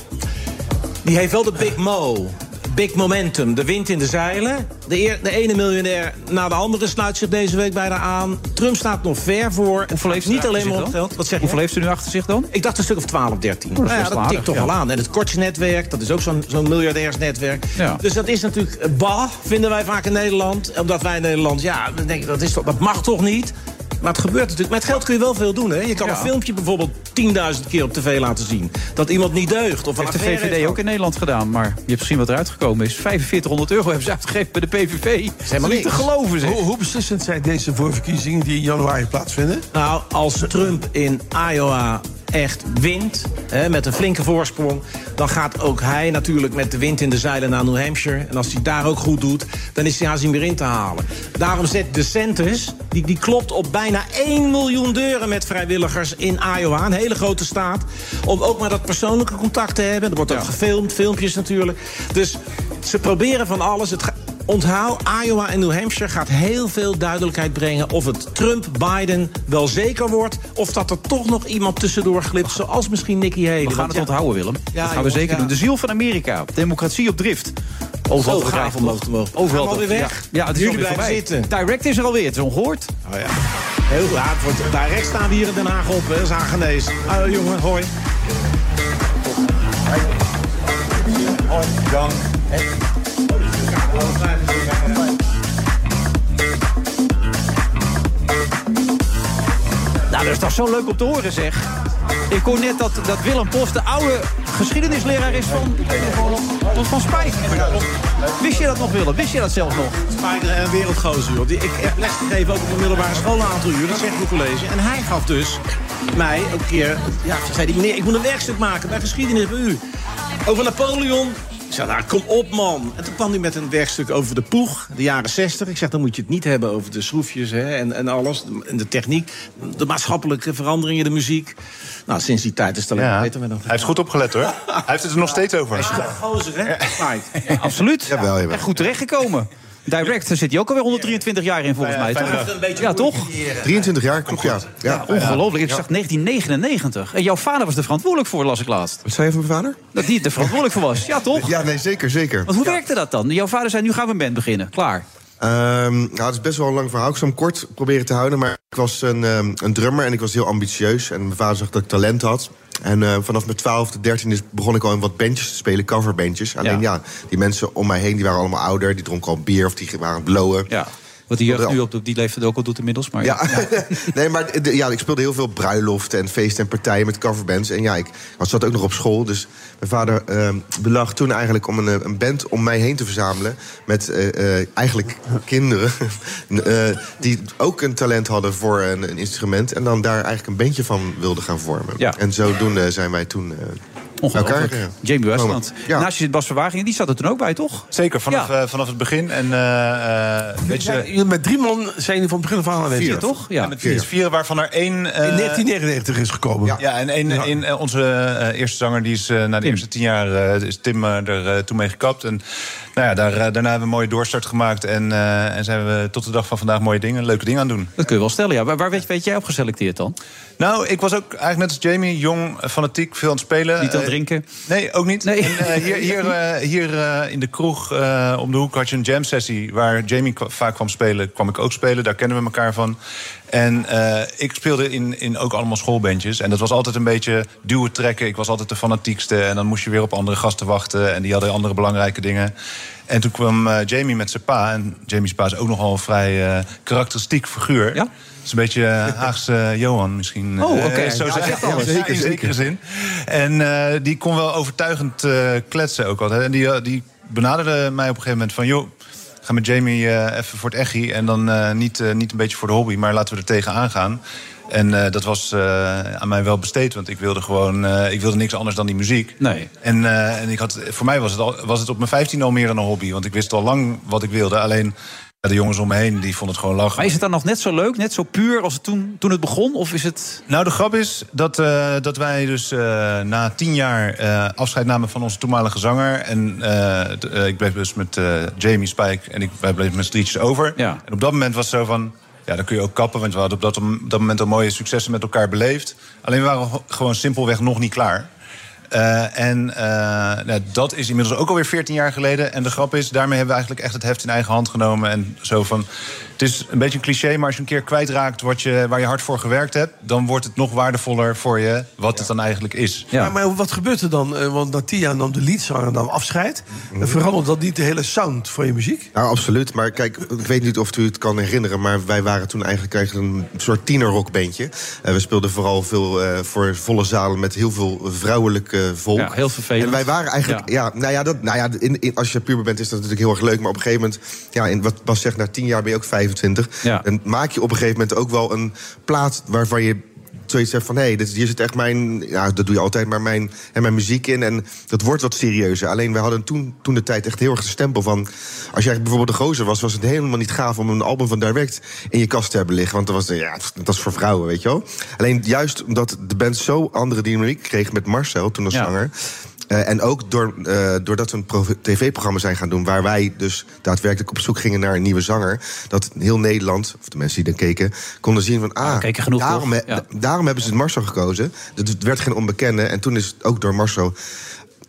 Speaker 10: die heeft wel de big mo. Big momentum, de wind in de zeilen. De, eer- de ene miljonair na de andere sluit zich deze week bijna aan. Trump staat nog ver voor. Hoeveel heeft
Speaker 7: hij
Speaker 10: Niet
Speaker 7: achter
Speaker 10: alleen
Speaker 7: zich
Speaker 10: maar op
Speaker 7: dan?
Speaker 10: geld. Wat zeg
Speaker 7: Hoeveel
Speaker 10: je?
Speaker 7: heeft ze nu achter zich dan?
Speaker 10: Ik dacht een stuk of 12, 13.
Speaker 7: dat is
Speaker 10: Nou ja,
Speaker 7: best
Speaker 10: dat tikt
Speaker 7: aardig,
Speaker 10: toch
Speaker 7: ja.
Speaker 10: wel aan. En het kortsnetwerk, dat is ook zo'n zo'n miljardairsnetwerk.
Speaker 7: Ja.
Speaker 10: Dus dat is natuurlijk eh, bah, vinden wij vaak in Nederland. Omdat wij in Nederland, ja, we denken, dat, is toch, dat mag toch niet? Maar het gebeurt natuurlijk. Met geld kun je wel veel doen, hè? Je kan
Speaker 7: Ja.
Speaker 10: een filmpje bijvoorbeeld 10.000 keer op tv laten zien. Dat iemand niet deugt. Of een
Speaker 7: heeft de
Speaker 10: affaire
Speaker 7: VVD ook in Nederland gedaan, maar je hebt gezien wat eruit gekomen is. 4500 euro hebben ze uitgegeven bij de PVV. Dat is niet te geloven, zeg.
Speaker 8: Hoe, hoe beslissend zijn deze voorverkiezingen die in januari plaatsvinden?
Speaker 10: Nou, als Trump in Iowa echt wint, hè, met een flinke voorsprong... dan gaat ook hij natuurlijk met de wind in de zeilen naar New Hampshire. En als hij daar ook goed doet, dan is hij haast niet meer in te halen. Daarom zet DeSantis, die, die klopt op bijna 1 miljoen deuren... met vrijwilligers in Iowa, een hele grote staat... om ook maar dat persoonlijke contact te hebben. Er wordt ook gefilmd, filmpjes natuurlijk. Dus ze proberen van alles. Het ga- Onthoud, Iowa en New Hampshire gaat heel veel duidelijkheid brengen... of het Trump-Biden wel zeker wordt... of dat er toch nog iemand tussendoor glipt, zoals misschien Nikki Haley.
Speaker 7: We gaan
Speaker 10: Want
Speaker 7: het
Speaker 10: ja-
Speaker 7: onthouden, Willem.
Speaker 10: Ja,
Speaker 7: dat gaan we
Speaker 10: jongens,
Speaker 7: zeker
Speaker 10: ja.
Speaker 7: doen. De ziel van Amerika. Democratie op drift. Overal
Speaker 10: Zo gaaf
Speaker 7: gaaf
Speaker 10: om over te mogen.
Speaker 7: Overal
Speaker 10: Gaan we
Speaker 7: toch.
Speaker 10: weer weg?
Speaker 7: Ja, ja het is
Speaker 10: Jullie
Speaker 7: alweer
Speaker 10: blijven
Speaker 7: voorbij.
Speaker 10: zitten.
Speaker 7: Direct is er alweer. Het is ongehoord.
Speaker 10: Oh ja. Heel goed. Ja, het wordt- Direct staan we hier in Den Haag op, hè, Zagenees. Ah, jongen, hoi. Hoi, Jan.
Speaker 7: Nou, dat is toch zo leuk om te horen, zeg. Ik hoor net dat, dat Willem Post de oude geschiedenisleraar is van, van, van Spijk. Wist je dat nog, Willem? Wist je dat zelf nog?
Speaker 10: Spijker en wereldgozer, joh. Die- Ik heb les gegeven ook op de middelbare school een aantal uur. Dat zegt mijn college. En hij gaf dus mij ook een keer... Ja, zei die meneer, ik moet een werkstuk maken bij geschiedenis bij u. Over Napoleon. Ik zei, nou, kom op, man. En toen kwam hij met een werkstuk over de ploeg, de jaren 60. Ik zeg, dan moet je het niet hebben over de schroefjes hè, en, en alles. En de techniek, de maatschappelijke veranderingen, de muziek. Nou, sinds die tijd is het alleen maar beter met hem.
Speaker 15: Hij heeft goed opgelet hoor. Hij heeft het er nog steeds over.
Speaker 10: Gozer, hè? Spike.
Speaker 7: Absoluut. En goed terechtgekomen. Direct, daar zit hij ook alweer 123 jaar in, volgens
Speaker 4: Ja,
Speaker 7: mij.
Speaker 4: ja,
Speaker 7: toch?
Speaker 4: fijn gedaan.
Speaker 7: ja, toch?
Speaker 4: 23 jaar, klopt ja.
Speaker 7: Ja, ongelooflijk. Ik zag 1999. En jouw vader was er verantwoordelijk voor, las ik laatst.
Speaker 16: Wat zei je van mijn vader?
Speaker 7: Dat die er verantwoordelijk voor was. Ja, toch?
Speaker 16: Ja, nee, zeker, zeker.
Speaker 7: Want hoe werkte dat dan? Jouw vader zei, nu gaan we een band beginnen. Klaar.
Speaker 16: Ehm, nou, het is best wel een lang verhaal. Ik zal hem kort proberen te houden. Maar ik was een, ehm, een drummer en ik was heel ambitieus. En mijn vader zag dat ik talent had. En eh, vanaf mijn twaalfde, dertiende is- begon ik al in wat bandjes te spelen, coverbandjes. Alleen ja. die mensen om mij heen die waren allemaal ouder. Die dronken al bier of die waren aan het blowen.
Speaker 7: Ja, wat die jeugd nu op de- die leeftijd ook al doet inmiddels. Maar ja.
Speaker 16: nee, maar de- ja, ik speelde heel veel bruiloften en feesten en partijen met coverbands. En ja, ik was, zat ook nog op school. Dus mijn vader ehm belag toen eigenlijk om een, eh, een band om mij heen te verzamelen. Met eh, eh, eigenlijk kinderen eh, die ook een talent hadden voor een, een instrument. En dan daar eigenlijk een bandje van wilden gaan vormen. En zodoende zijn wij toen eh, bij elkaar
Speaker 7: Ongelooflijk.
Speaker 16: gekomen.
Speaker 7: Jamie Westland. Naast je zit Bas Verwagingen, die zat er toen ook bij, toch?
Speaker 15: Zeker, vanaf, eh, vanaf het begin. En, eh, eh, weet je,
Speaker 8: Jullie met drie man zijn jullie van het begin af aan aanwezig.
Speaker 15: Vier, toch? Ja, met vier. Vier, waarvan er één... eh,
Speaker 8: In 1999 is gekomen.
Speaker 15: Ja, en één- één, eh, onze eh, eerste zanger die is eh, na de eerste tien jaar eh, is Tim eh, er eh, toen mee gekapt. En nou ja, daar, eh, daarna hebben we een mooie doorstart gemaakt. En, eh, en zijn we tot de dag van vandaag mooie dingen, leuke dingen aan het doen.
Speaker 7: Dat kun je wel stellen, ja. Waar, waar werd, werd jij op geselecteerd dan?
Speaker 15: Nou, ik was ook eigenlijk net als Jamie, jong, eh, fanatiek, veel aan het spelen.
Speaker 7: Niet aan het
Speaker 15: Eh,
Speaker 7: drinken?
Speaker 15: Nee, ook niet. En, eh, hier hier, eh, hier eh, in de kroeg eh, om de hoek had je een jam sessie waar Jamie kwa- vaak kwam spelen, kwam ik ook spelen. Daar kennen we elkaar van. En eh, ik speelde in, in ook allemaal schoolbandjes. En dat was altijd een beetje duwen trekken. Ik was altijd de fanatiekste. En dan moest je weer op andere gasten wachten. En die hadden andere belangrijke dingen. En toen kwam eh, Jamie met zijn pa. En Jamie's pa is ook nogal een vrij eh, karakteristiek figuur. Ja? is een beetje eh, Haagse Johan misschien.
Speaker 7: Oh, oké.
Speaker 15: Eh, zo
Speaker 7: Ja,
Speaker 15: zeg
Speaker 7: zegt
Speaker 15: ja,
Speaker 7: alles.
Speaker 15: ja,
Speaker 7: Zeker,
Speaker 15: in zekere zin. En eh, die kon wel overtuigend eh, kletsen ook altijd. En die, eh, die benaderde mij op een gegeven moment van... joh, ga met Jamie eh, even voor het echi. En dan eh, niet, eh, niet een beetje voor de hobby, maar laten we er tegenaan gaan. En eh, dat was eh, aan mij wel besteed, want ik wilde gewoon... eh, ik wilde niks anders dan die muziek.
Speaker 7: Nee.
Speaker 15: En, eh, en ik had, voor mij was het, al, was het op mijn 15 al meer dan een hobby. Want ik wist al lang wat ik wilde. Alleen ja, de jongens om me heen, die vonden het gewoon lachen.
Speaker 7: Maar is het dan nog net zo leuk, net zo puur als het toen, toen het begon? Of is het...
Speaker 15: Nou, de grap is dat, eh, dat wij dus eh, na tien jaar eh, afscheid namen van onze toenmalige zanger. En eh, t- eh, ik bleef dus met eh, Jamie, Spike en ik, wij bleven met z'n drietjes over. En op dat moment was het zo van... Ja, dan kun je ook kappen, want we hadden op dat, op dat moment al mooie successen met elkaar beleefd. Alleen we waren ho- gewoon simpelweg nog niet klaar. Eh, en eh, nou, dat is inmiddels ook alweer 14 jaar geleden. En de grap is, daarmee hebben we eigenlijk echt het heft in eigen hand genomen. En zo van, het is een beetje een cliché, maar als je een keer kwijtraakt wat je, waar je hard voor gewerkt hebt, dan wordt het nog waardevoller voor je wat het dan eigenlijk is.
Speaker 8: Maar, maar wat gebeurt er dan? Eh, Want Natia nam de leadzanger dan afscheid.
Speaker 15: Mhm.
Speaker 8: En verandert dat niet de hele sound van je muziek?
Speaker 16: Nou, absoluut. Maar kijk, ik weet niet of u het kan herinneren... maar wij waren toen eigenlijk, eigenlijk een soort tienerrockbandje. Eh we speelden vooral veel eh, voor volle zalen met heel veel vrouwelijk eh, volk.
Speaker 7: Ja, heel vervelend.
Speaker 16: En wij waren eigenlijk... Ja, nou ja, dat, nou ja in, in- als je puber bent is dat natuurlijk heel erg leuk... maar op een gegeven moment, ja, in, wat Bas zegt, na tien jaar ben je ook 25.
Speaker 7: Ja.
Speaker 16: En maak je op een gegeven moment ook wel een plaat waarvan je zoiets hebt van... hé, hey, dit- hier zit echt mijn... ja, dat doe je altijd, maar mijn, en mijn muziek in. En dat wordt wat serieuzer. Alleen, we hadden toen, toen de tijd echt heel erg de stempel van... als jij bijvoorbeeld de gozer was, was het helemaal niet gaaf... om een album van Direct in je kast te hebben liggen. Want dat was, eh, ja, dat is voor vrouwen, weet je wel. Alleen, juist omdat de band zo andere dynamiek kreeg met Marcel, toen als zanger... Eh, en ook door, eh, doordat we een pro- tv-programma zijn gaan doen... waar wij dus daadwerkelijk op zoek gingen naar een nieuwe zanger... dat heel Nederland, of de mensen die daar keken... konden zien van, ah, daarom, he- da- daarom hebben ze dus Marcel gekozen. Het werd geen onbekende. En toen is het ook door Marcel...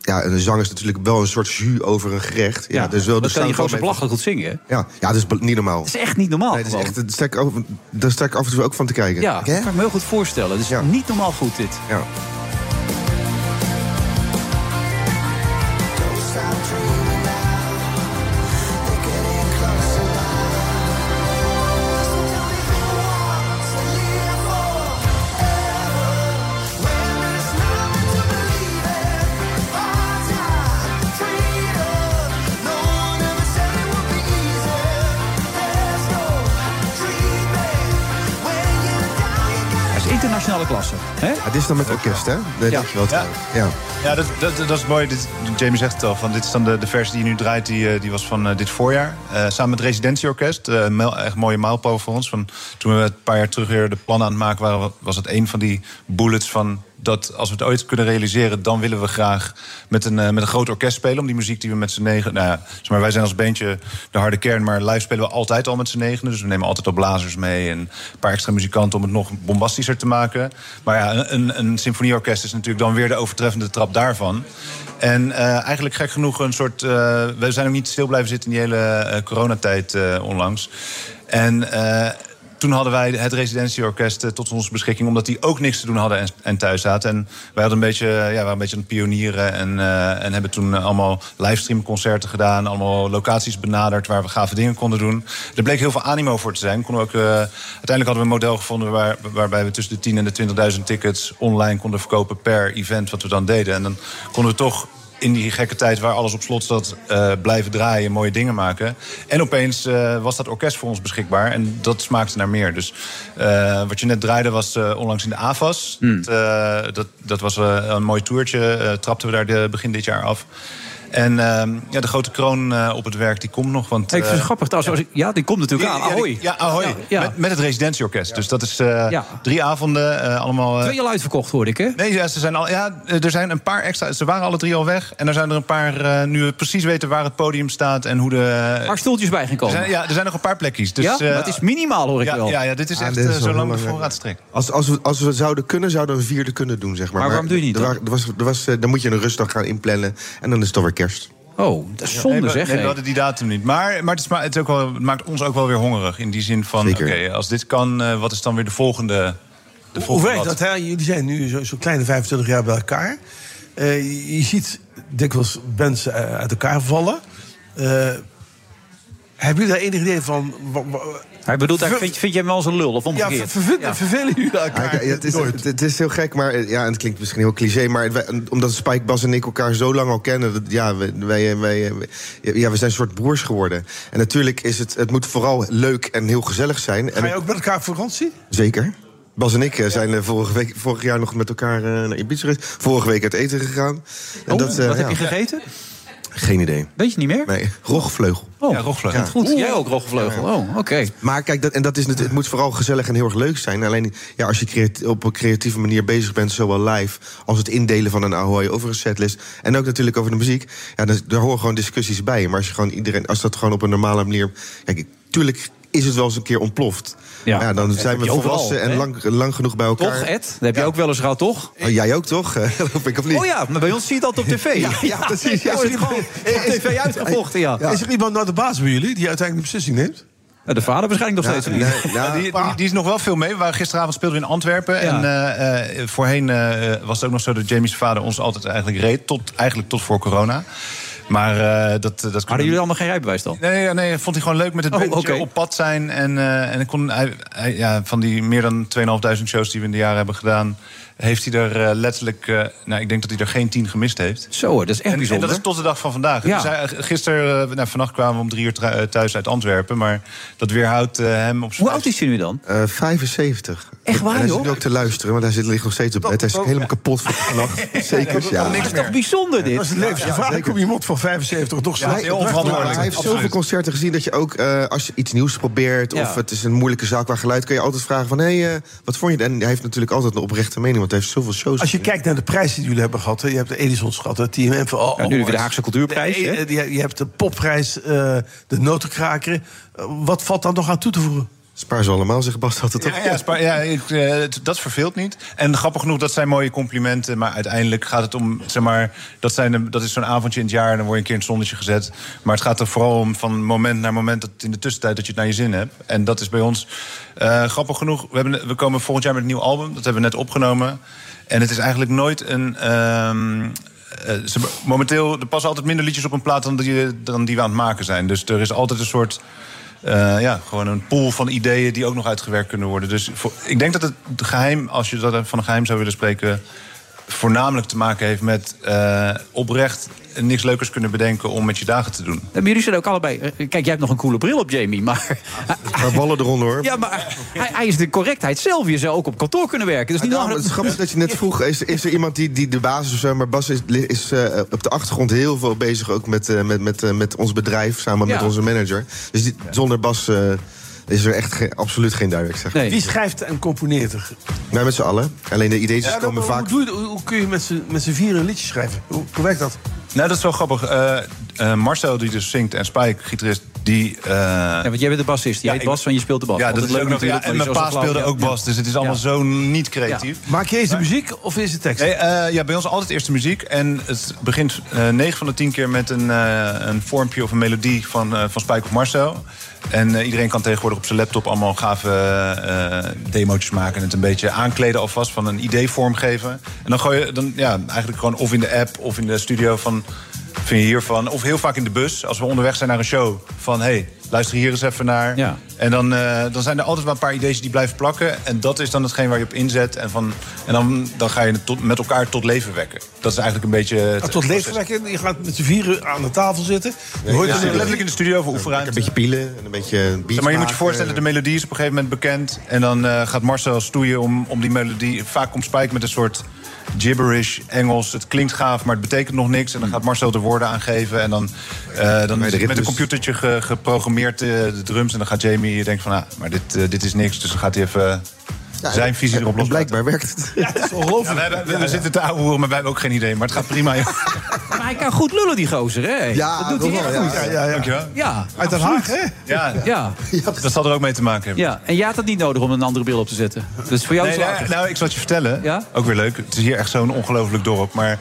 Speaker 16: Ja, een zang is natuurlijk wel een soort jus over een gerecht. Ja, dus
Speaker 7: dat
Speaker 16: wel, er
Speaker 7: kan
Speaker 16: staan
Speaker 7: die gozer
Speaker 16: wel
Speaker 7: belachelijk goed zingen. hè?
Speaker 16: mensen- Ja, ja, dat is be- niet normaal.
Speaker 7: Dat is echt niet normaal.
Speaker 16: Nee, dat is
Speaker 7: gewoon.
Speaker 16: echt, daar sta, ik over- daar sta ik af en toe ook van te kijken.
Speaker 7: Ja, dat kan ik me heel goed voorstellen. Dus niet normaal goed dit.
Speaker 16: Ja.
Speaker 7: Hij is internationale klasse. Hè?
Speaker 16: Ja, dit is dan met orkest, hè? Dat ja. wel trouwens. eh, ja.
Speaker 15: Ja, dat, dat, dat is mooi. Dit, Jamie zegt het al. Van, dit is dan de, de versie die je nu draait. Die, eh, die was van eh, dit voorjaar. Eh, samen met Residentieorkest. Eh, een mijl- echt mooie mijlpaal voor ons. Van, toen we een paar jaar terug weer de plannen aan het maken waren... was het een van die bullets van... dat als we het ooit kunnen realiseren... dan willen we graag met een, eh, met een groot orkest spelen. Om die muziek die we met z'n negen... Nou ja, zeg maar, wij zijn als bandje de harde kern... maar live spelen we altijd al met z'n negenen. Dus we nemen altijd al blazers mee... en een paar extra muzikanten om het nog bombastischer te maken. Maar ja, een- een, een symfonieorkest is natuurlijk dan weer de overtreffende trap daarvan. En eh, eigenlijk gek genoeg een soort... eh, we zijn ook niet stil blijven zitten in die hele eh, coronatijd eh, onlangs. En eh, toen hadden wij het residentieorkest eh, tot onze beschikking... omdat die ook niks te doen hadden en, en thuis zaten. En wij hadden een beetje, eh, ja, waren een beetje aan het pionieren... en, eh, en hebben toen eh, allemaal livestreamconcerten gedaan... allemaal locaties benaderd waar we gave dingen konden doen. Er bleek heel veel animo voor te zijn. Konden we ook, eh, uiteindelijk hadden we een model gevonden... Waar, waarbij we tussen de 10.000 en de 20.000 tickets online konden verkopen... per event wat we dan deden. En dan konden we toch in die gekke tijd waar alles op slot zat, eh, blijven draaien, mooie dingen maken. En opeens eh, was dat orkest voor ons beschikbaar en dat smaakte naar meer. Dus eh, wat je net draaide was eh, onlangs in de AFAS.
Speaker 7: Hmm.
Speaker 15: Dat, eh, dat, dat was eh, een mooi toertje, eh, trapten we daar de, begin dit jaar af. En ehm, ja, de grote kroon eh, op het werk, die komt nog. Want,
Speaker 7: Ik vind het
Speaker 15: eh,
Speaker 7: grappig trouwens. als ik- Ja, die komt natuurlijk
Speaker 15: ja,
Speaker 7: aan.
Speaker 15: ja, die-
Speaker 7: Ahoy.
Speaker 15: Ja, ahoy.
Speaker 7: Ja.
Speaker 15: Met, met het residentieorkest. Dus dat is eh, drie avonden, eh, allemaal... eh,
Speaker 7: Twee al uitverkocht, hoorde ik, hè?
Speaker 15: Nee, ja, ze zijn al, ja, eh, er zijn een paar extra. Ze waren alle drie al weg. En er zijn er een paar, eh, nu we precies weten waar het podium staat en hoe de. Een
Speaker 7: paar stoeltjes bij gekomen.
Speaker 15: Er zijn, ja, er zijn nog een paar plekjes. Dus,
Speaker 7: Ja?
Speaker 15: eh,
Speaker 7: Maar het is minimaal, hoor ik
Speaker 15: ja,
Speaker 7: wel.
Speaker 15: Ja, ja, dit is
Speaker 16: Ah,
Speaker 15: echt
Speaker 16: dit
Speaker 15: eh,
Speaker 16: is
Speaker 15: zo
Speaker 16: wel
Speaker 15: lang de
Speaker 16: heel lang,
Speaker 15: voorraadstrek.
Speaker 16: Als, als, we, als we het zouden kunnen, zouden we een vierde kunnen doen, zeg maar.
Speaker 7: Maar waarom doe je niet
Speaker 16: er wa- er was, er was, eh, dan moet je een rustdag gaan inplannen en dan is het alweer kerst.
Speaker 7: Oh, dat
Speaker 15: Ja, nee, we- nee, we hadden die datum niet. Maar, maar, het, is, maar het, is ook wel, het maakt ons ook wel weer hongerig. In die zin van, oké,
Speaker 16: Zeker.
Speaker 15: als dit kan, eh, wat is dan weer de volgende... De
Speaker 8: Hoe
Speaker 15: volgende
Speaker 8: werkt
Speaker 15: lat?
Speaker 8: dat? Hè? Jullie zijn nu zo- zo'n kleine 25 jaar bij elkaar. Eh, je- je ziet dikwijls mensen eh, uit elkaar vallen. Eh, hebben jullie daar enig idee van? wa- wa-
Speaker 7: Hij bedoelt eigenlijk, vind, vind jij hem wel eens een lul of
Speaker 8: ja,
Speaker 7: omgekeerd?
Speaker 8: ver- vervelen- vervelen jullie
Speaker 16: Ja,
Speaker 8: elkaar?
Speaker 16: kijk, ja, het, is, het, het is heel gek, maar eh, ja, en het klinkt misschien heel cliché. Maar wij- omdat Spike, Bas en ik elkaar zo lang al kennen... Dat, ja, wij, wij, wij- wij- ja, we zijn een soort broers geworden. En natuurlijk is het, het moet vooral leuk en heel gezellig zijn. En
Speaker 8: Ga je ook met elkaar op vakantie?
Speaker 16: Zeker. Bas en ik eh, zijn eh, vorige week, vorig jaar nog met elkaar eh, naar Ibiza geweest. Vorige week uit eten gegaan. En
Speaker 7: Oh,
Speaker 16: eh,
Speaker 7: wat heb
Speaker 16: ja,
Speaker 7: je gegeten?
Speaker 16: Geen idee.
Speaker 7: Weet je niet meer?
Speaker 16: Nee, rogvleugel.
Speaker 7: Oh,
Speaker 16: Ja, rogvleugel.
Speaker 7: Goed,
Speaker 16: Oeh.
Speaker 7: jij ook roggenvleugel. Oh, oké.
Speaker 16: Maar kijk, dat, en dat is het, het moet vooral gezellig en heel erg leuk zijn. Alleen ja, als je creat- op een creatieve manier bezig bent, zowel live als het indelen van een ahoy over een setlist. En ook natuurlijk over de muziek. Ja, dan, daar horen gewoon discussies bij. Maar als, je gewoon iedereen, als dat gewoon op een normale manier. Kijk, tuurlijk is het wel eens een keer ontploft.
Speaker 7: Ja.
Speaker 16: Ja, dan
Speaker 7: Dat
Speaker 16: zijn
Speaker 7: heb
Speaker 16: we
Speaker 7: je overal,
Speaker 16: volwassen en
Speaker 7: hè?
Speaker 16: lang, lang genoeg bij
Speaker 7: Toch,
Speaker 16: elkaar.
Speaker 7: Ed? Dat heb je ook wel eens gehad, toch?
Speaker 16: Oh, jij ook toch? Geloof ik of niet?
Speaker 7: Oh ja, maar bij ons zie je dat op tv.
Speaker 16: Ja, ja, precies, ja.
Speaker 7: Is het gewoon op tv uitgevochten, ja.
Speaker 8: Is er iemand nou de baas bij jullie die uiteindelijk de beslissing neemt?
Speaker 7: De vader waarschijnlijk nog
Speaker 15: Ja,
Speaker 7: steeds niet.
Speaker 15: nee, ja, die, die, die is nog wel veel mee. We waren gisteravond speelden we in Antwerpen. En eh, eh, voorheen eh, was het ook nog zo dat Jamie's vader ons altijd eigenlijk reed. Tot, eigenlijk tot voor corona. Maar eh, dat, dat
Speaker 7: Hadden jullie allemaal geen rijbewijs dan?
Speaker 15: Nee, ja, nee, vond hij gewoon leuk met het
Speaker 7: Oh,
Speaker 15: bandje
Speaker 7: oké.
Speaker 15: op pad zijn. En, eh, en ik kon, hij, hij- ja, van die meer dan 2.500 shows die we in de jaren hebben gedaan... heeft hij er eh, letterlijk... eh, nou, ik denk dat hij er geen tien gemist heeft.
Speaker 7: Zo, dat is echt
Speaker 15: en,
Speaker 7: bijzonder.
Speaker 15: En dat is tot de dag van vandaag.
Speaker 7: Ja.
Speaker 15: Dus hij- gisteren, eh, nou, vannacht kwamen we om drie uur tru- eh, thuis uit Antwerpen. Maar dat weerhoudt eh, hem op zijn... Hoe
Speaker 7: oud is hij nu dan?
Speaker 16: Eh, 75.
Speaker 7: Echt waar,
Speaker 16: en hij
Speaker 7: joh?
Speaker 16: zit nu ook te luisteren, want hij zit, ligt nog steeds op bed. Hij is helemaal kapot van de nacht. Zeker, ja.
Speaker 7: Dat is toch bijzonder dit?
Speaker 8: Dat is het levensgevaar. Kom iemand van 75 toch
Speaker 16: Ja,
Speaker 8: slecht?
Speaker 16: hij, hij heeft zoveel concerten gezien dat je ook eh, als je iets nieuws probeert...
Speaker 8: Ja.
Speaker 16: of het is een moeilijke zaak qua geluid... kun je altijd vragen van, hé, hey, eh, wat vond je? het? En hij heeft natuurlijk altijd een oprechte mening, want hij heeft zoveel shows
Speaker 8: Als je kijkt naar de prijzen die jullie hebben gehad... hè, je hebt de Edison's gehad, de TMM... van- oh,
Speaker 16: Ja, nu weer de
Speaker 8: oh,
Speaker 16: Haagse Cultuurprijs,
Speaker 8: de-
Speaker 16: hè?
Speaker 8: eh, Je, je hebt de popprijs, eh, de notenkraker. Eh, wat valt daar nog aan toe te voegen?
Speaker 16: Spaar ze allemaal, zegt Bas altijd.
Speaker 15: Ja, ja, Spa- ja ik, eh, het- dat verveelt niet. En grappig genoeg, dat zijn mooie complimenten. Maar uiteindelijk gaat het om, zeg maar... Dat, zijn, de- dat is zo'n avondje in het jaar, dan word je een keer in het zonnetje gezet. Maar het gaat er vooral om van moment naar moment... Dat in de tussentijd dat je het naar je zin hebt. En dat is bij ons eh, grappig genoeg. We, hebben, we komen volgend jaar met een nieuw album. Dat hebben we net opgenomen. En het is eigenlijk nooit een... ehm, eh, ze- momenteel, er passen altijd minder liedjes op een plaat dan die, dan die we aan het maken zijn. Dus er is altijd een soort... eh, ja, gewoon een pool van ideeën die ook nog uitgewerkt kunnen worden. Dus voor- ik denk dat het geheim, als je dat van een geheim zou willen spreken... voornamelijk te maken heeft met eh, oprecht niks leukers kunnen bedenken... om met je dagen te doen.
Speaker 7: Maar jullie zijn ook allebei... eh, Kijk, jij hebt nog een coole bril op, Jamie, maar...
Speaker 16: Maar ballen eronder, hoor.
Speaker 7: Ja, maar hij, hij is de correctheid zelf. Je zou ook op kantoor kunnen werken. Dus niet
Speaker 16: Ja, maar het is grappig dat je net vroeg, is, is er iemand die, die de basis of zo... maar Bas is, is eh, op de achtergrond heel veel bezig ook met, eh, met, met, eh, met ons bedrijf... samen
Speaker 8: Ja.
Speaker 16: met onze manager. Dus die- zonder Bas eh, is er echt geen- absoluut geen direct, zeg.
Speaker 8: Wie schrijft en componeert er?
Speaker 16: Wij Nou, met z'n allen. Alleen de ideeën
Speaker 8: Ja, dan-
Speaker 16: komen
Speaker 8: hoe
Speaker 16: vaak...
Speaker 8: doe je- hoe, hoe kun je met z'n- met z'n vieren een liedje schrijven? Hoe, hoe werkt dat?
Speaker 15: Nou, dat is wel grappig. Eh, eh, Marcel, die dus zingt, en Spike, gitarist, die... eh, ja,
Speaker 7: want jij bent de bassist. Jij heet Bas, want je speelt de bas.
Speaker 15: Ja, dat
Speaker 7: Altijd
Speaker 15: is
Speaker 7: leuk
Speaker 15: leuk nog, ja,
Speaker 7: natuurlijk,
Speaker 15: en mijn
Speaker 7: want je
Speaker 15: pa
Speaker 7: zo flauw-
Speaker 15: speelde ook
Speaker 7: ja.
Speaker 15: bas, dus het is allemaal
Speaker 7: Ja.
Speaker 15: zo niet creatief.
Speaker 8: Maak je eens de muziek of is het tekst?
Speaker 15: Nee, eh, ja, bij ons altijd eerst de muziek. En het begint eh 9 van de 10 keer met een, eh, een vormpje of een melodie van, eh, van Spike of Marcel. En eh, iedereen kan tegenwoordig op zijn laptop allemaal gave eh demootjes maken. En het een beetje aankleden alvast van een idee vormgeven. En dan gooi je dan, ja, eigenlijk gewoon of in de app of in de studio van... Vind je hiervan? Of heel vaak in de bus, als we onderweg zijn naar een show. Van, hey, luister hier eens even naar.
Speaker 7: Ja.
Speaker 15: En dan, eh, dan zijn er altijd wel een paar ideeën die blijven plakken. En dat is dan hetgeen waar je op inzet. En, van, en dan, dan ga je het tot, met elkaar tot leven wekken. Dat is eigenlijk een beetje... het-
Speaker 8: Ah, tot
Speaker 15: het
Speaker 8: leven
Speaker 15: proces.
Speaker 8: wekken. Je gaat met z'n vieren aan de tafel zitten.
Speaker 15: Je hoort het
Speaker 8: Ja.
Speaker 15: letterlijk in de studio over
Speaker 16: Een
Speaker 15: oefenruimte.
Speaker 16: beetje pielen en een beetje
Speaker 15: Zeg
Speaker 16: beats
Speaker 15: maar je moet je
Speaker 16: maken.
Speaker 15: voorstellen, de melodie is op een gegeven moment bekend. En dan eh, gaat Marcel stoeien om, om die melodie. Vaak komt Spike met een soort gibberish Engels. Het klinkt gaaf, maar het betekent nog niks. En dan gaat Marcel de woorden aangeven. En dan, eh dan is het met een computertje ge- geprogrammeerd eh, de drums. En dan gaat Jamie denken van, ah, maar dit, eh, dit is niks. Dus dan gaat hij even
Speaker 16: Ja,
Speaker 15: zijn
Speaker 16: en-
Speaker 15: visie
Speaker 16: en-
Speaker 15: erop
Speaker 16: en
Speaker 15: loslaten.
Speaker 16: Blijkbaar werkt het.
Speaker 8: Ja, het is ongelooflijk.
Speaker 15: we hebben- we- we zitten te ouwe hoeren, maar wij hebben ook geen idee. Maar het gaat prima. joh.
Speaker 7: Maar hij kan goed lullen, die gozer, hè?
Speaker 15: Ja,
Speaker 7: dat doet hij
Speaker 15: dat
Speaker 7: echt
Speaker 15: wel,
Speaker 7: goed.
Speaker 15: ja. Ja, ja, ja. Dankjewel.
Speaker 7: Ja,
Speaker 8: Uit Den Haag, hè?
Speaker 15: Ja,
Speaker 7: ja.
Speaker 15: dat zal er ook mee te maken hebben.
Speaker 7: Ja, en jij had het niet nodig om een andere bril op te zetten. Dus voor jou
Speaker 15: Nee,
Speaker 7: is
Speaker 15: nou,
Speaker 7: het
Speaker 15: nou, ik zal het je vertellen. Ook weer leuk. Het is hier echt zo'n ongelooflijk dorp. Maar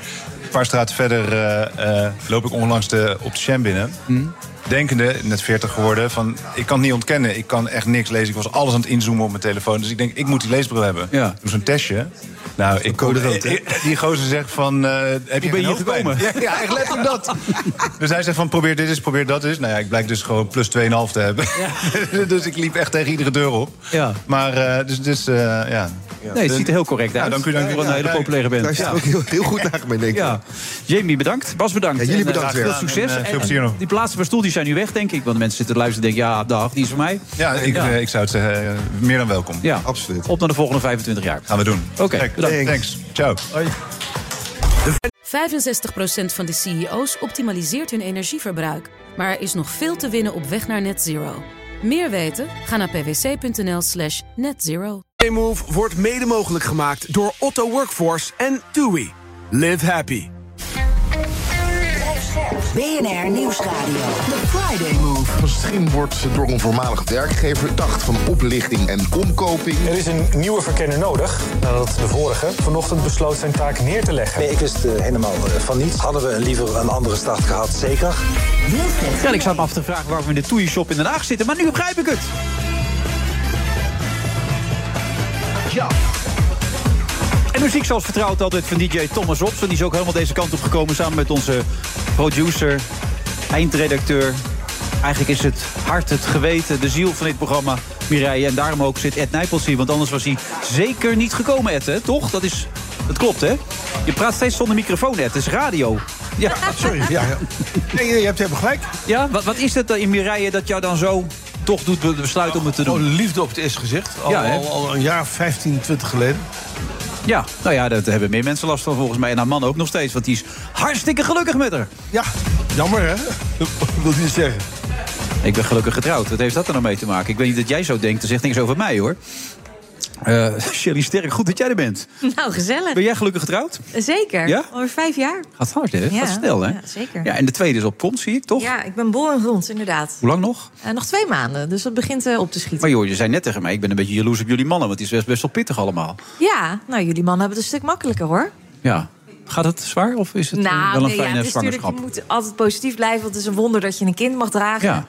Speaker 15: een paar straten verder eh, eh, loop ik onlangs de, op de Sham binnen.
Speaker 7: Mm.
Speaker 15: Denkende, net 40 geworden, van ik kan het niet ontkennen. Ik kan echt niks lezen. Ik was alles aan het inzoomen op mijn telefoon. Dus ik denk, ik moet die leesbril hebben.
Speaker 7: Ja.
Speaker 15: Toen zo'n testje. Nou, ik,
Speaker 16: code rood, hè?
Speaker 15: ik- Die gozer zegt van, eh, heb je
Speaker 7: ben
Speaker 15: geen
Speaker 7: hier
Speaker 15: hoofdpijn?
Speaker 7: gekomen.
Speaker 15: Ja, ja, echt letterlijk dat. Dus hij zegt van, probeer dit eens, probeer dat eens. Nou ja, ik blijk dus gewoon plus 2,5 te hebben. dus ik liep echt tegen iedere deur op.
Speaker 7: Ja.
Speaker 15: Maar, eh, dus, dus eh, ja.
Speaker 7: Nee, het ziet er heel correct uit.
Speaker 15: Ja, dank u, dank u.
Speaker 7: Voor een
Speaker 15: Ja,
Speaker 7: hele
Speaker 15: ja,
Speaker 7: populaire band.
Speaker 16: Daar is
Speaker 7: Ja.
Speaker 16: er ook heel, heel goed naar mee, denk ik.
Speaker 7: Ja. Jamie, bedankt. Bas, bedankt.
Speaker 16: Ja, jullie
Speaker 7: En, eh,
Speaker 16: bedankt weer.
Speaker 7: Veel succes.
Speaker 15: En, eh, veel
Speaker 7: En,
Speaker 15: plezier nog.
Speaker 7: Die plaatsen per stoel die zijn nu weg, denk ik. Want de mensen zitten te luisteren en denken, ja, dag, die is voor mij.
Speaker 15: Ja, ik,
Speaker 7: Ja.
Speaker 15: eh, ik zou het zeggen, eh, meer dan welkom.
Speaker 7: Ja.
Speaker 16: Absoluut.
Speaker 7: Op naar de volgende 25 jaar.
Speaker 15: Gaan we doen.
Speaker 7: Oké,
Speaker 15: Kijk,
Speaker 7: bedankt.
Speaker 15: Thanks. Ciao.
Speaker 1: 65% van de CEO's optimaliseert hun energieverbruik. Maar er is nog veel te winnen op weg naar net zero. Meer weten? Ga naar pwc.nl slash netzero.
Speaker 2: Move wordt mede mogelijk gemaakt door Otto Workforce en TUI. Live happy.
Speaker 4: BNR Nieuwsradio. The Friday Move. Van Striem wordt door een voormalig werkgever dacht van oplichting en omkoping.
Speaker 5: Er is een nieuwe verkenner nodig nadat de vorige vanochtend besloot zijn taak neer te leggen.
Speaker 6: Nee, ik wist eh, helemaal eh, van niets. Hadden we liever een andere start gehad, zeker.
Speaker 7: Ja, ik zat me af te vragen waarom we in de Toei Shop in Den Haag zitten. Maar nu begrijp ik het.
Speaker 2: Ja.
Speaker 7: En muziek zoals vertrouwd altijd van DJ Thomas Robson. Die is ook helemaal deze kant op gekomen samen met onze producer, eindredacteur. Eigenlijk is het hart, het geweten, de ziel van dit programma, Mireille. En daarom ook zit Ed Nijpels hier. Want anders was hij zeker niet gekomen, Ed, hè? toch? Dat, is, dat klopt, hè? Je praat steeds zonder microfoon, Ed. Het is radio. Ja, sorry. Ja, Nee, je hebt helemaal gelijk. Ja, wat, wat is het dan in Mireille dat jou dan zo toch doet be- besluiten om het te doen?
Speaker 8: Oh, liefde op het eerste gezicht. Oh, Al,
Speaker 7: Ja, hè?
Speaker 8: al, al een jaar, 15, 20 geleden.
Speaker 7: Ja, nou ja, daar hebben meer mensen last van volgens mij. En haar man ook nog steeds, want die is hartstikke gelukkig met haar.
Speaker 8: Ja, jammer hè? Dat wil niet zeggen.
Speaker 7: Ik ben gelukkig getrouwd. Wat heeft dat er nou mee te maken? Ik weet niet dat jij zo denkt. Er zegt niks over mij, hoor. Eh Shelly Sterk, goed dat jij er bent.
Speaker 17: Nou, gezellig.
Speaker 7: Ben jij gelukkig getrouwd?
Speaker 17: Zeker.
Speaker 7: Ja?
Speaker 17: Alweer vijf jaar.
Speaker 7: Gaat hard, hè?
Speaker 17: Ja,
Speaker 7: Gaat snel, hè?
Speaker 17: Ja, zeker.
Speaker 7: Ja, en de tweede is op komt, zie ik, toch?
Speaker 17: Ja, ik ben bol en rond, inderdaad.
Speaker 7: Hoe lang nog?
Speaker 17: Eh, nog twee maanden, dus dat begint eh, op te schieten.
Speaker 7: Maar joh, je zei net tegen mij, ik ben een beetje jaloers op jullie mannen... want die is best, best wel pittig allemaal.
Speaker 17: Ja, nou, jullie mannen hebben het een stuk makkelijker, hoor.
Speaker 7: Ja. Gaat het zwaar of is het eh,
Speaker 17: nou,
Speaker 7: wel een
Speaker 17: nee, ja,
Speaker 7: fijne
Speaker 17: het is natuurlijk,
Speaker 7: zwangerschap?
Speaker 17: je moet altijd positief blijven, want het is een wonder dat je een kind mag dragen.
Speaker 7: Ja.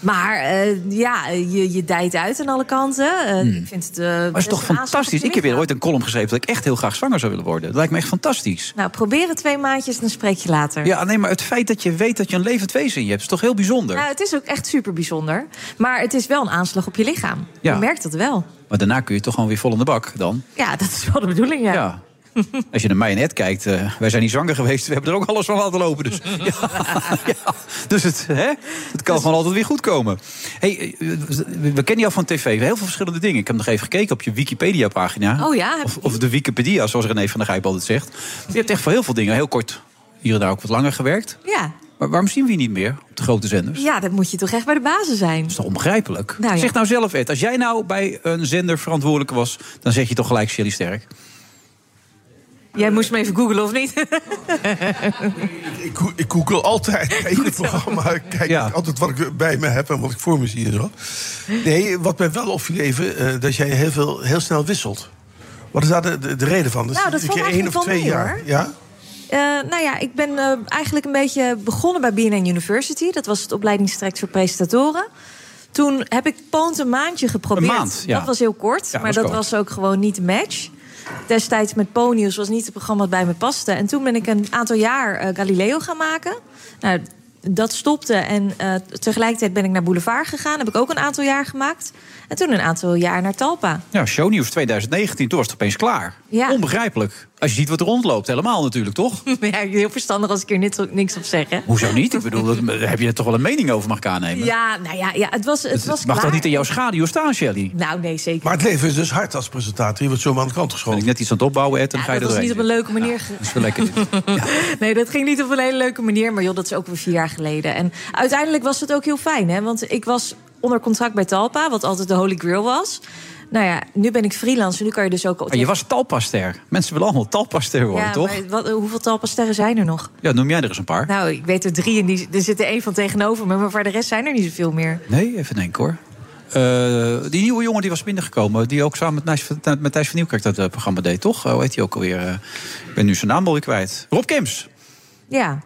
Speaker 17: Maar eh, ja, je, je dijt uit aan alle kanten. Eh,
Speaker 7: Hmm.
Speaker 17: Ik vind het... eh, best
Speaker 7: Maar het is toch
Speaker 17: een aanslag op
Speaker 7: fantastisch?
Speaker 17: je
Speaker 7: Ik heb weer
Speaker 17: lichaam.
Speaker 7: ooit een column geschreven dat ik echt heel graag zwanger zou willen worden. Dat lijkt me echt fantastisch.
Speaker 17: Nou, probeer het twee maandjes, dan spreek je later.
Speaker 7: Ja, nee, maar het feit dat je weet dat je een levend wezen in je hebt, is toch heel bijzonder?
Speaker 17: Nou, het is ook echt super bijzonder. Maar het is wel een aanslag op je lichaam.
Speaker 7: Ja.
Speaker 17: Je merkt dat wel.
Speaker 7: Maar daarna kun je toch gewoon weer vol in de bak dan?
Speaker 17: Ja, dat is wel de bedoeling, ja.
Speaker 7: Ja. Als je naar mij en Ed kijkt, eh, wij zijn niet zwanger geweest. We hebben er ook alles van laten lopen. Dus, ja, ja. dus het, hè, het kan
Speaker 17: Dus-
Speaker 7: gewoon altijd weer goed komen. Hey, eh, we kennen jou van tv. Heel veel verschillende dingen. Ik heb nog even gekeken op je Wikipedia-pagina.
Speaker 17: Oh ja, heb
Speaker 7: Of, of de Wikipedia, zoals René van der Gijp altijd zegt. Je hebt echt voor heel veel dingen heel kort hier en daar ook wat langer gewerkt.
Speaker 17: Ja.
Speaker 7: Maar waarom zien we je niet meer op de grote zenders?
Speaker 17: ja, dat moet je toch echt bij de bazen zijn.
Speaker 7: Dat is toch onbegrijpelijk?
Speaker 17: Nou ja.
Speaker 7: Zeg nou zelf, Ed, als jij nou bij een zender verantwoordelijk was... dan zeg je toch gelijk Shelly Sterk.
Speaker 17: Jij moest me even googlen, of niet?
Speaker 8: Ik, go- ik google altijd bij ieder programma. Ik kijk altijd wat ik bij me heb en wat ik voor me zie en zo. Nee, wat mij wel opviel even, eh, dat jij heel, veel, heel snel wisselt. Wat is daar de, de, de reden van?
Speaker 17: Nou, dat
Speaker 8: een
Speaker 17: valt
Speaker 8: keer één
Speaker 17: eigenlijk
Speaker 8: of
Speaker 17: wel
Speaker 8: twee
Speaker 17: mee,
Speaker 8: jaar.
Speaker 17: hoor.
Speaker 8: Ja?
Speaker 17: Eh, nou ja, ik ben eh, eigenlijk een beetje begonnen bij BNN University. Dat was het opleidingstraject voor presentatoren. Toen heb ik Poont een maandje geprobeerd.
Speaker 7: Een maand, ja.
Speaker 17: Dat was heel kort,
Speaker 7: Ja,
Speaker 17: maar
Speaker 7: dat
Speaker 17: dat
Speaker 7: was kort.
Speaker 17: was ook gewoon niet de match. Destijds met Ponius was niet het programma dat bij me paste. En toen ben ik een aantal jaar eh, Galileo gaan maken. Nou, dat stopte en eh, tegelijkertijd ben ik naar Boulevard gegaan. Heb ik ook een aantal jaar gemaakt. En toen een aantal jaar naar Talpa.
Speaker 7: Ja, shownieuws 2019, toen was het opeens klaar.
Speaker 17: Ja.
Speaker 7: Onbegrijpelijk. Als je ziet wat er rondloopt, helemaal natuurlijk, toch?
Speaker 17: ja, heel verstandig als ik hier niks op- niks op zeg, hè?
Speaker 7: Hoezo niet? Ik bedoel, dat- daar heb je er toch wel een mening over mag ik aannemen?
Speaker 17: Ja, nou ja, ja het was, het
Speaker 7: Dus Het
Speaker 17: was
Speaker 7: mag
Speaker 17: klaar.
Speaker 7: toch niet in jouw schaduw staan, Shelly?
Speaker 17: Nou, nee, zeker.
Speaker 8: Maar het leven is dus hard als presentator. Je wordt zomaar aan de kant geschoven.
Speaker 7: ik net iets aan het opbouwen, Ed, en
Speaker 17: Ja, dat was niet op een leuke manier. ge-
Speaker 7: is wel lekker.
Speaker 17: nee, dat ging niet op een hele leuke manier. Maar joh, dat is ook weer vier jaar geleden. En uiteindelijk was het ook heel fijn, hè? Want ik was onder contract bij Talpa, wat altijd de Holy Grail was. Nou ja, nu ben ik freelance. Nu kan je dus ook.
Speaker 7: Maar Oh, je was talpaster. Mensen willen allemaal talpaster worden,
Speaker 17: ja,
Speaker 7: toch?
Speaker 17: maar wat, hoeveel Talpa-sterren zijn er nog?
Speaker 7: Ja, noem jij er eens een paar.
Speaker 17: Nou, ik weet er drie en die, er zitten één van tegenover me. Maar voor de rest zijn er niet zoveel meer.
Speaker 7: Nee, even denken hoor. Eh, die nieuwe jongen die was binnengekomen, die ook samen met Thijs, van- met Thijs van Nieuwkerk dat eh, programma deed, toch? Hoe heet hij ook alweer? Eh, ik ben nu zijn naam alweer kwijt. Rob Kems.
Speaker 17: Ja.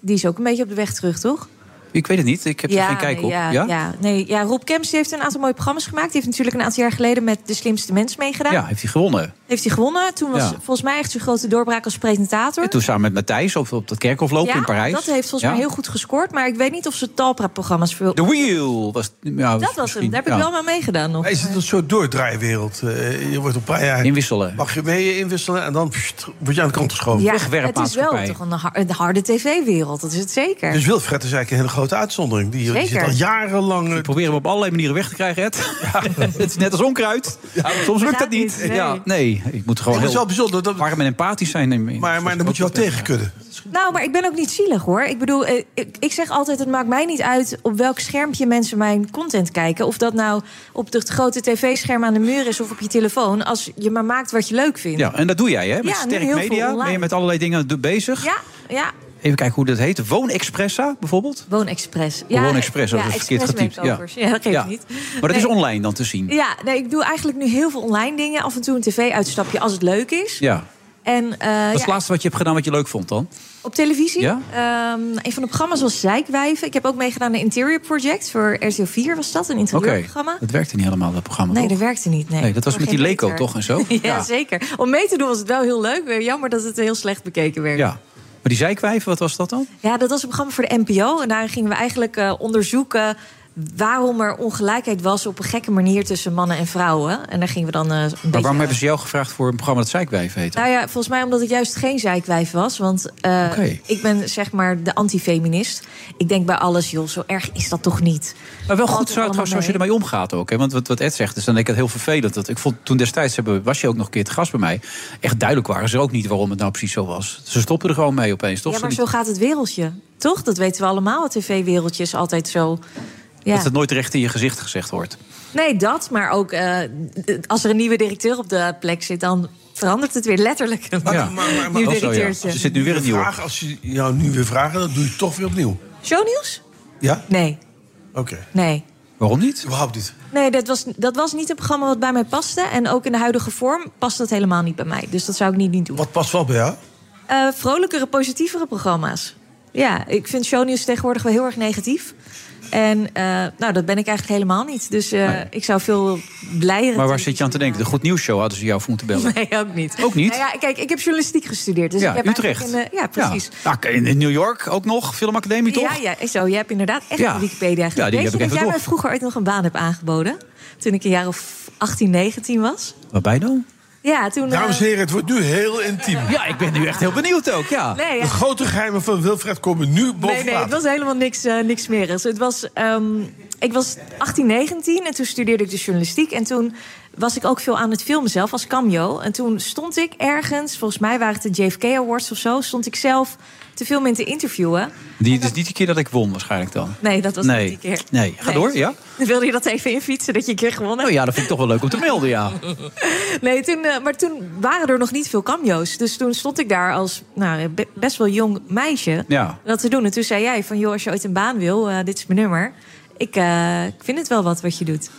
Speaker 17: Die is ook een beetje op de weg terug, toch?
Speaker 7: Ik weet het niet, ik heb er geen kijk
Speaker 17: nee,
Speaker 7: op.
Speaker 17: Ja, ja? nee, ja, Rob Kemps die heeft een aantal mooie programma's gemaakt. Die heeft natuurlijk een aantal jaar geleden met De Slimste Mens meegedaan.
Speaker 7: Ja, heeft hij gewonnen.
Speaker 17: Heeft hij gewonnen. Toen was
Speaker 7: Ja.
Speaker 17: volgens mij echt zijn grote doorbraak als presentator.
Speaker 7: En toen samen met Matthijs op, op dat kerkhof lopen
Speaker 17: Ja,
Speaker 7: in Parijs.
Speaker 17: dat heeft volgens
Speaker 7: Ja.
Speaker 17: mij heel goed gescoord. Maar ik weet niet of ze Talpa-programma's veel...
Speaker 7: The Wheel was... Ja,
Speaker 17: dat was hem.
Speaker 7: Nou, misschien,
Speaker 17: Daar heb ik
Speaker 7: ja.
Speaker 17: wel aan meegedaan nog.
Speaker 8: Hij is het een soort doordraaiwereld. Eh, je wordt op een paar jaar...
Speaker 7: Inwisselen.
Speaker 8: Mag je mee inwisselen en dan pst, word je aan de kant geschoven.
Speaker 17: Ja, het is wel toch een, har- een harde tv-wereld. Dat is het zeker.
Speaker 8: Dus Wilfred is eigenlijk een hele grote uitzondering. Die, die zit
Speaker 17: Zeker.
Speaker 8: al jarenlang... eh,
Speaker 7: Proberen we op allerlei manieren weg te krijgen, Ed. het is net als onkruid. Soms lukt dat
Speaker 8: Gaat
Speaker 7: niet.
Speaker 8: niet, nee.
Speaker 7: Ja, nee, ik moet gewoon
Speaker 8: Het is
Speaker 7: heel
Speaker 8: wel bijzonder dat...
Speaker 7: warm en empathisch zijn.
Speaker 8: Maar, maar dan moet je wel tegen kunnen.
Speaker 17: Nou, maar ik ben ook niet zielig hoor. Ik bedoel, eh, ik, ik zeg altijd: het maakt mij niet uit op welk schermpje mensen mijn content kijken. Of dat nou op het grote tv-scherm aan de muur is of op je telefoon. Als je maar maakt wat je leuk vindt.
Speaker 7: Ja, en dat doe jij, hè? Met
Speaker 17: Ja, nu
Speaker 7: Sterk
Speaker 17: heel veel
Speaker 7: Media ben je
Speaker 17: online.
Speaker 7: met allerlei dingen do- bezig.
Speaker 17: Ja, ja.
Speaker 7: Even kijken hoe dat heet. Woonexpressa, bijvoorbeeld?
Speaker 17: Woonexpress.
Speaker 7: Ja, Woonexpress, dat
Speaker 17: ja,
Speaker 7: is verkeerd
Speaker 17: express
Speaker 7: getypt. Ja.
Speaker 17: makeovers. Ja, dat geeft
Speaker 7: Ja.
Speaker 17: niet.
Speaker 7: Maar dat is online dan te zien.
Speaker 17: Ja, nee, ik doe eigenlijk nu heel veel online dingen. Af en toe een tv-uitstapje als het leuk is.
Speaker 7: Ja.
Speaker 17: En,
Speaker 7: Dat
Speaker 17: eh,
Speaker 7: is
Speaker 17: Nou ja,
Speaker 7: het laatste wat je hebt gedaan wat je leuk vond dan?
Speaker 17: Op televisie?
Speaker 7: Ja?
Speaker 17: Ehm, een van de programma's was Zijkwijven. Ik heb ook meegedaan aan een Interior Project. Voor RTL 4 was dat, een interieurprogramma.
Speaker 7: Dat werkte niet helemaal, dat programma.
Speaker 17: Nee,
Speaker 7: toch?
Speaker 17: dat werkte niet. Nee,
Speaker 7: Nee, dat was
Speaker 17: Voor
Speaker 7: met
Speaker 17: geen
Speaker 7: die Leco,
Speaker 17: meter.
Speaker 7: toch, en zo?
Speaker 17: ja,
Speaker 7: Ja.
Speaker 17: zeker. Om mee te doen was het wel heel leuk. Weer Jammer dat het heel slecht bekeken werd.
Speaker 7: Ja. Maar die zijkwijven, wat was dat dan?
Speaker 17: Ja, dat was een programma voor de NPO. En daarin gingen we eigenlijk eh, onderzoeken waarom er ongelijkheid was op een gekke manier tussen mannen en vrouwen. En daar gingen we dan eh, een
Speaker 7: Maar
Speaker 17: beetje.
Speaker 7: waarom hebben ze jou gevraagd voor een programma dat zijkwijven heet?
Speaker 17: Nou ja, volgens mij omdat ik juist geen zeikwijf was. Want eh, ik ben zeg maar de antifeminist. Ik denk bij alles, joh, zo erg is dat toch niet.
Speaker 7: Maar wel
Speaker 17: Valt
Speaker 7: goed zo,
Speaker 17: er
Speaker 7: trouwens,
Speaker 17: allemaal
Speaker 7: zoals je
Speaker 17: mee.
Speaker 7: ermee omgaat ook. Hè? Want wat, wat Ed zegt, dus dan denk ik het heel vervelend. Dat ik vond toen destijds hebben, was je ook nog een keer te gast bij mij. Echt duidelijk waren ze ook niet waarom het nou precies zo was. Ze stopten er gewoon mee opeens, toch?
Speaker 17: Ja, maar
Speaker 7: Ze
Speaker 17: zo
Speaker 7: liet-
Speaker 17: gaat het wereldje. Toch? Dat weten we allemaal. Het tv-wereldje is altijd zo. Ja.
Speaker 7: Dat het nooit recht in je gezicht gezegd wordt.
Speaker 17: Nee, dat. Maar ook eh, d- als er een nieuwe directeur op de plek zit, dan verandert het weer letterlijk. eh. Nieuw
Speaker 7: Oh,
Speaker 17: directeurtje.
Speaker 8: Vraag, als ze jou nu weer vragen, dan doe je toch weer opnieuw.
Speaker 17: Shownieuws?
Speaker 8: Ja?
Speaker 17: Nee.
Speaker 8: Oké.
Speaker 17: Nee.
Speaker 7: Waarom niet?
Speaker 8: Überhaupt niet.
Speaker 17: Nee, dat was, dat was niet een programma wat bij mij paste. En ook in de huidige vorm past dat helemaal niet bij mij. Dus dat zou ik niet, niet doen.
Speaker 8: Wat past wel bij jou?
Speaker 17: Eh, vrolijkere, positievere programma's. Ja, ik vind shownieuws tegenwoordig wel heel erg negatief. En eh, nou, dat ben ik eigenlijk helemaal niet. Dus eh, ik zou veel blijer...
Speaker 7: Maar waar zit je aan te denken? De Goed Nieuws Show hadden ze jou voor moeten bellen.
Speaker 17: Nee, ook niet.
Speaker 7: Ook niet?
Speaker 17: Nou ja, kijk, ik heb journalistiek gestudeerd. Dus
Speaker 7: ja,
Speaker 17: ik heb
Speaker 7: Utrecht.
Speaker 17: eigenlijk een, eh, ja, precies.
Speaker 7: Ja. Ah, In, in New York ook nog, filmacademie toch?
Speaker 17: Ja, ja, zo, je hebt inderdaad echt
Speaker 7: Ja.
Speaker 17: een Wikipedia
Speaker 7: Ja,
Speaker 17: gelezen.
Speaker 7: die
Speaker 17: Weet
Speaker 7: heb ik
Speaker 17: je dat
Speaker 7: even
Speaker 17: jij mij
Speaker 7: door.
Speaker 17: vroeger ooit nog een baan hebt aangeboden? Toen ik een jaar of 18, 19 was?
Speaker 7: Waarbij dan?
Speaker 17: Ja, toen... eh,
Speaker 8: Dames en heren, het wordt nu heel intiem.
Speaker 7: Ja, ik ben nu echt heel benieuwd ook, ja.
Speaker 17: Nee, ja.
Speaker 8: De grote geheimen van Wilfred komen nu boven
Speaker 17: Nee, nee, het
Speaker 8: water.
Speaker 17: was helemaal niks, eh niks smerigs. Het was, ehm, ik was 18, 19 en toen studeerde ik de journalistiek. En toen was ik ook veel aan het filmen zelf als cameo. En toen stond ik ergens, volgens mij waren het de JFK Awards of zo... stond ik zelf te filmen en te interviewen.
Speaker 7: Die, dus niet de keer dat ik won waarschijnlijk dan.
Speaker 17: Nee, dat was
Speaker 7: nee.
Speaker 17: niet die keer.
Speaker 7: Nee, ga
Speaker 17: Nee.
Speaker 7: door, ja?
Speaker 17: Wilde je dat even infietsen, dat je een keer gewonnen hebt?
Speaker 7: Oh ja, dat vind ik toch wel leuk om te melden, ja.
Speaker 17: Nee, toen, eh, maar toen waren er nog niet veel cameo's. Dus toen stond ik daar als nou, be- best wel jong meisje
Speaker 7: Ja.
Speaker 17: dat te doen. En toen zei jij van, joh, als je ooit een baan wil, eh, dit is mijn nummer. Ik, eh, ik vind het wel wat wat je doet.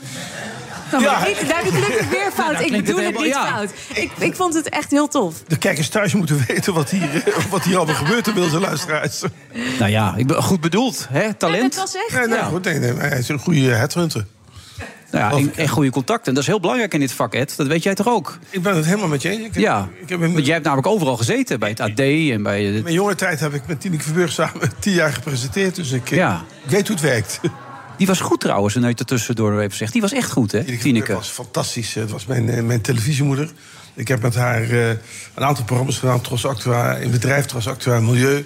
Speaker 17: Nou, maar ik, daar heb ik gelukkig weer fout.
Speaker 8: Nou,
Speaker 17: ik
Speaker 8: klinkt het
Speaker 17: bedoel het,
Speaker 8: helemaal-
Speaker 17: niet
Speaker 8: ja.
Speaker 17: fout. Ik, ik vond het echt heel tof.
Speaker 8: De kijkers thuis moeten weten wat hier, eh, wat hier allemaal gebeurt inmiddels, de luisteraars.
Speaker 7: Nou ja, ik ben goed bedoeld, hè? Talent.
Speaker 17: dat was echt,
Speaker 8: Nee, nee,
Speaker 7: ja.
Speaker 8: goed, nee, nee, maar hij is een goede headhunter.
Speaker 7: Nou ja, en, en goede contacten. Dat is heel belangrijk in dit vak, Ed. Dat weet jij toch ook?
Speaker 8: Ik ben het helemaal met je eens. Ik heb-
Speaker 7: Ja,
Speaker 8: ik heb
Speaker 7: want jij hebt namelijk overal gezeten. Bij het AD en bij...
Speaker 8: In mijn jonge tijd heb ik met Tineke Verburg samen tien jaar gepresenteerd. Dus ik, eh, ik weet hoe het werkt.
Speaker 7: Die was goed trouwens, en uit de tussendoor even zegt. Die was echt goed, hè?
Speaker 8: Tineke. was fantastisch. Het was mijn, eh, mijn televisiemoeder. Ik heb met haar eh, een aantal programma's gedaan. Tros Actua in bedrijf, Tros Actua Milieu.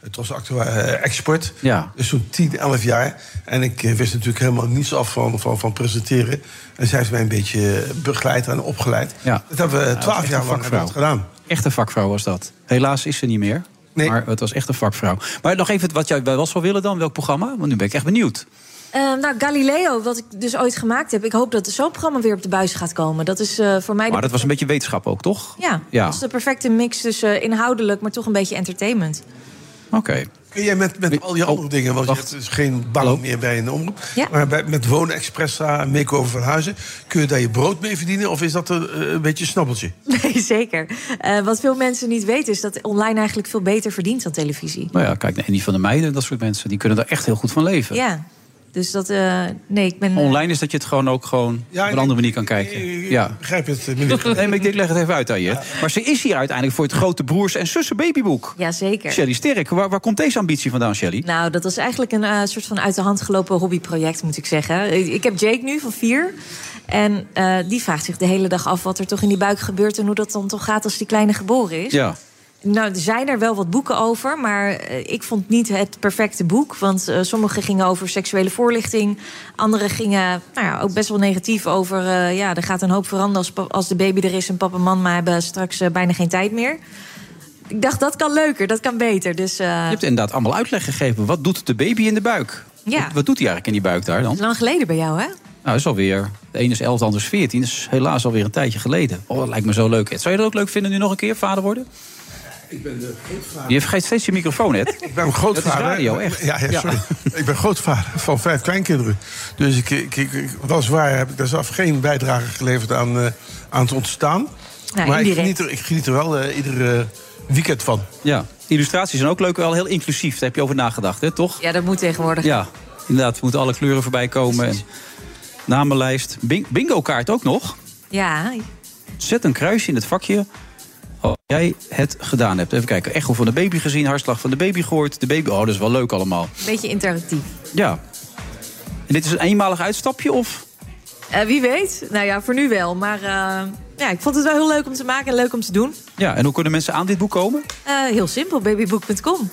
Speaker 8: eh, Tros Actua eh, Export.
Speaker 7: Ja.
Speaker 8: Dus zo'n 10, 11 jaar. En ik eh, wist natuurlijk helemaal niets af van, van, van presenteren. En zij heeft mij een beetje eh, begeleid en opgeleid.
Speaker 7: Ja.
Speaker 8: Dat hebben
Speaker 7: Ja,
Speaker 8: we eh,
Speaker 7: dat was
Speaker 8: twaalf
Speaker 7: echt
Speaker 8: jaar
Speaker 7: een
Speaker 8: lang hebben we dat
Speaker 7: vakvrouw.
Speaker 8: gedaan.
Speaker 7: Echt een vakvrouw was dat. Helaas is ze niet meer. Maar het was echt een vakvrouw. Maar nog even wat jij wel zou willen dan. Welk programma? Want nu ben ik echt benieuwd.
Speaker 17: Ehm, nou, Galileo, wat ik dus ooit gemaakt heb. Ik hoop dat zo'n programma weer op de buis gaat komen. Dat is eh, voor mij...
Speaker 7: Maar
Speaker 17: de...
Speaker 7: dat was een beetje wetenschap ook, toch?
Speaker 17: Ja,
Speaker 7: Ja.
Speaker 17: dat is de perfecte mix tussen eh, inhoudelijk... maar toch een beetje entertainment.
Speaker 7: Oké.
Speaker 8: Kun jij met, met al die
Speaker 7: Oh,
Speaker 8: andere dingen, want je hebt dus geen bang meer bij een omroep. Maar bij, met Wonen Expressa en Makeover van Huizen, kun je daar je brood mee verdienen? Of is dat een, eh, een beetje een snabbeltje?
Speaker 17: Nee, zeker. Eh, wat veel mensen niet weten is dat online eigenlijk veel beter verdient dan televisie.
Speaker 7: Nou ja, kijk, en die van de meiden, dat soort mensen, die kunnen daar echt heel goed van leven.
Speaker 17: Ja, dus dat. eh, nee, ik ben. eh,
Speaker 7: Online is dat je het gewoon ook gewoon op een andere manier kan kijken. ja.
Speaker 8: Begrijp je het? eh,
Speaker 7: Nee, maar ik denk, leg het even uit aan je. Maar ze is hier uiteindelijk voor het grote broers- en zussen babyboek.
Speaker 17: Ja, zeker.
Speaker 7: Shelly Sterk, waar, waar komt deze ambitie vandaan, Shelly?
Speaker 17: Nou, dat was eigenlijk een eh, soort van uit de hand gelopen hobbyproject, moet ik zeggen. Ik ik heb Jake nu van vier. En eh, die vraagt zich de hele dag af wat er toch in die buik gebeurt en hoe dat dan toch gaat als die kleine geboren is.
Speaker 7: Ja.
Speaker 17: Nou, er zijn er wel wat boeken over, maar eh, ik vond niet het perfecte boek. Want eh, sommige gingen over seksuele voorlichting. Andere gingen nou ja, ook best wel negatief over... eh, ja, er gaat een hoop veranderen als, pa- als de baby er is en papa en mama hebben straks eh, bijna geen tijd meer. Ik dacht, dat kan leuker, dat kan beter. Dus, eh,
Speaker 7: Je hebt e- inderdaad allemaal uitleg gegeven. Wat doet de baby in de buik?
Speaker 17: Ja.
Speaker 7: Wat, wat doet hij eigenlijk in die buik daar dan?
Speaker 17: dat is lang geleden bij jou, hè?
Speaker 7: Nou, dat is alweer. De ene is 11, de ander is 14. Dat is helaas alweer een tijdje geleden. Oh, dat lijkt me zo leuk. Ed. Zou je dat ook leuk vinden nu nog een keer vader worden?
Speaker 8: Ik ben de
Speaker 7: Je vergeet steeds je microfoon, Ed.
Speaker 8: Ik ben grootvader.
Speaker 7: Oh, Dat is radio, echt.
Speaker 8: Ja, ja, sorry. Ik ben grootvader van vijf kleinkinderen. Dus ik, ik, ik, ik- weliswaar heb ik daar zelf geen bijdrage geleverd aan, eh, aan het ontstaan.
Speaker 17: Nou,
Speaker 8: maar ik
Speaker 17: indirect.
Speaker 8: geniet, er, ik geniet er wel eh, iedere weekend van.
Speaker 7: Ja, illustraties zijn ook leuk, wel heel inclusief. Daar heb je over nagedacht, hè, toch?
Speaker 17: Ja, dat moet tegenwoordig.
Speaker 7: Ja, inderdaad. Er moeten alle kleuren voorbij komen. En namenlijst. Bing- Bingo-kaart ook nog.
Speaker 17: Ja,
Speaker 7: Zet een kruisje in het vakje als jij het gedaan hebt. Even kijken. Echo van de baby gezien, hartslag van de baby gehoord. De baby... Oh, dat is wel leuk allemaal.
Speaker 17: een beetje interactief.
Speaker 7: Ja. En dit is een eenmalig uitstapje, of?
Speaker 17: Eh, wie weet? Nou ja, voor nu wel. Maar eh, ja, ik vond het wel heel leuk om te maken en leuk om te doen.
Speaker 7: Ja, en hoe kunnen mensen aan dit boek komen?
Speaker 17: Eh, heel simpel, babyboek.com.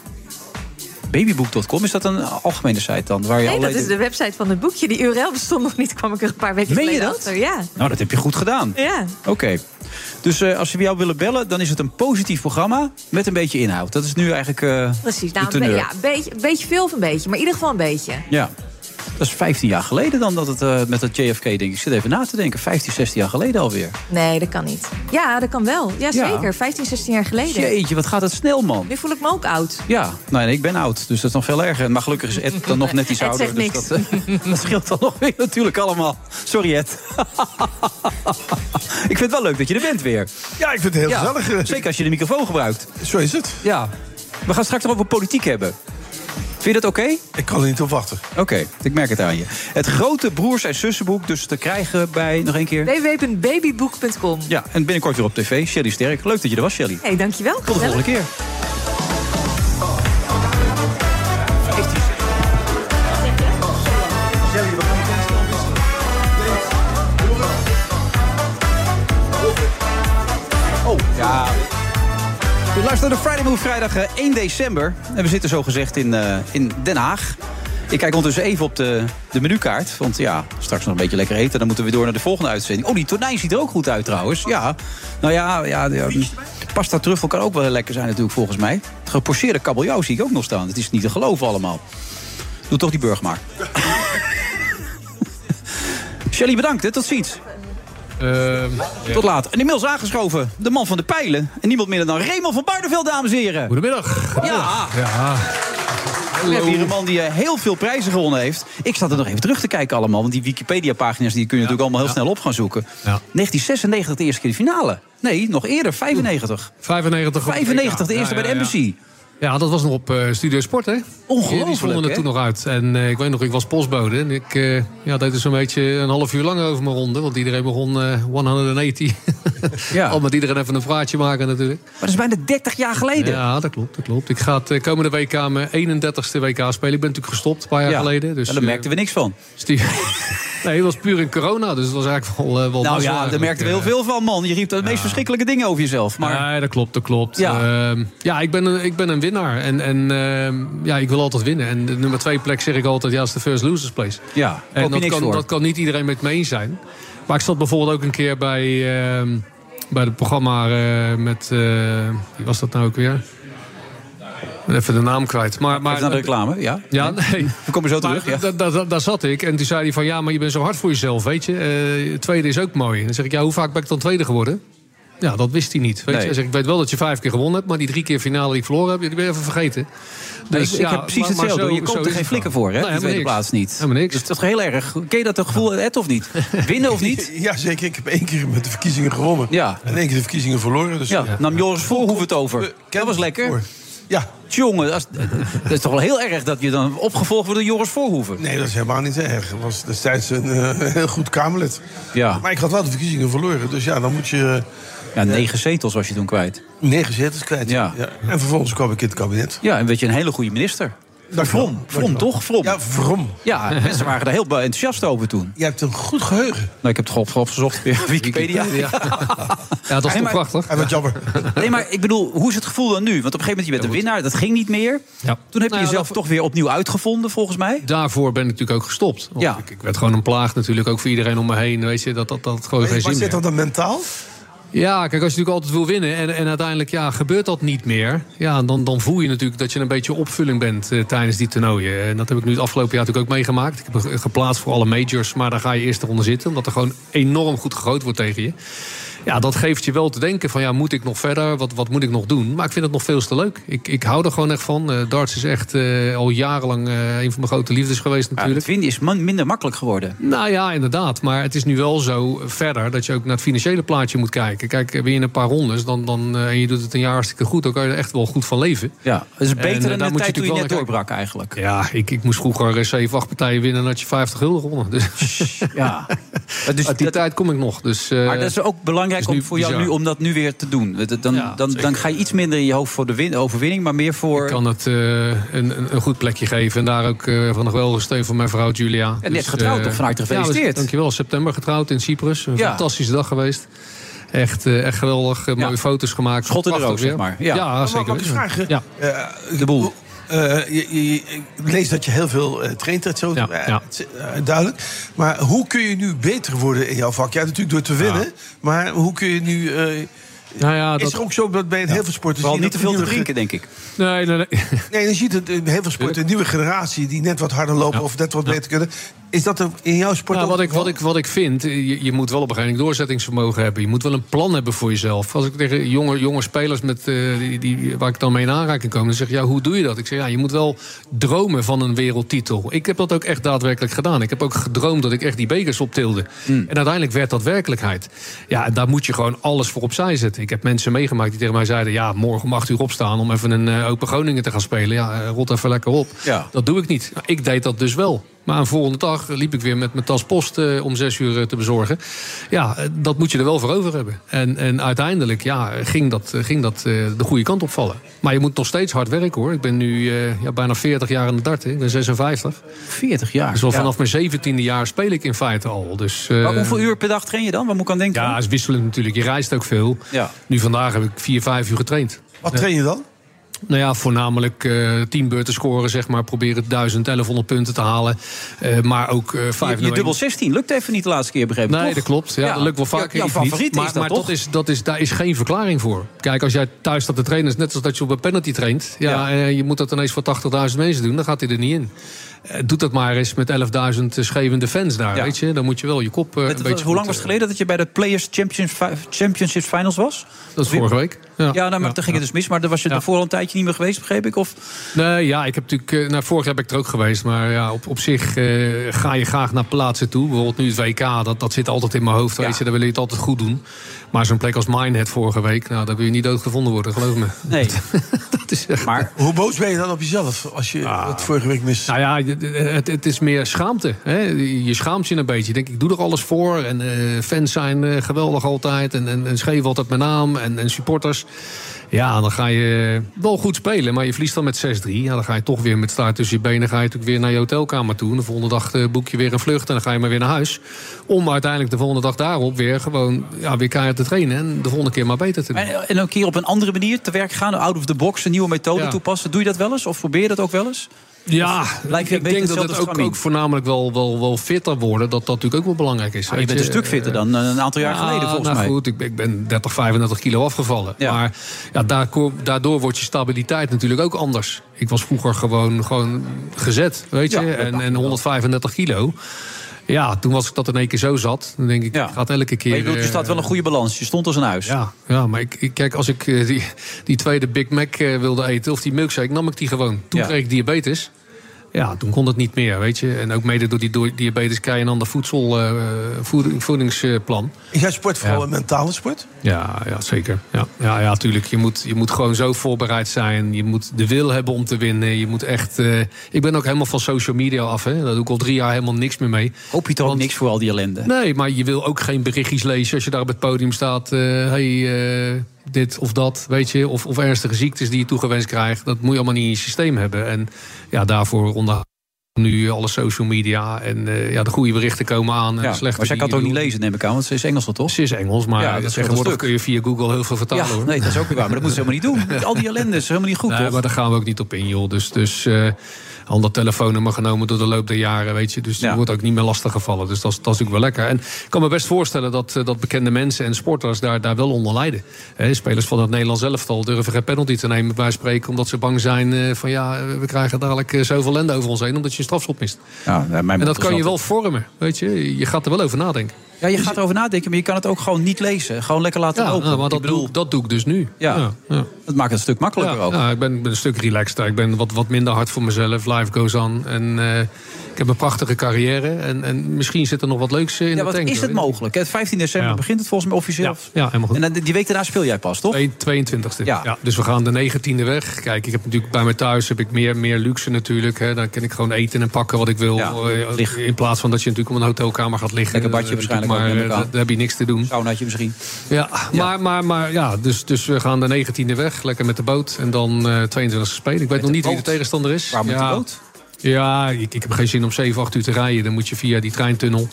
Speaker 7: Babyboek.com, is dat een algemene site dan? Waar je
Speaker 17: Nee, dat
Speaker 7: allerlei
Speaker 17: is
Speaker 7: dingen-
Speaker 17: de website van het boekje. Die URL bestond nog niet, kwam ik er een paar weken
Speaker 7: Meen je
Speaker 17: geleden
Speaker 7: dat?
Speaker 17: achter. Ja.
Speaker 7: Nou, dat heb je goed gedaan.
Speaker 17: ja.
Speaker 7: Oké. Dus eh, als ze bij jou willen bellen, dan is het een positief programma met een beetje inhoud. Dat is nu eigenlijk eh,
Speaker 17: Precies.
Speaker 7: de
Speaker 17: Nou, een,
Speaker 7: teneur.
Speaker 17: be- ja, een beetje, een beetje veel of een beetje, maar in ieder geval een beetje.
Speaker 7: Ja. Dat is 15 jaar geleden dan dat het eh, met dat JFK-ding. Ik zit even na te denken. 15, 16 jaar geleden alweer.
Speaker 17: Nee, dat kan niet. Ja, dat kan wel. Ja,
Speaker 7: Ja.
Speaker 17: zeker. 15, 16 jaar geleden.
Speaker 7: Jeetje, wat gaat het snel, man.
Speaker 17: Nu voel ik me ook oud.
Speaker 7: Ja, nou, en ik ben oud, dus dat is nog veel erger. Maar gelukkig is Ed dan nog net iets
Speaker 17: Ed
Speaker 7: ouder.
Speaker 17: zegt
Speaker 7: dus
Speaker 17: niks.
Speaker 7: Dat, eh, dat scheelt dan nog weer natuurlijk allemaal. Sorry, Ed. ik vind het wel leuk dat je er bent weer.
Speaker 8: Ja, ik vind het heel gezellig.
Speaker 7: Zeker als je de microfoon gebruikt.
Speaker 8: Zo is het.
Speaker 7: Ja. We gaan straks nog over politiek hebben. Vind je dat oké?
Speaker 8: Ik kan er niet op wachten.
Speaker 7: Oké, ik merk het aan je. Het grote broers- en zussenboek dus te krijgen bij, nog één keer...
Speaker 17: www.babyboek.com.
Speaker 7: Ja, en binnenkort weer op tv. Shelly Sterk. Leuk dat je er was, Shelly.
Speaker 17: hey, dankjewel.
Speaker 7: Tot de volgende keer. Oh, ja. U luistert naar de Friday Move vrijdag eh, 1 december. En we zitten zogezegd in, eh, in Den Haag. Ik kijk ondertussen even op de, de menukaart. Want ja, straks nog een beetje lekker eten. Dan moeten we weer door naar de volgende uitzending. Oh, die tonijn ziet er ook goed uit trouwens. Ja, nou ja, ja, ja pasta truffel kan ook wel lekker zijn natuurlijk volgens mij. Het gepocheerde kabeljauw zie ik ook nog staan. Het is niet te geloven allemaal. Doe toch die burg maar. Shelly, bedankt. Hè. Tot ziens.
Speaker 18: Ehm,
Speaker 7: Tot later. En inmiddels aangeschoven de man van de pijlen. En niemand minder dan Raymond van Barneveld, dames en heren. Goedemiddag. Ja.
Speaker 18: Ja.
Speaker 7: We hebben hier een man die eh, heel veel prijzen gewonnen heeft. Ik zat er nog even terug te kijken allemaal. Want die Wikipedia-pagina's die kun je natuurlijk allemaal heel snel op gaan zoeken. 1996 de eerste keer de finale. Nee, nog eerder. 95.
Speaker 18: 95. op het WK.
Speaker 7: 95, de eerste bij de Embassy.
Speaker 18: Ja, dat was nog op eh, Studio Sport, hè?
Speaker 7: Ongelooflijk,
Speaker 18: Die vonden het
Speaker 7: hè?
Speaker 18: toen nog uit. En eh, ik weet nog, ik was postbode. En ik eh, ja, deed er zo'n beetje een half uur lang over mijn ronde. Want iedereen begon eh 180. ja. Al met iedereen even een vraatje maken natuurlijk.
Speaker 7: Maar dat is bijna 30 jaar geleden.
Speaker 18: Ja, dat klopt. Dat klopt. Ik ga het eh, komende WK mijn 31ste WK spelen. Ik ben natuurlijk gestopt een paar jaar
Speaker 7: Ja.
Speaker 18: geleden. Dus,
Speaker 7: Ja, daar
Speaker 18: eh,
Speaker 7: merkten we niks van.
Speaker 18: Stu- nee, het was puur in corona. Dus het was eigenlijk wel, eh,
Speaker 7: nou
Speaker 18: wel mazzel
Speaker 7: ja, daar
Speaker 18: eigenlijk,
Speaker 7: merkten we heel
Speaker 18: eh.
Speaker 7: veel van, man. Je riep de meest verschrikkelijke dingen over jezelf. Maar
Speaker 18: Nee, dat klopt, dat klopt. Ja, ja ik, ben een, ik ben een winnaar. En, en ehm, ja, ik wil altijd winnen. En de nummer twee plek zeg ik altijd, ja, is de first losers place.
Speaker 7: ja,
Speaker 18: En
Speaker 7: koop je
Speaker 18: dat
Speaker 7: niks
Speaker 18: kan,
Speaker 7: voor.
Speaker 18: dat kan niet iedereen met me eens zijn. Maar ik zat bijvoorbeeld ook een keer bij, ehm, bij het programma eh, met... eh, wie was dat nou ook weer? Ik ben Even de naam kwijt. Maar, maar,
Speaker 7: Even naar de reclame, ja.
Speaker 18: Ja, nee.
Speaker 7: We komen zo
Speaker 18: Maar
Speaker 7: terug, ja.
Speaker 18: da- da- da- daar zat ik en toen zei hij van... ja, maar je bent zo hard voor jezelf, weet je. Eh, tweede is ook mooi. En dan zeg ik, ja, hoe vaak ben ik dan tweede geworden? Ja, dat wist hij niet. Weet
Speaker 7: Nee.
Speaker 18: je. Hij zegt, ik weet wel dat je vijf keer gewonnen hebt... maar die drie keer finale die ik verloren heb, die ben je even vergeten. Dus
Speaker 7: Nee, Dus ik, ik heb precies
Speaker 18: maar- maar
Speaker 7: hetzelfde.
Speaker 18: zo-
Speaker 7: hoor. je
Speaker 18: zo
Speaker 7: komt
Speaker 18: is
Speaker 7: er geen
Speaker 18: het
Speaker 7: flikken
Speaker 18: gewoon.
Speaker 7: voor, hè?
Speaker 18: Nee,
Speaker 7: in de tweede
Speaker 18: helemaal
Speaker 7: plaats niet. Helemaal niks. Dus dat is toch heel erg. Ken je dat toch gevoel, Ed, of niet? Winnen of niet?
Speaker 8: Ja, zeker. Ik heb één keer met de verkiezingen gewonnen.
Speaker 7: Ja.
Speaker 8: En één keer de verkiezingen verloren. Dus
Speaker 7: Ja, nam Joris Voorhoef het over. Dat was lekker.
Speaker 8: Ja.
Speaker 7: Jongen, dat is, dat is toch wel heel erg dat je dan opgevolgd wordt door Joris Voorhoeven.
Speaker 8: Nee, dat is helemaal niet erg. Dat was destijds een eh, heel goed Kamerlid.
Speaker 7: Ja.
Speaker 8: Maar ik had wel de verkiezingen verloren. Dus ja, dan moet je
Speaker 7: Ja, negen zetels was je toen kwijt.
Speaker 8: eh, negen zetels kwijt. Ja. En vervolgens kwam ik in het kabinet.
Speaker 7: Ja, en werd je een hele goede minister. Vrom, Vrom toch? Vrom. Ja,
Speaker 8: Vrom.
Speaker 7: Ja, mensen waren daar heel enthousiast over toen.
Speaker 8: Jij hebt een goed geheugen.
Speaker 7: Nou, ik heb het gewoon op- opgezocht via Wikipedia.
Speaker 18: Wikipedia. Ja, dat is
Speaker 7: Nee,
Speaker 18: toch
Speaker 7: maar-
Speaker 18: prachtig.
Speaker 8: En wat jammer.
Speaker 7: Nee, maar ik bedoel, hoe is het gevoel dan nu? Want op een gegeven moment, je bent een winnaar, dat ging niet meer. Toen heb je
Speaker 18: Nou,
Speaker 7: jezelf toch weer opnieuw uitgevonden, volgens mij.
Speaker 18: Daarvoor ben ik natuurlijk ook gestopt. Want
Speaker 7: Ja.
Speaker 18: ik, ik werd gewoon een plaag natuurlijk, ook voor iedereen om me heen. Weet je, dat dat, dat gewoon geen
Speaker 8: Maar
Speaker 18: zin
Speaker 8: zit
Speaker 18: meer.
Speaker 8: dat dan mentaal?
Speaker 18: Ja, kijk, als je natuurlijk altijd wil winnen en, en uiteindelijk ja, gebeurt dat niet meer. Ja, dan, dan voel je natuurlijk dat je een beetje opvulling bent eh, tijdens die toernooien. En dat heb ik nu het afgelopen jaar natuurlijk ook meegemaakt. Ik heb ge- geplaatst voor alle majors, maar daar ga je eerst eronder zitten. Omdat er gewoon enorm goed gegooid wordt tegen je. Ja, dat geeft je wel te denken van ja, moet ik nog verder? Wat, wat moet ik nog doen? Maar ik vind het nog veel te leuk. Ik, ik hou er gewoon echt van. Eh, darts is echt eh, al jarenlang eh, een van mijn grote liefdes geweest natuurlijk.
Speaker 7: het winnen is man- minder makkelijk geworden.
Speaker 18: Nou ja, inderdaad. Maar het is nu wel zo verder dat je ook naar het financiële plaatje moet kijken. Kijk, eh, win je een paar rondes dan, dan, eh, en je doet het een jaar hartstikke goed... dan kan je er echt wel goed van leven.
Speaker 7: Ja, het is beter
Speaker 18: En, eh,
Speaker 7: dan
Speaker 18: daar
Speaker 7: de
Speaker 18: moet je
Speaker 7: tijd toen je
Speaker 18: natuurlijk
Speaker 7: net
Speaker 18: wel
Speaker 7: doorbrak eigenlijk.
Speaker 18: Ja, ik, ik moest vroeger eh, zeven, acht partijen winnen... en had je 50 gulden gewonnen. Dus,
Speaker 7: ja.
Speaker 18: dus Uit die tijd kom ik nog. Dus, eh,
Speaker 7: Maar dat is ook belangrijk
Speaker 18: is nu
Speaker 7: om voor jou
Speaker 18: bizar.
Speaker 7: nu om dat nu weer te doen. Dat- dat- Dan, dan, dan ga je iets minder in je hoofd voor de win, overwinning, maar meer voor.
Speaker 18: Ik kan het eh, een, een, een goed plekje geven. En daar ook eh, van nog wel steun van mijn vrouw Julia.
Speaker 7: net getrouwd,
Speaker 18: eh,
Speaker 7: toch? Van harte
Speaker 18: ja,
Speaker 7: gefeliciteerd.
Speaker 18: dus dankjewel. September getrouwd in Cyprus. Een
Speaker 7: Ja.
Speaker 18: fantastische dag geweest. Echt, eh, echt geweldig. Eh, Mooie foto's gemaakt.
Speaker 7: Schot in de
Speaker 18: Prachtig
Speaker 7: roos,
Speaker 18: weer.
Speaker 7: zeg maar.
Speaker 18: Ja,
Speaker 7: Ja.
Speaker 8: Maar
Speaker 18: zeker.
Speaker 8: Mag ik
Speaker 18: weten.
Speaker 8: vragen?
Speaker 18: Ja.
Speaker 8: Eh,
Speaker 7: de boel.
Speaker 8: eh, je, je- je- ik lees dat je heel veel eh, traint, dat zo eh, het is, eh, duidelijk. Maar hoe kun je nu beter worden in jouw vak? Ja, natuurlijk door te winnen. Maar hoe kun je nu... eh,
Speaker 18: Nou ja,
Speaker 8: is
Speaker 18: dat-
Speaker 8: er ook zo dat bij heel veel sporten...
Speaker 18: Vooral
Speaker 8: zie je dat
Speaker 18: niet te
Speaker 8: de
Speaker 18: veel te
Speaker 8: nieuwe
Speaker 7: drinken, denk ik.
Speaker 18: Nee, nee, nee.
Speaker 8: Nee, dan ziet het in heel veel sporten een nieuwe generatie... die net wat harder lopen of net wat beter kunnen. Is dat er in jouw sport
Speaker 18: Nou,
Speaker 8: ook
Speaker 18: wat, ik,
Speaker 8: het
Speaker 18: wat, ik, wat ik vind, eh, je, je moet wel op een gegeven moment doorzettingsvermogen hebben. Je moet wel een plan hebben voor jezelf. Als ik tegen jonge, jonge spelers met, eh, die, die, waar ik dan mee in aanraking kom, dan zeg ik, ja, hoe doe je dat? Ik zeg, ja, je moet wel dromen van een wereldtitel. Ik heb dat ook echt daadwerkelijk gedaan. Ik heb ook gedroomd dat ik echt die bekers optilde. En uiteindelijk werd dat werkelijkheid. Ja, en daar moet je gewoon alles voor opzij zetten. Ik heb mensen meegemaakt die tegen mij zeiden, ja, morgen om acht uur opstaan om even een eh, Open Groningen te gaan spelen. Ja, eh, rot even lekker op.
Speaker 7: Ja.
Speaker 18: Dat doe ik niet. Nou, Ik deed dat dus wel. Maar een volgende dag liep ik weer met mijn tas post eh, om zes uur eh, te bezorgen. Ja, eh, dat moet je er wel voor over hebben. En, en uiteindelijk ja, ging dat, eh, ging dat eh, de goede kant opvallen. Maar je moet nog steeds hard werken hoor. Ik ben nu eh, ja, bijna 40 jaar aan de darten. Ik ben 56.
Speaker 7: 40 jaar?
Speaker 18: Dus al
Speaker 7: Ja.
Speaker 18: vanaf mijn 17e jaar speel ik in feite al. Dus, eh,
Speaker 7: Maar hoeveel uur per dag train je dan? Waar moet ik aan denken?
Speaker 18: Ja, het is wisselend natuurlijk. Je reist ook veel.
Speaker 7: Ja.
Speaker 18: Nu vandaag heb ik vier, vijf uur getraind.
Speaker 8: Wat train je dan?
Speaker 18: Nou ja, voornamelijk eh teambeurten scoren, zeg maar. Proberen 1000, 1100 punten te halen. Eh, maar ook eh
Speaker 7: Je,
Speaker 18: 5
Speaker 7: je dubbel 16 lukt even niet de laatste keer, begrepen
Speaker 18: Nee, dat klopt. Ja, Dat lukt wel vaker.
Speaker 7: Jouw
Speaker 18: iets niet.
Speaker 7: favoriet
Speaker 18: maar
Speaker 7: is dat,
Speaker 18: maar
Speaker 7: toch?
Speaker 18: Dat is, dat is, daar is geen verklaring voor. Kijk, als jij thuis staat te trainen, is net als dat je op een penalty traint. Ja, eh, je moet dat ineens voor 80.000 mensen doen, dan gaat hij er niet in. Eh, doe dat maar eens met 11.000 schevende fans daar, weet je. Dan moet je wel je kop eh, een
Speaker 7: Het was-
Speaker 18: beetje...
Speaker 7: hoe lang
Speaker 18: goed, eh,
Speaker 7: was het geleden dat je bij de Players Champions Fi- Championships Finals was?
Speaker 18: Dat is vorige week. Ja,
Speaker 7: nou, maar toen ging het dus mis. Maar daar was je daarvoor al een tijdje niet meer geweest, begreep ik? Of
Speaker 18: Nee, ja, ik heb natuurlijk. eh, Nou, vorig jaar ben ik er ook geweest. Maar ja, op, op zich eh, ga je graag naar plaatsen toe. Bijvoorbeeld nu het WK, dat, dat zit altijd in mijn hoofd. Weet je, daar wil je het altijd goed doen. Maar zo'n plek als Minehead vorige week, nou, daar wil je niet doodgevonden worden, geloof me.
Speaker 7: Nee.
Speaker 18: dat is eh, echt.
Speaker 7: Maar
Speaker 8: hoe boos ben je dan op jezelf als je het vorige week mist?
Speaker 18: Nou ja, het- het, het is meer schaamte. Hè? Je schaamt je een beetje. Je denkt, ik doe er alles voor. En eh, fans zijn eh, geweldig altijd. En, en, en schreven altijd mijn naam. En, en supporters. Ja, dan ga je wel goed spelen. Maar je verliest dan met 6-3. Ja, dan ga je toch weer met staart tussen je benen. Ga je natuurlijk weer naar je hotelkamer toe. En de volgende dag eh, boek je weer een vlucht. En dan ga je maar weer naar huis. Om uiteindelijk de volgende dag daarop weer gewoon ja, weer keihard te trainen. En de volgende keer maar beter te doen.
Speaker 7: En, en ook hier op een andere manier te werk gaan, out of the box, een nieuwe methode
Speaker 18: Ja.
Speaker 7: toepassen. Doe je dat wel eens? Of probeer je dat ook wel eens?
Speaker 18: Ja,
Speaker 7: lijkt je
Speaker 18: ik
Speaker 7: een beetje
Speaker 18: denk dat
Speaker 7: hetzelfde
Speaker 18: het
Speaker 7: als
Speaker 18: ook, ook voornamelijk wel, wel, wel fitter worden. Dat dat natuurlijk ook wel belangrijk is.
Speaker 7: Ah, je
Speaker 18: Weet
Speaker 7: bent een stuk fitter dan eh, een aantal jaar
Speaker 18: ja,
Speaker 7: geleden, volgens
Speaker 18: nou
Speaker 7: mij.
Speaker 18: goed, ik, ben- ik ben 30, 35 kilo afgevallen. Maar ja, daardoor, daardoor wordt je stabiliteit natuurlijk ook anders. Ik was vroeger gewoon, gewoon gezet, weet je. en, en 135 kilo. Ja, toen was ik dat in één keer zo zat. Dan denk ik, gaat elke keer...
Speaker 7: Maar je, bedoelt, je
Speaker 18: eh,
Speaker 7: staat wel een goede balans. Je stond als een huis.
Speaker 18: Ja, ja maar ik, ik- kijk, als ik eh, die, die tweede Big Mac eh, wilde eten, of die milkshake, nam ik die gewoon. Toen
Speaker 7: Ja.
Speaker 18: kreeg ik diabetes. Ja, toen kon dat niet meer, weet je. En ook mede door die do- diabetes krijg je een ander voedsel, eh, voeding- voedingsplan.
Speaker 8: Is jouw sport vooral
Speaker 18: Ja.
Speaker 8: een mentale sport?
Speaker 18: Ja, ja zeker. Ja, ja, ja tuurlijk. Je moet, je moet gewoon zo voorbereid zijn. Je moet de wil hebben om te winnen. Je moet echt... eh, ik ben ook helemaal van social media af, hè. Daar doe ik al drie jaar helemaal niks meer mee.
Speaker 7: Hoop je toch ook niks voor al die ellende?
Speaker 18: Nee, maar je wil ook geen berichtjes lezen als je daar op het podium staat. eh hey, eh, dit of dat, weet je. Of, of ernstige ziektes die je toegewenst krijgt. Dat moet je allemaal niet in je systeem hebben. En ja, daarvoor onder nu alle social media. En eh, ja, de goede berichten komen aan. En
Speaker 7: Ja,
Speaker 18: de slechte
Speaker 7: maar zij kan
Speaker 18: die-
Speaker 7: het ook niet lezen, neem ik aan, want ze is Engels dan toch?
Speaker 18: Ze is Engels, maar
Speaker 7: ja, dat is een
Speaker 18: tegenwoordig
Speaker 7: stuk.
Speaker 18: kun je via Google heel veel vertalen.
Speaker 7: Ja,
Speaker 18: hoor.
Speaker 7: nee, dat is ook weer waar. Maar dat moeten ze helemaal niet doen. Al die ellende is helemaal niet goed,
Speaker 18: Nee,
Speaker 7: toch?
Speaker 18: maar daar gaan we ook niet op in, joh. Dus, dus eh al dat telefoonnummer genomen door de loop der jaren, weet je. Dus je wordt ook niet meer lastiggevallen. Dus dat, is- dat is natuurlijk wel lekker. En ik kan me best voorstellen dat, eh, dat bekende mensen en sporters daar, daar wel onder lijden. Hè, spelers van het Nederlands elftal durven geen penalty te nemen bij spreken... omdat ze bang zijn eh, van ja, eh, we krijgen dadelijk eh, zoveel lende over ons heen... omdat je een strafschop mist.
Speaker 7: Ja, mijn
Speaker 18: en dat
Speaker 7: motto is
Speaker 18: kan je wel
Speaker 7: altijd-
Speaker 18: vormen, weet je. Je gaat er wel over nadenken.
Speaker 7: Ja, je gaat erover nadenken, maar je kan het ook gewoon niet lezen. Gewoon lekker laten
Speaker 18: Ja,
Speaker 7: lopen.
Speaker 18: nou, maar dat,
Speaker 7: Ik bedoel-
Speaker 18: doe, dat doe ik dus nu.
Speaker 7: Ja. Dat maakt het een stuk makkelijker
Speaker 18: ja,
Speaker 7: ook.
Speaker 18: ja, ik, ben, ik ben een stuk relaxter. Ik ben wat, wat minder hard voor mezelf. Life goes on. En eh, ik heb een prachtige carrière. En, en misschien zit er nog wat leuks eh, in
Speaker 7: ja,
Speaker 18: de
Speaker 7: wat
Speaker 18: tank.
Speaker 7: is het
Speaker 18: hoor.
Speaker 7: mogelijk? hè? 15 december
Speaker 18: Ja.
Speaker 7: begint het volgens mij officieel.
Speaker 18: Ja, helemaal goed.
Speaker 7: En dan, die week daarna speel jij pas, toch?
Speaker 18: 22e. Ja. Dus we gaan de 19e weg. Kijk, ik heb natuurlijk bij mij thuis heb ik meer, meer luxe natuurlijk. Hè. Dan kan ik gewoon eten en pakken wat ik wil. Eh, in plaats van dat je natuurlijk op een hotelkamer gaat liggen.
Speaker 7: Lekker badje
Speaker 18: Eh,
Speaker 7: waarschijnlijk
Speaker 18: Maar
Speaker 7: ook, neem ik
Speaker 18: eh,
Speaker 7: aan.
Speaker 18: daar daar heb je niks te doen.
Speaker 7: Saunaatje misschien.
Speaker 18: Ja, Maar, maar, maar ja, dus, dus we gaan de 19e weg. Lekker met de boot. En dan eh 22e spelen. Ik weet nog niet wie de tegenstander is.
Speaker 7: Waar moet
Speaker 18: ja.
Speaker 7: de boot?
Speaker 18: Ja, ik, ik heb geen zin om 7, 8 uur te rijden. Dan moet je via die treintunnel.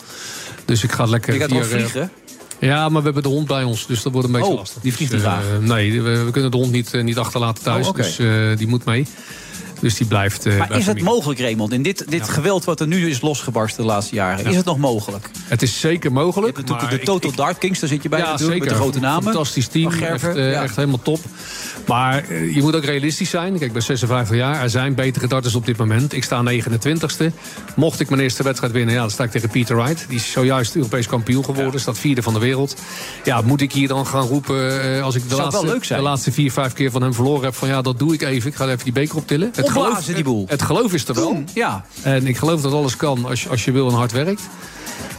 Speaker 18: Dus ik ga lekker
Speaker 7: Je gaat wel
Speaker 18: via, eh,
Speaker 7: vliegen.
Speaker 18: ja, maar we hebben de hond bij ons, dus dat wordt een beetje
Speaker 7: Oh,
Speaker 18: lastig.
Speaker 7: die vliegt
Speaker 18: Dus,
Speaker 7: niet
Speaker 18: eh, nee, we, we kunnen de hond niet, eh, niet achterlaten thuis,
Speaker 7: Oh, oké.
Speaker 18: dus eh, die moet mee. Dus die blijft. eh, bij
Speaker 7: maar is het
Speaker 18: familie.
Speaker 7: mogelijk, Raymond, in dit, dit geweld wat er nu is losgebarsten de laatste jaren? Is het nog mogelijk?
Speaker 18: Het is zeker mogelijk.
Speaker 7: natuurlijk de Total Dark Kings, daar zit je bij
Speaker 18: ja,
Speaker 7: natuurlijk,
Speaker 18: zeker.
Speaker 7: met de grote namen.
Speaker 18: Fantastisch team,
Speaker 7: Van Gerven,
Speaker 18: echt, eh,
Speaker 7: ja.
Speaker 18: echt helemaal top. Maar eh, je moet ook realistisch zijn. Kijk, ik ben 56 jaar, er zijn betere darters op dit moment. Ik sta 29ste. Mocht ik mijn eerste wedstrijd winnen, ja, dan sta ik tegen Peter Wright. Die is zojuist Europees kampioen geworden, staat vierde van de wereld. Ja, moet ik hier dan gaan roepen eh, als ik de
Speaker 7: Zou wel
Speaker 18: laatste,
Speaker 7: leuk zijn.
Speaker 18: de laatste vier, vijf keer van hem verloren heb... van ja, dat doe ik even, ik ga even die beker optillen.
Speaker 7: Opblazen,
Speaker 18: geloof-
Speaker 7: die boel.
Speaker 18: Het, geloof is er wel.
Speaker 7: Ja.
Speaker 18: En ik geloof dat alles kan als, je- als je wil en hard werkt.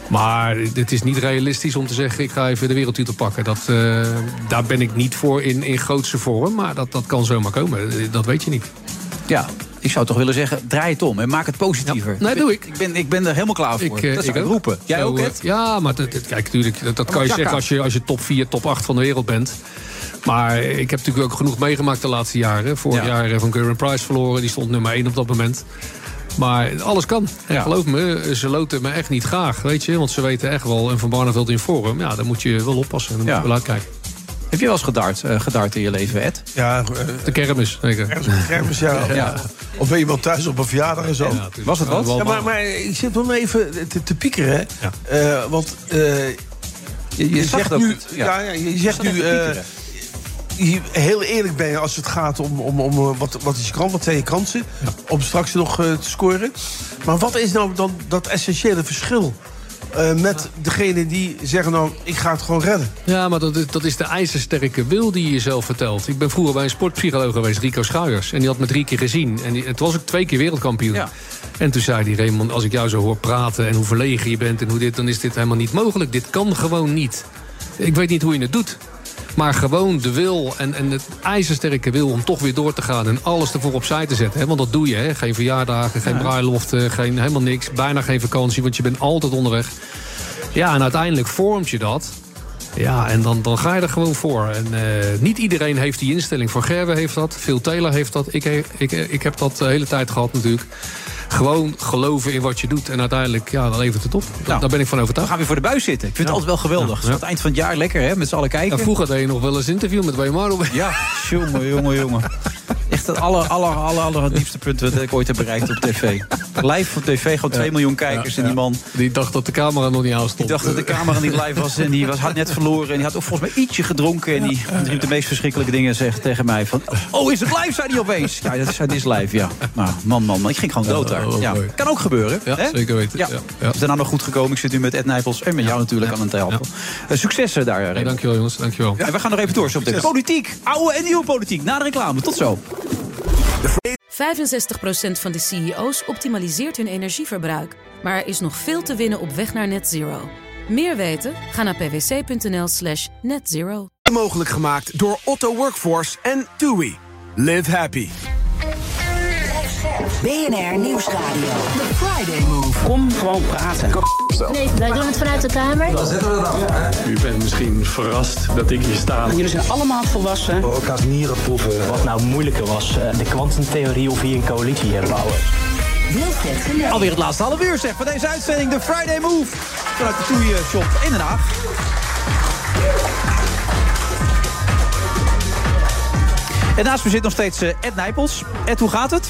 Speaker 18: Maar het is niet realistisch om te zeggen: ik ga even de wereldtitel pakken. Dat, eh, daar ben ik niet voor in, in grootste vorm. Maar dat, dat kan zomaar komen. Eh, Dat weet je niet.
Speaker 7: Ja, ik zou toch willen zeggen, draai het om en maak het positiever.
Speaker 18: nee, doe ik.
Speaker 7: Ik ben, ik ben er helemaal klaar voor.
Speaker 18: Ik, eh,
Speaker 7: dat zou
Speaker 18: ik
Speaker 7: ik
Speaker 18: ook.
Speaker 7: roepen. Jij
Speaker 18: Zo,
Speaker 7: ook, Oh,
Speaker 18: eh,
Speaker 7: het?
Speaker 18: Ja, maar dat, dat- kijk, natuurlijk, dat, dat kan je
Speaker 7: Chaka.
Speaker 18: zeggen als je, als je top 4, top 8 van de wereld bent. Maar ik heb natuurlijk ook genoeg meegemaakt de laatste jaren. Vorig jaar eh, van Gurren Price verloren, die stond nummer 1 op dat moment. Maar alles kan. En
Speaker 7: Ja.
Speaker 18: geloof me, eh, ze loten me echt niet graag. Weet je? Want ze weten echt wel, en Van Barneveld in vorm, ja, daar moet je wel oppassen. Daar moet
Speaker 7: Ja.
Speaker 18: je wel uitkijken.
Speaker 7: Heb je wel eens gedart, eh, gedart in je leven, Ed?
Speaker 8: Ja,
Speaker 18: de kermis, zeker.
Speaker 8: Kermis, ja.
Speaker 7: Ja.
Speaker 8: Of ben je wel thuis op een verjaardag en zo.
Speaker 7: Was het wat?
Speaker 8: Ja, maar, maar ik zit wel even te, te piekeren. hè. Eh, want eh, je,
Speaker 7: je zag
Speaker 8: zegt
Speaker 7: het ook
Speaker 8: nu...
Speaker 7: niet. Ja.
Speaker 8: Ja. ja, je
Speaker 7: Je
Speaker 8: zegt
Speaker 7: zat
Speaker 8: nu...
Speaker 7: even te
Speaker 8: eh,
Speaker 7: piekeren.
Speaker 8: je- heel eerlijk ben je als het gaat om, om, om eh, wat, wat is je kans, wat zijn je kansen... om straks nog eh, te scoren. Maar wat is nou dan dat essentiële verschil... eh, met degene die zeggen nou, ik ga het gewoon redden?
Speaker 18: Ja, maar dat, is- dat is de ijzersterke wil die je jezelf vertelt. Ik ben vroeger bij een sportpsycholoog geweest, Rico Schuijers. En die had me drie keer gezien. En die, het was ook twee keer wereldkampioen. En toen zei hij, Raymond, als ik jou zo hoor praten... en hoe verlegen je bent en hoe dit, dan is dit helemaal niet mogelijk. Dit kan gewoon niet. Ik weet niet hoe je het doet. Maar gewoon de wil en, en het ijzersterke wil om toch weer door te gaan... en alles ervoor opzij te zetten. Hè? Want dat doe je, hè? Geen verjaardagen, geen bruiloften, geen, helemaal niks. Bijna geen vakantie, want je bent altijd onderweg. Ja, en uiteindelijk vormt je dat... Ja, en dan, dan ga je er gewoon voor. En eh, niet iedereen heeft die instelling. Van Gerwe heeft dat, Phil Taylor heeft dat. Ik, he- ik, eh, ik heb dat de hele tijd gehad natuurlijk. Gewoon geloven in wat je doet. En uiteindelijk, ja, dan levert het op. Daar ben ik van
Speaker 7: We
Speaker 18: overtuigd.
Speaker 7: Nou, gaan weer voor de buis zitten. Ik vind het altijd wel geweldig. Het is aan het eind van het jaar lekker, hè? Met z'n allen kijken.
Speaker 18: En vroeger deed je nog wel eens interview met Weimar.
Speaker 7: Ja, jongen, jongen, jongen. Echt het aller, aller, aller, aller diepste punt dat ik ooit heb bereikt op tv. Live op tv, gewoon 2 miljoen kijkers. en die man...
Speaker 18: Die dacht dat de camera nog niet aan stond.
Speaker 7: Die dacht dat de camera niet live was en die was, had net verloren. En die had ook volgens mij ietsje gedronken. En die riep de meest verschrikkelijke dingen zegt tegen mij. Van, oh, is het live, zei hij opeens. Ja, dat is, het is live, ja. Nou, man, man, man. Ik ging gewoon dood daar. Ja, kan ook gebeuren.
Speaker 18: oh, Ja,
Speaker 7: hè?
Speaker 18: zeker weten.
Speaker 7: Ja.
Speaker 18: Ja.
Speaker 7: Het is daarna nog goed gekomen. Ik zit nu met Ed Nijpels en met jou natuurlijk aan het helpen. Eh, Successen daar, Raymond.
Speaker 18: dankjewel jongens, dankjewel.
Speaker 7: En we gaan nog even door zo meteen.
Speaker 18: Succes.
Speaker 7: Politiek, oude en nieuwe politiek. Na de reclame, tot zo.
Speaker 1: 65% van de CEO's optimaliseert hun energieverbruik. Maar er is nog veel te winnen op weg naar net zero. Meer weten? Ga naar pwc.nl slash netzero.
Speaker 2: Mogelijk gemaakt door Otto Workforce en TUI. Live happy.
Speaker 14: BNR Nieuwsradio. The Friday Move.
Speaker 3: Kom gewoon praten.
Speaker 14: Nee, wij doen het vanuit de Kamer.
Speaker 5: U bent misschien verrast dat ik hier sta.
Speaker 3: Jullie zijn allemaal volwassen.
Speaker 12: Elkaars nieren proeven. Wat nou moeilijker was, eh, de kwantumtheorie of hier een coalitie herbouwen.
Speaker 7: Alweer het laatste half uur zeg van deze uitzending. De Friday Move. Vanuit de Toei eh, Shop in Den Haag. En naast me zit nog steeds eh, Ed Nijpels. Ed, hoe gaat het?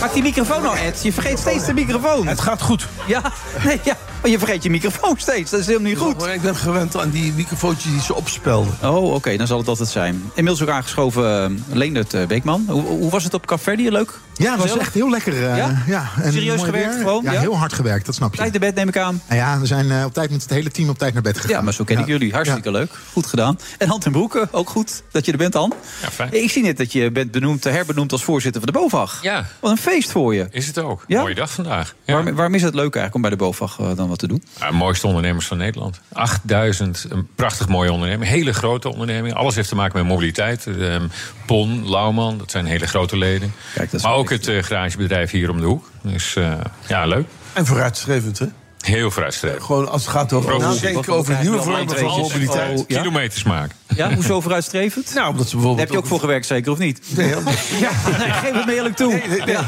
Speaker 7: Pak die microfoon nou, Ed. Je vergeet steeds de microfoon. Het
Speaker 8: gaat goed.
Speaker 7: Ja, nee, ja. Maar je vergeet je microfoon steeds. Dat is helemaal niet goed.
Speaker 19: ik ben gewend aan die microfoontjes die ze opspelden.
Speaker 7: Oh, oké, dan zal het dat het zijn. Inmiddels ook aangeschoven eh, Leendert eh, Beekman. Hoe, hoe was het op Café? Leuk?
Speaker 20: Ja, het was
Speaker 7: Gezellig?
Speaker 20: echt heel lekker. eh,
Speaker 7: Ja?
Speaker 20: ja? en
Speaker 7: Serieus
Speaker 20: mooi
Speaker 7: gewerkt
Speaker 20: weer.
Speaker 7: gewoon,
Speaker 20: Ja,
Speaker 7: ja?
Speaker 20: heel hard gewerkt, dat snap je.
Speaker 7: Tijd naar bed neem ik aan.
Speaker 20: Nou ja, we zijn eh, op tijd met het hele team op tijd naar bed gegaan.
Speaker 7: Ja, maar zo ken ik jullie. Hartstikke leuk. Goed gedaan. En Hand en Broeken, ook goed dat je er bent, Han.
Speaker 21: Ja, fijn.
Speaker 7: Ik zie net dat je bent benoemd, eh, herbenoemd als voorzitter van de BOVAG.
Speaker 21: Ja.
Speaker 7: Wat een feest voor je.
Speaker 21: Is het ook.
Speaker 7: Ja?
Speaker 21: Mooie dag vandaag.
Speaker 7: Waarom, waarom is het leuk eigenlijk om bij de BOVAG eh, dan wat te doen?
Speaker 21: Ja, mooiste ondernemers van Nederland. 8000, een prachtig mooie onderneming. Hele grote onderneming. Alles heeft te maken met mobiliteit. Ehm, Pon, Lauwman, dat zijn hele grote leden. maar ook het eh, garagebedrijf hier om de hoek. Dus eh, ja, leuk.
Speaker 8: En vooruitstrevend, hè?
Speaker 21: Heel vooruitstrevend.
Speaker 8: Gewoon als het gaat over
Speaker 21: Progressief.
Speaker 8: nadenken over nieuwe vormen van mobiliteit.
Speaker 21: Oh, ja? Kilometers maken.
Speaker 7: Ja, hoezo vooruitstrevend?
Speaker 8: Nou, omdat ze bijvoorbeeld...
Speaker 7: Daar heb je ook voor gewerkt zeker, of niet? Nee, geef het me eerlijk toe. Ja.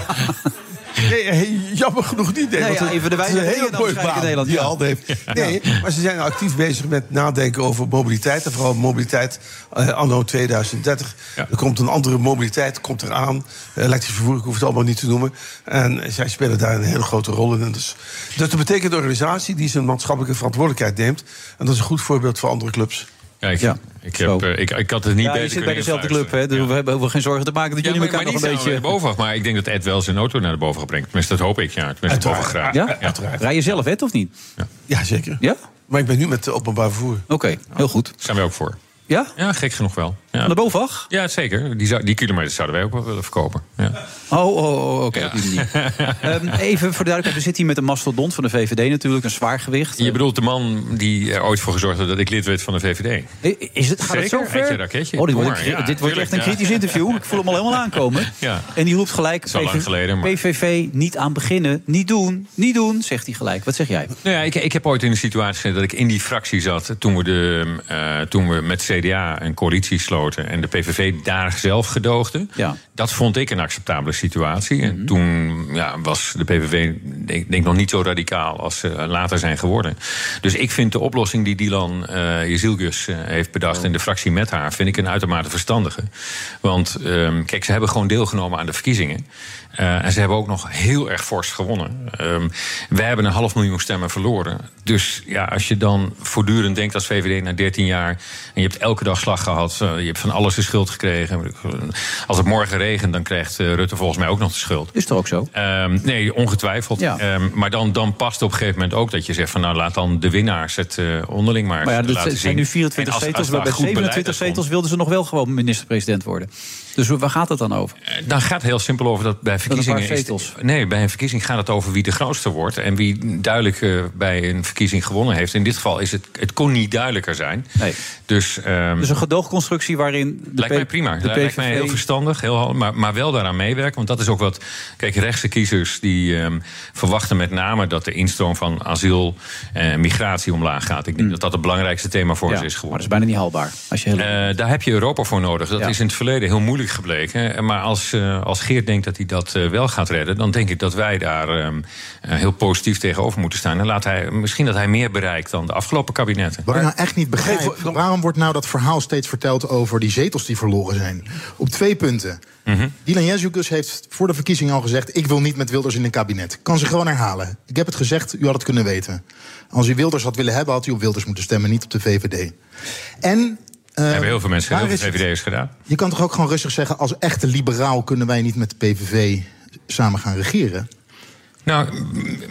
Speaker 8: Nee, hey, jammer genoeg niet. Nee,
Speaker 7: Nee,
Speaker 8: want
Speaker 7: Nou ja,
Speaker 8: het-
Speaker 7: even de
Speaker 8: het is een
Speaker 7: weinige
Speaker 8: hele
Speaker 7: dingen dan
Speaker 8: mooie
Speaker 7: waarschijnlijk
Speaker 8: baan
Speaker 7: in Nederland,
Speaker 8: die
Speaker 7: ja.
Speaker 8: Alde heeft. Nee, maar ze zijn actief bezig met nadenken over mobiliteit. En vooral mobiliteit eh, anno 2030. Er komt een andere mobiliteit komt eraan. Eh, Elektrisch vervoer, ik hoef het allemaal niet te noemen. En zij spelen daar een hele grote rol in. En Dus, dus dat betekent een organisatie die zijn maatschappelijke verantwoordelijkheid neemt. En dat is een goed voorbeeld voor andere clubs.
Speaker 21: Kijk, ik, heb, eh, ik, ik had het niet
Speaker 7: Ja, je
Speaker 21: beter
Speaker 7: zit bij
Speaker 21: kunnen
Speaker 7: dezelfde
Speaker 21: influisteren.
Speaker 7: club, hè? Dus we hebben we hoeven geen zorgen te maken dat
Speaker 21: Ja,
Speaker 7: jullie
Speaker 21: maar,
Speaker 7: elkaar
Speaker 21: maar
Speaker 7: nog
Speaker 21: niet
Speaker 7: een
Speaker 21: samen
Speaker 7: beetje...
Speaker 21: met de BOVAG. Maar ik denk dat Ed wel zijn auto naar de BOVAG brengt. Tenminste, dat hoop ik, ja. Tenminste, de BOVAG graag.
Speaker 7: Ja? Rij je zelf, hè, of niet?
Speaker 8: Ja, zeker.
Speaker 7: Ja?
Speaker 8: Maar ik ben nu met de openbaar vervoer.
Speaker 7: Oké, heel goed.
Speaker 21: Zijn wij ook voor.
Speaker 7: Ja?
Speaker 21: Ja, gek genoeg wel. Ja.
Speaker 7: Van de BOVAG?
Speaker 21: Ja, zeker. Die, zou- die kilometers zouden wij ook wel willen verkopen. Ja.
Speaker 7: Oh, oh, oh, oké, op die manier. Ehm, even voor de duidelijkheid, we zitten hier met een mastodont van de VVD natuurlijk, een zwaargewicht.
Speaker 21: Je bedoelt de man die er ooit voor gezorgd heeft dat ik lid werd van de VVD.
Speaker 7: Is het, gaat het
Speaker 21: Zeker,
Speaker 7: zo ver?
Speaker 21: Edje Raketje.
Speaker 7: Oh, dit wordt,
Speaker 21: Kom
Speaker 7: een-
Speaker 21: maar,
Speaker 7: dit
Speaker 21: ja,
Speaker 7: wordt echt
Speaker 21: tuurlijk,
Speaker 7: een
Speaker 21: ja.
Speaker 7: kritisch interview. Ik voel hem al helemaal aankomen.
Speaker 21: Ja.
Speaker 7: En die roept gelijk,
Speaker 21: is al lang geleden, maar-
Speaker 7: PVV niet aan beginnen, niet doen, niet doen, zegt hij gelijk. Wat zeg jij?
Speaker 21: Nou ja, ik, ik heb ooit in de situatie gezeten dat ik in die fractie zat. Toen we, de, eh, toen we met CDA een coalitie sloten. en de PVV daar zelf gedoogde. Dat vond ik een acceptabele situatie. En toen ja, was de PVV, denk, denk nog niet zo radicaal als ze later zijn geworden. Dus ik vind de oplossing die Dylan eh Jezilgus eh, heeft bedacht. en de fractie met haar, vind ik een uitermate verstandige. Want ehm, kijk, ze hebben gewoon deelgenomen aan de verkiezingen. Eh, en ze hebben ook nog heel erg fors gewonnen. Ehm wij hebben een half miljoen stemmen verloren. Dus ja, als je dan voortdurend denkt als VVD na 13 jaar... en je hebt elke dag slag gehad, eh, je hebt van alles de schuld gekregen. Als het morgen regent, dan krijgt eh, Rutte volgens mij ook nog de schuld.
Speaker 7: Is toch ook zo?
Speaker 21: Ehm, nee, ongetwijfeld. Ehm, maar dan, dan past op een gegeven moment ook dat je zegt... van nou, laat dan de winnaars het eh, onderling maar,
Speaker 7: Maar ja,
Speaker 21: laten
Speaker 7: dat
Speaker 21: zien.
Speaker 7: zijn nu 24
Speaker 21: En als-
Speaker 7: zetels.
Speaker 21: als daar
Speaker 7: Bij
Speaker 21: goed beleid
Speaker 7: 27
Speaker 21: uitkomt,
Speaker 7: zetels wilden ze nog wel gewoon minister-president worden. Dus waar gaat het dan over?
Speaker 21: Dan gaat het heel simpel over dat bij verkiezingen.
Speaker 7: paar
Speaker 21: is-
Speaker 7: zetels.
Speaker 21: nee, bij een verkiezing gaat het over wie de grootste wordt. En wie duidelijk eh, bij een verkiezing gewonnen heeft. In dit geval is het. Het kon niet duidelijker zijn. Dus, ehm,
Speaker 7: Dus een gedoogconstructie waarin... De
Speaker 21: Lijkt
Speaker 7: P-
Speaker 21: mij prima.
Speaker 7: De
Speaker 21: Lijkt mij heel verstandig. Heel, handig, maar, maar wel daaraan meewerken. Want dat is ook wat. Kijk, rechtse kiezers die ehm, verwachten met name dat de instroom van asiel en migratie omlaag gaat. Ik denk dat dat het belangrijkste thema voor ons is geworden.
Speaker 7: Hmm. Maar dat is bijna niet haalbaar. Als je
Speaker 21: Eh, daar heb je Europa voor nodig. Dat is in het verleden heel moeilijk gebleken. Eh, Maar als, eh, als Geert denkt dat hij dat eh, wel gaat redden, dan denk ik dat wij daar ehm, eh, heel positief tegenover moeten staan. En laat hij, misschien dat hij meer bereikt dan de afgelopen kabinetten.
Speaker 22: Wat ik nou echt niet begrijp, waarom wordt nou dat verhaal steeds verteld over die zetels die verloren zijn? Op twee punten. Dylan Jezukus heeft voor de verkiezing al gezegd... ik wil niet met Wilders in een kabinet. Kan ze gewoon herhalen. Ik heb het gezegd, u had het kunnen weten. Als u Wilders had willen hebben, had u op Wilders moeten stemmen... niet op de VVD. En... eh,
Speaker 21: hebben heel veel mensen,
Speaker 22: waar
Speaker 21: heel
Speaker 22: is
Speaker 21: veel
Speaker 22: het-
Speaker 21: VVD'ers gedaan.
Speaker 22: je kan toch ook gewoon rustig zeggen... als echte liberaal kunnen wij niet met de PVV samen gaan regeren?
Speaker 21: Nou,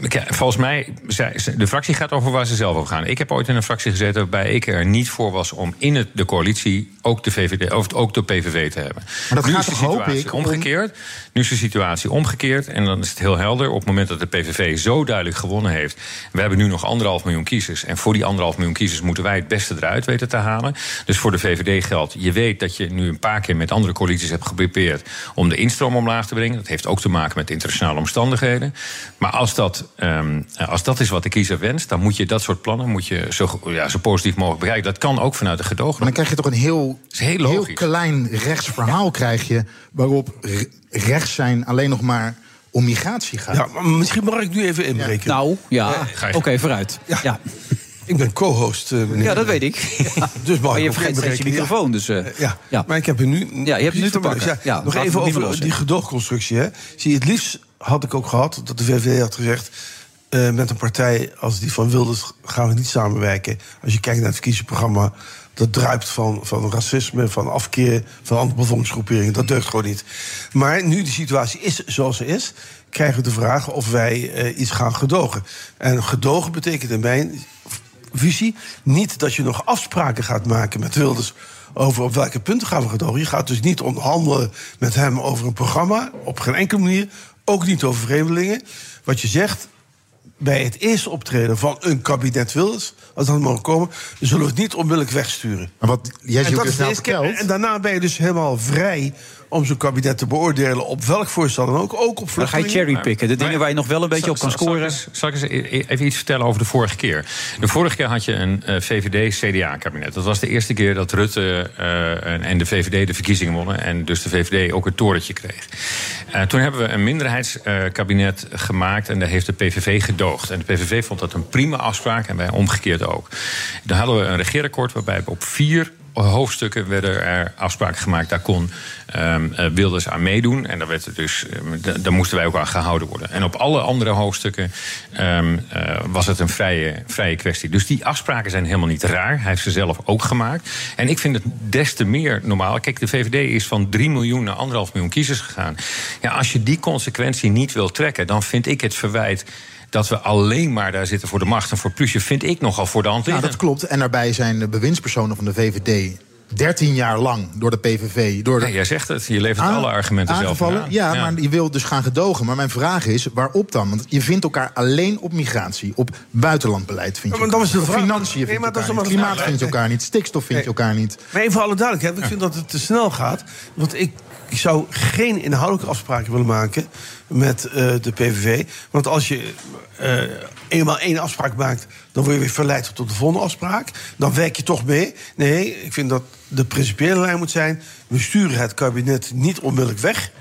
Speaker 21: m- kijk, volgens mij, zij- ze- de fractie gaat over waar ze zelf over gaan. Ik heb ooit in een fractie gezeten waarbij ik er niet voor was om in het, de coalitie ook de, VVD, of ook de PVV te hebben.
Speaker 22: Maar dat
Speaker 21: nu
Speaker 22: gaat
Speaker 21: is de
Speaker 22: toch, hoop
Speaker 21: situatie
Speaker 22: ik, om-
Speaker 21: omgekeerd. Nu is de situatie omgekeerd en dan is het heel helder. Op het moment dat de PVV zo duidelijk gewonnen heeft, we hebben nu nog anderhalf miljoen kiezers. En voor die anderhalf miljoen kiezers moeten wij het beste eruit weten te halen. Dus voor de VVD geldt, je weet dat je nu een paar keer met andere coalities hebt geprobeerd om de instroom omlaag te brengen. Dat heeft ook te maken met internationale omstandigheden. Maar als dat, ehm, als dat is wat de kiezer wenst, dan moet je dat soort plannen moet je zo, go- ja, zo positief mogelijk bekijken. Dat kan ook vanuit de gedogen.
Speaker 22: Maar dan krijg je toch een heel, heel, klein rechts verhaal krijg je, waarop re- rechts zijn alleen nog maar om migratie gaat.
Speaker 8: Ja, maar misschien mag ik nu even inbreken.
Speaker 7: Nou, ja. Oké, vooruit. Ja.
Speaker 8: Ik ben co-host, eh, meneer.
Speaker 7: Ja, dat weet ik.
Speaker 8: Dus mag
Speaker 7: maar
Speaker 8: ik
Speaker 7: je
Speaker 8: ook
Speaker 7: vergeet steeds je
Speaker 8: inbreken, ja.
Speaker 7: microfoon. Dus, eh,
Speaker 8: Ja, maar ik heb er nu.
Speaker 7: Ja, je hebt nu te pakken.
Speaker 8: Ja,
Speaker 7: Ja,
Speaker 8: nog
Speaker 7: laten
Speaker 8: even
Speaker 7: we het niet meer
Speaker 8: over
Speaker 7: los,
Speaker 8: die gedoogconstructie. Hè. Zie je, het liefst had ik ook gehad dat de VVD had gezegd. eh, met een partij als die van Wilders gaan we niet samenwerken. Als je kijkt naar het verkiezingsprogramma, dat druipt van, van racisme, van afkeer, van andere bevolkingsgroeperingen. Dat deugt gewoon niet. Maar nu de situatie is zoals ze is, krijgen we de vraag of wij eh, iets gaan gedogen. En gedogen betekent in mijn visie niet dat je nog afspraken gaat maken met Wilders over op welke punten gaan we gedogen. Je gaat dus niet onderhandelen met hem over een programma, op geen enkele manier. Ook niet over vreemdelingen. Wat je zegt, bij het eerste optreden van een kabinet Wilders, als dat mag komen, zullen we het niet onmiddellijk wegsturen.
Speaker 22: Maar wat jij
Speaker 8: en,
Speaker 22: ziet
Speaker 8: dat
Speaker 22: dus
Speaker 8: is de
Speaker 22: nou
Speaker 8: eerste keer. en daarna ben je dus helemaal vrij om zo'n kabinet te beoordelen op welk voorstel dan ook, ook op
Speaker 7: Dan ga je
Speaker 8: vluchtelingen.
Speaker 7: cherrypicken. De dingen waar je nog wel een beetje op kan scoren.
Speaker 21: Zal ik eens e- even iets vertellen over de vorige keer? De vorige keer had je een eh, VVD-CDA-kabinet. Dat was de eerste keer dat Rutte eh, en- en de VVD de verkiezingen wonnen. En dus de VVD ook het torentje kreeg. Eh, toen hebben we een minderheidskabinet eh, gemaakt. En daar heeft de PVV gedoogd. En de PVV vond dat een prima afspraak. En wij omgekeerd ook. Dan hadden we een regeerakkoord waarbij we op vier hoofdstukken werden er afspraken gemaakt. Daar kon ehm, eh, Wilders aan meedoen. En daar, werd er dus, ehm, da- daar moesten wij ook aan gehouden worden. En op alle andere hoofdstukken ehm, eh, was het een vrije, vrije kwestie. Dus die afspraken zijn helemaal niet raar. Hij heeft ze zelf ook gemaakt. En ik vind het des te meer normaal. Kijk, de VVD is van 3 miljoen naar 1,5 miljoen kiezers gegaan. Ja, als je die consequentie niet wil trekken, dan vind ik het verwijt. Dat we alleen maar daar zitten voor de macht en voor plusje, vind ik nogal voor de hand
Speaker 22: Ja,
Speaker 21: liggen.
Speaker 22: Nou, dat klopt. En daarbij zijn de bewindspersonen van de VVD 13 jaar lang door de PVV. Door de...
Speaker 21: Ja, jij zegt het. Je levert
Speaker 22: Aan-
Speaker 21: alle argumenten zelf
Speaker 22: aangevallen.
Speaker 21: aan.
Speaker 22: Ja, maar je wil dus gaan gedogen. Maar mijn vraag is, waarop dan? Want je vindt elkaar alleen op migratie. Op buitenlandbeleid vind je
Speaker 8: Ja, maar
Speaker 22: elkaar
Speaker 8: dat is de
Speaker 22: niet. Op
Speaker 8: vraag.
Speaker 22: Financiën
Speaker 8: Nee,
Speaker 22: vind je
Speaker 8: maar dat
Speaker 22: elkaar
Speaker 8: is allemaal
Speaker 22: niet.
Speaker 8: de
Speaker 22: Klimaat
Speaker 8: vraag.
Speaker 22: vind je
Speaker 8: Nee.
Speaker 22: elkaar niet. Stikstof vind je elkaar niet.
Speaker 8: Maar even voor alle duidelijkheid, ik vind dat het te snel gaat. Want ik zou geen inhoudelijke afspraken willen maken met eh, de PVV. Want als je eh, eenmaal één afspraak maakt, dan word je weer verleid tot de volgende afspraak. Dan werk je toch mee. Nee, ik vind dat de principiële lijn moet zijn... we sturen het kabinet niet onmiddellijk weg...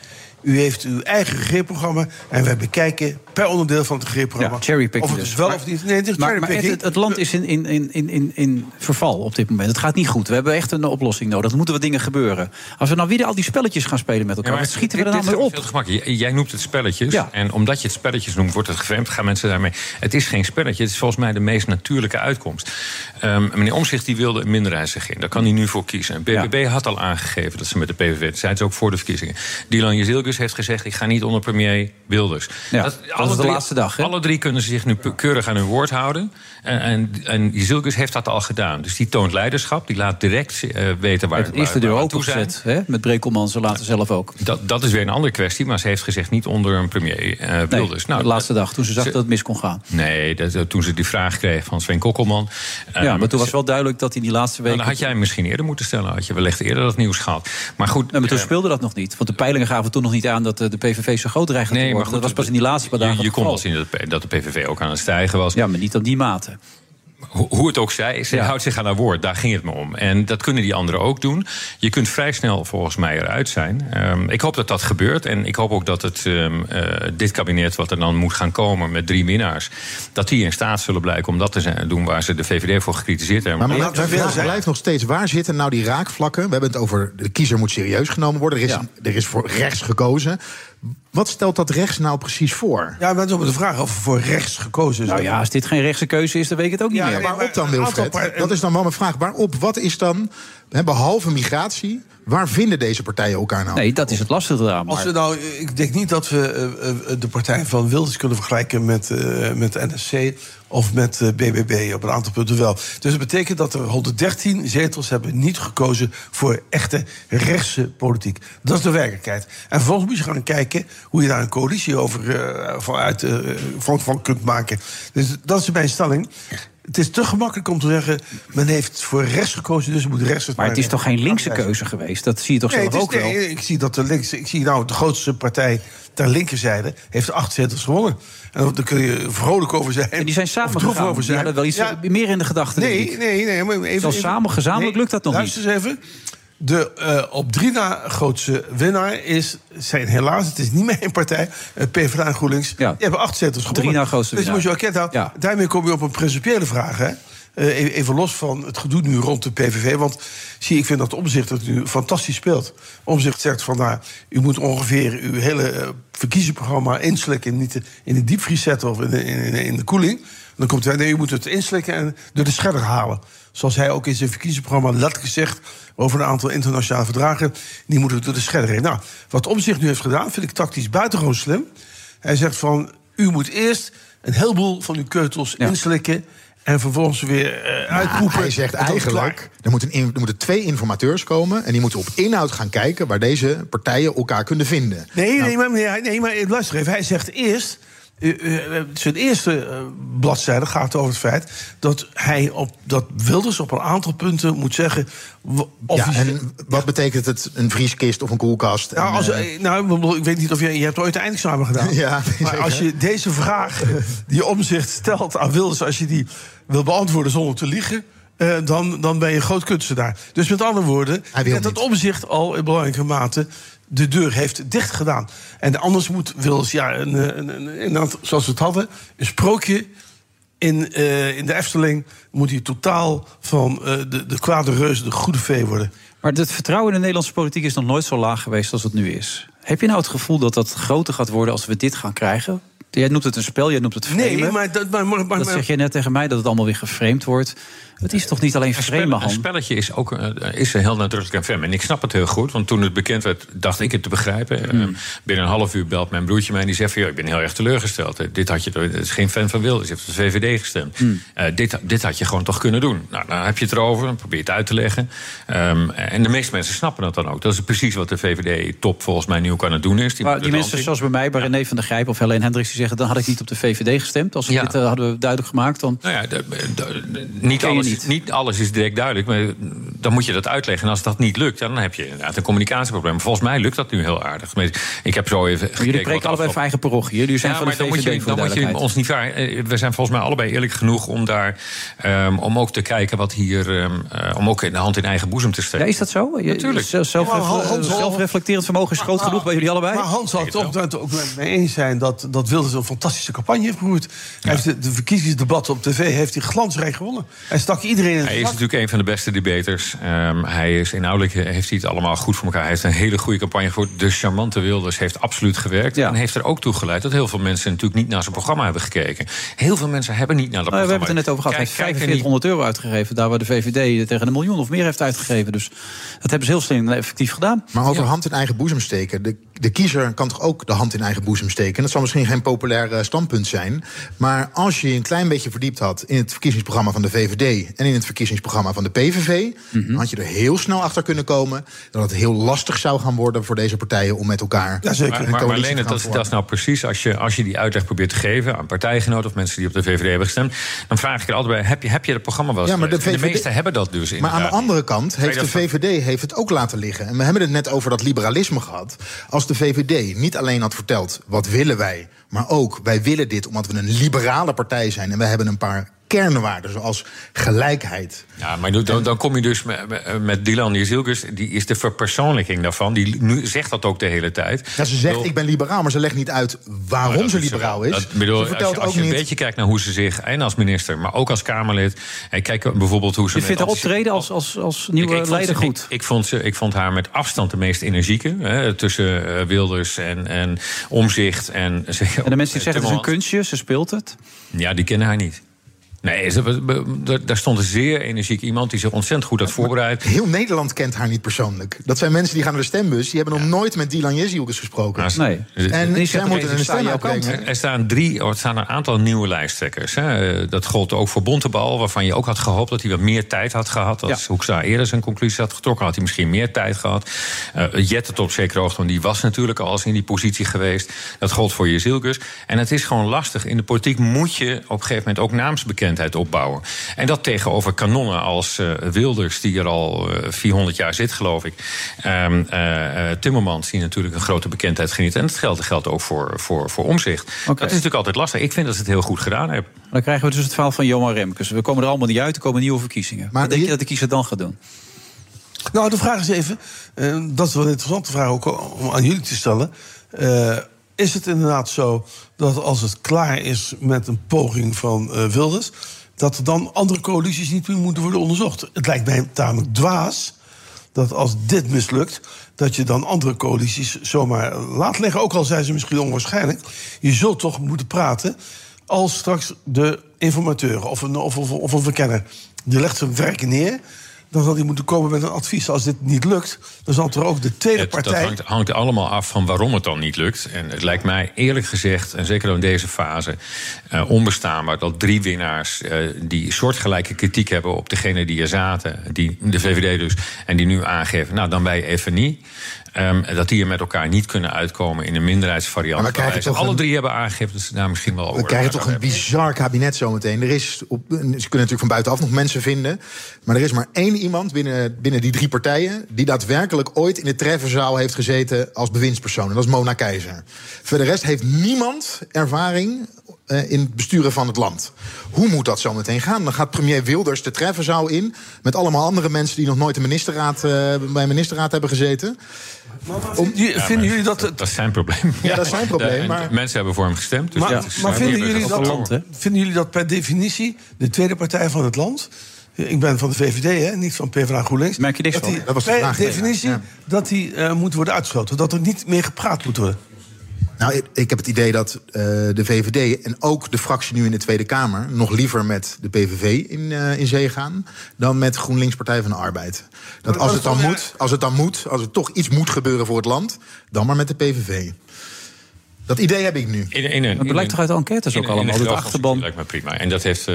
Speaker 8: U heeft uw eigen regeerprogramma en wij bekijken per onderdeel van het regeerprogramma...
Speaker 7: cherrypicking
Speaker 8: of het
Speaker 7: dus.
Speaker 8: is wel
Speaker 7: Maar-
Speaker 8: of niet... Nee, het is
Speaker 7: Maar, maar
Speaker 8: cherrypicking.
Speaker 7: het, het- het land is in, in, in, in, in, in verval op dit moment. Het gaat niet goed. We hebben echt een oplossing nodig. Er moeten wat dingen gebeuren. Als we nou weer al die spelletjes gaan spelen met elkaar,
Speaker 21: Ja, maar
Speaker 7: wat schieten we er
Speaker 21: dit-
Speaker 7: nou
Speaker 21: dit
Speaker 7: mee
Speaker 21: gaat
Speaker 7: op?
Speaker 21: Heel gemakkelijk. J- Jij noemt het spelletjes. En omdat je het spelletjes noemt, wordt het gevreemd. Gaan mensen daarmee. Het is geen spelletje. Het is volgens mij de meest natuurlijke uitkomst. Ehm, meneer Omzicht die wilde een minderheidsregering. Daar kan hij nu voor kiezen. En BBB had al aangegeven dat ze met de PVV. Dat zei ze ook voor de verkiezingen. Dylan Jezilgus heeft gezegd: ik ga niet onder premier Wilders.
Speaker 7: Ja, dat is de laatste dag,
Speaker 21: Alle drie kunnen ze zich nu pe- keurig aan hun woord houden. En, en, en Jezilgus heeft dat al gedaan. Dus die toont leiderschap. Die laat direct eh, weten waar
Speaker 7: Het is de
Speaker 21: waar-
Speaker 7: deur
Speaker 21: waar aan toe zijn.
Speaker 7: opengezet. hè, Met Brekelman, ze laten zelf ook.
Speaker 21: Dat, dat is weer een andere kwestie, maar ze heeft gezegd niet onder een premier eh Wilders. nou,
Speaker 7: de laatste dag, toen ze zag dat het mis kon gaan.
Speaker 21: Nee, dat, dat- toen ze die vraag kreeg van Sven Kokkelman.
Speaker 7: Ja, maar toen was
Speaker 21: wel
Speaker 7: duidelijk dat hij die laatste
Speaker 21: week. Dan had jij hem misschien eerder moeten stellen. Had je wellicht eerder dat nieuws gehad. Maar goed. eh,
Speaker 7: Nee, maar toen speelde dat nog niet. Want de peilingen gaven toen nog niet aan dat eh, de PVV zo groot dreigde te
Speaker 21: Nee, maar
Speaker 7: worden.
Speaker 21: goed,
Speaker 7: dat was pas in die laatste paar dagen
Speaker 21: Je, je
Speaker 7: het
Speaker 21: kon
Speaker 7: geval.
Speaker 21: wel zien dat, de P- dat de PVV ook aan het stijgen was.
Speaker 7: Ja, maar niet op die mate.
Speaker 21: Ho- Hoe het ook zij, ze houdt zich aan haar woord. Daar ging het me om. En dat kunnen die anderen ook doen. Je kunt vrij snel volgens mij eruit zijn. Ehm, ik hoop dat dat gebeurt. En ik hoop ook dat het, ehm, eh, dit kabinet, wat er dan moet gaan komen met drie winnaars... dat die in staat zullen blijken om dat te zijn, doen waar ze de VVD voor gecritiseerd hebben.
Speaker 22: Maar, maar
Speaker 21: Ja,
Speaker 22: laat- mijn vraag blijft nog steeds, waar zitten nou die raakvlakken? We hebben het over, de kiezer moet serieus genomen worden. Er is, er is voor rechts gekozen. Wat stelt dat rechts nou precies voor?
Speaker 8: Ja, maar dat is de vraag of voor rechts gekozen is.
Speaker 7: Nou ja, als dit geen rechtse keuze is, dan weet ik het ook niet meer.
Speaker 22: Ja, waarop dan, Wilfred? Dat is dan wel mijn vraag. Waarop, wat is dan, hè, behalve migratie... waar vinden deze partijen elkaar nou?
Speaker 7: Nee, dat is het lastige eraan.
Speaker 8: Als we nou, ik denk niet dat we eh, eh, de partij van Wilders kunnen vergelijken met, eh, met NSC of met eh, BBB. Op een aantal punten wel. Dus het betekent dat er 113 zetels hebben niet gekozen voor echte rechtse politiek. Dat is de werkelijkheid. En vervolgens moet je gaan kijken hoe je daar een coalitie over eh, vanuit, eh, van, van kunt maken. Dus dat is mijn stelling. Het is te gemakkelijk om te zeggen, men heeft voor rechts gekozen, dus moet rechts het
Speaker 7: Maar het is toch geen linkse
Speaker 8: afwijzen.
Speaker 7: keuze geweest? Dat zie je toch
Speaker 8: Nee,
Speaker 7: zelf
Speaker 8: het is-
Speaker 7: ook wel?
Speaker 8: nee, ik zie dat de links, ik zie nou de grootste partij ter linkerzijde heeft acht zetels gewonnen. En daar kun je vrolijk over zijn. En die zijn
Speaker 7: samengegaan. Die hadden wel iets meer in de gedachten,
Speaker 8: Nee,
Speaker 7: denk ik.
Speaker 8: nee, nee. Maar even,
Speaker 7: Zelfs
Speaker 8: even-
Speaker 7: samen, gezamenlijk lukt dat nog
Speaker 8: luister eens even. De eh, op drie na grootste winnaar is, zijn helaas, het is niet mijn partij, eh, PvdA en GroenLinks. Die hebben acht zetels gewonnen.
Speaker 7: na grootste
Speaker 8: dus je
Speaker 7: winnaar.
Speaker 8: moet je ook kennen, nou, daarmee kom je op een principiële vraag. Hè? eh, e- even los van het gedoe nu rond de PVV. Want zie, ik vind dat Omzicht het nu fantastisch speelt. Omzicht zegt van, nou, u moet ongeveer uw hele eh, verkiezingsprogramma inslikken. Niet de- in de diepvries zetten of in de, in, in de koeling. Dan komt hij, nee, u moet het inslikken en door de scherder halen. Zoals hij ook in zijn verkiezingsprogramma letterlijk zegt... over een aantal internationale verdragen, die moeten door de scherder heen. Nou, wat Omzicht nu heeft gedaan, vind ik tactisch buitengewoon slim. Hij zegt van, u moet eerst een heleboel van uw keutels inslikken... en vervolgens weer eh, uitroepen.
Speaker 20: Nou, hij zegt
Speaker 8: En dan is het
Speaker 20: eigenlijk, er moeten, in- er moeten twee informateurs komen... en die moeten op inhoud gaan kijken waar deze partijen elkaar kunnen vinden.
Speaker 8: Nee, nee, maar, meneer, hij- nee, maar luister even. Hij zegt eerst... eh, eh, zijn eerste eh, bladzijde gaat over het feit dat hij op dat Wilders op een aantal punten moet zeggen. w- Of
Speaker 20: Ja,
Speaker 8: hij-
Speaker 20: en wat betekent het, een vrieskist of een koelkast?
Speaker 8: nou,
Speaker 20: En,
Speaker 8: als,
Speaker 20: eh,
Speaker 8: eh, nou, ik bedoel, ik weet niet of je, je hebt ooit een eindexamen gedaan.
Speaker 20: Ja,
Speaker 8: maar
Speaker 20: zeker.
Speaker 8: als je deze vraag die omzicht stelt aan Wilders, als je die wil beantwoorden zonder te liegen, eh, dan, dan ben je een groot kunstenaar. Dus met andere woorden, net dat omzicht al in belangrijke mate de deur heeft dicht gedaan. En anders moet Wilders, ja, een, een, een, inderdaad, zoals we het hadden, een sprookje. In, eh, in de Efteling moet hij totaal van eh, de, de kwade reus de goede vee worden.
Speaker 7: Maar het vertrouwen in de Nederlandse politiek is nog nooit zo laag geweest als het nu is. Heb je nou het gevoel dat dat groter gaat worden als we dit gaan krijgen? Jij noemt het een spel, jij noemt het framen.
Speaker 8: Nee, maar dat, maar, maar, maar-
Speaker 7: dat zeg je net tegen mij, dat het allemaal weer geframed wordt. Het is toch niet alleen framen,
Speaker 21: Een
Speaker 7: Han?
Speaker 21: spelletje is ook eh, is heel nadrukkelijk aan Fem. En ik snap het heel goed, want toen het bekend werd, dacht ik het te begrijpen. Eh, binnen een half uur belt mijn broertje mij en die zegt van... "Joh, ik ben heel erg teleurgesteld. Eh, Dit had je, het is geen fan van Wilders, je hebt de VVD gestemd.
Speaker 7: Hmm.
Speaker 21: Eh, dit, dit had je gewoon toch kunnen doen. Nou, dan heb je het erover, dan probeer je het uit te leggen. Ehm, en de meeste mensen snappen dat dan ook. Dat is precies wat de VVD-top volgens mij nu ook aan het doen is.
Speaker 7: Maar
Speaker 21: moeten
Speaker 7: die
Speaker 21: het
Speaker 7: mensen zoals bij mij, bij René van der Grijp of Helene Hendricks... die zeggen, dan had ik niet op de VVD gestemd. Als we
Speaker 21: Ja.
Speaker 7: dit eh, hadden we duidelijk gemaakt, dan...
Speaker 21: Nou ja, de- de- de- niet,
Speaker 7: Ken je
Speaker 21: alles,
Speaker 7: niet.
Speaker 21: niet. alles is direct duidelijk, maar dan moet je dat uitleggen. En als dat niet lukt, dan heb je inderdaad een communicatieprobleem. Maar Volgens mij lukt dat nu heel aardig. Maar Ik heb zo even gekeken
Speaker 7: Jullie
Speaker 21: wat
Speaker 7: preken allebei
Speaker 21: afgelopen-
Speaker 7: voor eigen parochie. Jullie zijn
Speaker 21: ja,
Speaker 7: van de
Speaker 21: maar dan
Speaker 7: VVD,
Speaker 21: moet je,
Speaker 7: voor de
Speaker 21: dan moet je
Speaker 7: duidelijkheid.
Speaker 21: ons niet waar. eh, We zijn volgens mij allebei eerlijk genoeg om daar ehm, om ook te kijken wat hier ehm, eh, om ook in de hand in eigen boezem te steken.
Speaker 7: Ja, is dat zo? Oh, Je-
Speaker 21: Natuurlijk.
Speaker 7: zelf- zelf-
Speaker 21: Ja, maar Hans-
Speaker 7: eh, Zelfreflecterend vermogen is groot genoeg bij jullie allebei?
Speaker 8: Maar Hans zal het toch dat ook met me eens zijn dat, dat Wilders een fantastische campagne heeft gevoerd. Hij heeft de, de verkiezingsdebatten op tv heeft hij glansrijk gewonnen. Hij stak iedereen in het
Speaker 21: Hij is
Speaker 8: vak.
Speaker 21: natuurlijk een van de beste debaters. Ehm, hij is inhoudelijk eh, heeft hij het allemaal goed voor elkaar. Hij heeft een hele goede campagne gevoerd. De charmante Wilders heeft absoluut gewerkt. En heeft er ook toe geleid dat heel veel mensen natuurlijk niet naar zijn programma hebben gekeken. Heel veel mensen hebben niet naar dat
Speaker 7: Nou, we
Speaker 21: programma.
Speaker 7: hebben het er net over gehad. Hij heeft
Speaker 21: Kijk- kijken niet
Speaker 7: 4500 euro uitgegeven. Daar waar de VVD tegen een miljoen of meer heeft uitgegeven. Dus dat hebben ze heel slim en effectief gedaan.
Speaker 20: Maar over hand in eigen boezem steken. De, de kiezer kan toch ook de hand in eigen boezem steken. Dat zal misschien geen populair eh, standpunt zijn. Maar als je je een klein beetje verdiept had in het verkiezingsprogramma van de VVD en in het verkiezingsprogramma van de PVV,
Speaker 7: Mhm.
Speaker 20: dan had je er heel snel achter kunnen komen dat het heel lastig zou gaan worden voor deze partijen om met elkaar een
Speaker 21: Maar, maar, maar
Speaker 20: coalitie
Speaker 21: Lene,
Speaker 20: te gaan
Speaker 21: dat, is- dat is nou precies als je, als je die uitleg probeert te geven aan partijgenoten of mensen die op de VVD hebben gestemd. Dan vraag ik er altijd bij: heb je, heb je dat programma wel eens
Speaker 20: Ja, maar de
Speaker 21: gelezen? En de
Speaker 20: VVD
Speaker 21: meesten hebben dat dus
Speaker 20: Maar aan
Speaker 21: inderdaad.
Speaker 20: de andere kant
Speaker 21: Zou je
Speaker 20: heeft de
Speaker 21: dat
Speaker 20: VVD heeft het ook laten liggen. En we hebben het net over dat liberalisme gehad. Als de VVD niet alleen had verteld wat willen wij, maar ook wij willen dit omdat we een liberale partij zijn en we hebben een paar kernwaarden zoals gelijkheid.
Speaker 21: Ja, maar nu- dan, dan kom je dus met, met- met Dylan Jezilkus. Die is de verpersoonlijking daarvan. Die nu zegt dat ook de hele tijd.
Speaker 20: Ja, ze zegt ik ben liberaal, maar ze legt niet uit waarom ze liberaal is.
Speaker 21: Dat, bedoel,
Speaker 20: ze
Speaker 21: als je,
Speaker 20: vertelt
Speaker 21: als
Speaker 20: ook
Speaker 21: je een
Speaker 20: niet.
Speaker 21: beetje kijkt naar hoe ze zich, en als minister, maar ook als Kamerlid. En kijk bijvoorbeeld hoe ze.
Speaker 7: Je
Speaker 21: met
Speaker 7: vindt haar
Speaker 21: antici-
Speaker 7: optreden als, als, als nieuwe
Speaker 21: Ik- ik vond
Speaker 7: leider
Speaker 21: ze-
Speaker 7: eh, goed.
Speaker 21: Ik, ik, vond ze, ik vond haar met afstand de meest energieke. Hè, tussen eh, Wilders en, en Omzicht. En, zeker
Speaker 7: En de mensen die zeggen
Speaker 21: ook, eh,
Speaker 7: het is een
Speaker 21: Timmermans.
Speaker 7: kunstje, ze speelt het.
Speaker 21: Ja, die kennen haar niet. Nee, ze- be- be- daar- daar stond een zeer energiek iemand die zich ontzettend goed had voorbereid.
Speaker 20: Heel Nederland kent haar niet persoonlijk. Dat zijn mensen die gaan naar de stembus. Die hebben nog nooit met Dylan Jezielkes gesproken. En zij moeten een stem uitbrengen.
Speaker 21: Er- Er staan drie, er staan een aantal nieuwe lijsttrekkers. Hè. Eh, Dat gold ook voor Bontebal, waarvan je ook had gehoopt dat hij wat meer tijd had gehad. Als Hoekstra eerder zijn conclusie had getrokken, had hij misschien meer tijd gehad. Eh Jette tot op zekere hoogte, want die was natuurlijk al eens in die positie geweest. Dat gold voor Jezilkus. En het is gewoon lastig. In de politiek moet je op een gegeven moment ook naamsbekendheid opbouwen. En dat tegenover kanonnen als eh, Wilders, die er al eh, 400 jaar zit, geloof ik. Ehm, eh, eh, Timmermans, die natuurlijk een grote bekendheid geniet. En dat geldt, geldt ook voor, voor, voor omzicht. Dat is natuurlijk altijd lastig. Ik vind dat ze het heel goed gedaan hebben.
Speaker 7: Dan krijgen we dus het verhaal van Johan Remkes. We komen er allemaal niet uit, er komen nieuwe verkiezingen. Wat denk je dat de kiezer dan gaat doen?
Speaker 8: Nou, de vraag is even, eh, dat is wel een interessante vraag ook om aan jullie te stellen. Eh, is het inderdaad zo dat als het klaar is met een poging van eh, Wilders... dat er dan andere coalities niet meer moeten worden onderzocht. Het lijkt mij tamelijk dwaas dat als dit mislukt, dat je dan andere coalities zomaar laat liggen. Ook al zijn ze misschien onwaarschijnlijk. Je zult toch moeten praten als straks de informateur of een, of, of, of een verkenner... die legt zijn werk neer, dan zal die moeten komen met een advies. Als dit niet lukt, dan zal er ook de tweede
Speaker 21: Het-
Speaker 8: partij...
Speaker 21: Dat hangt, hangt allemaal af van waarom het dan niet lukt. En het lijkt mij eerlijk gezegd, en zeker in deze fase, eh, onbestaanbaar dat drie winnaars eh, die soortgelijke kritiek hebben op degene die er zaten, die, de VVD dus, en die nu aangeven, nou dan wij even niet. ehm, dat die er met elkaar niet kunnen uitkomen in een minderheidsvariant.
Speaker 20: Maar we krijgen
Speaker 21: Terwijl
Speaker 20: toch
Speaker 21: Alle
Speaker 20: een-
Speaker 21: drie hebben aangegeven dat ze daar misschien wel over
Speaker 20: We krijgen toch een bizar kabinet zometeen. Er is op, ze kunnen natuurlijk van buitenaf nog mensen vinden. Maar er is maar één iemand binnen, binnen die drie partijen. die daadwerkelijk ooit in de treffenzaal heeft gezeten. als bewindspersoon. En dat is Mona Keizer. Voor de rest heeft niemand ervaring. eh, in het besturen van het land. Hoe moet dat zometeen gaan? Dan gaat premier Wilders de treffenzaal in. met allemaal andere mensen die nog nooit de ministerraad, eh, bij een ministerraad hebben gezeten.
Speaker 8: Ja, vinden jullie dat...
Speaker 21: Dat is zijn probleem.
Speaker 20: Ja, dat is zijn probleem,
Speaker 21: En
Speaker 20: maar-
Speaker 21: Mensen hebben voor hem gestemd. Dus
Speaker 8: maar
Speaker 21: dat is-
Speaker 8: maar
Speaker 21: die
Speaker 8: vinden,
Speaker 21: hebben
Speaker 8: jullie dat,
Speaker 21: het verloren.
Speaker 8: vinden jullie dat per definitie de tweede partij van het land... Ik ben van de VVD, hè, niet van PvdA GroenLinks.
Speaker 7: Merk je niks
Speaker 8: dat
Speaker 7: van.
Speaker 8: die
Speaker 7: Dat was de
Speaker 8: per
Speaker 7: vraag, ja.
Speaker 8: definitie
Speaker 20: Ja.
Speaker 8: dat die eh, moet worden uitgesloten. Dat er niet meer gepraat moet worden.
Speaker 20: Nou, ik, ik heb het idee dat eh, de VVD en ook de fractie nu in de Tweede Kamer nog liever met de PVV in, eh, in zee gaan dan met GroenLinks Partij van de Arbeid. Dat als het dan moet, als het dan moet, als er toch iets moet gebeuren voor het land, dan maar met de PVV. Dat idee heb ik nu.
Speaker 21: In, in,
Speaker 7: Dat blijkt toch uit de enquêtes ook allemaal,
Speaker 21: de
Speaker 7: dat de
Speaker 21: achterban. Lijkt me prima. En dat heeft eh,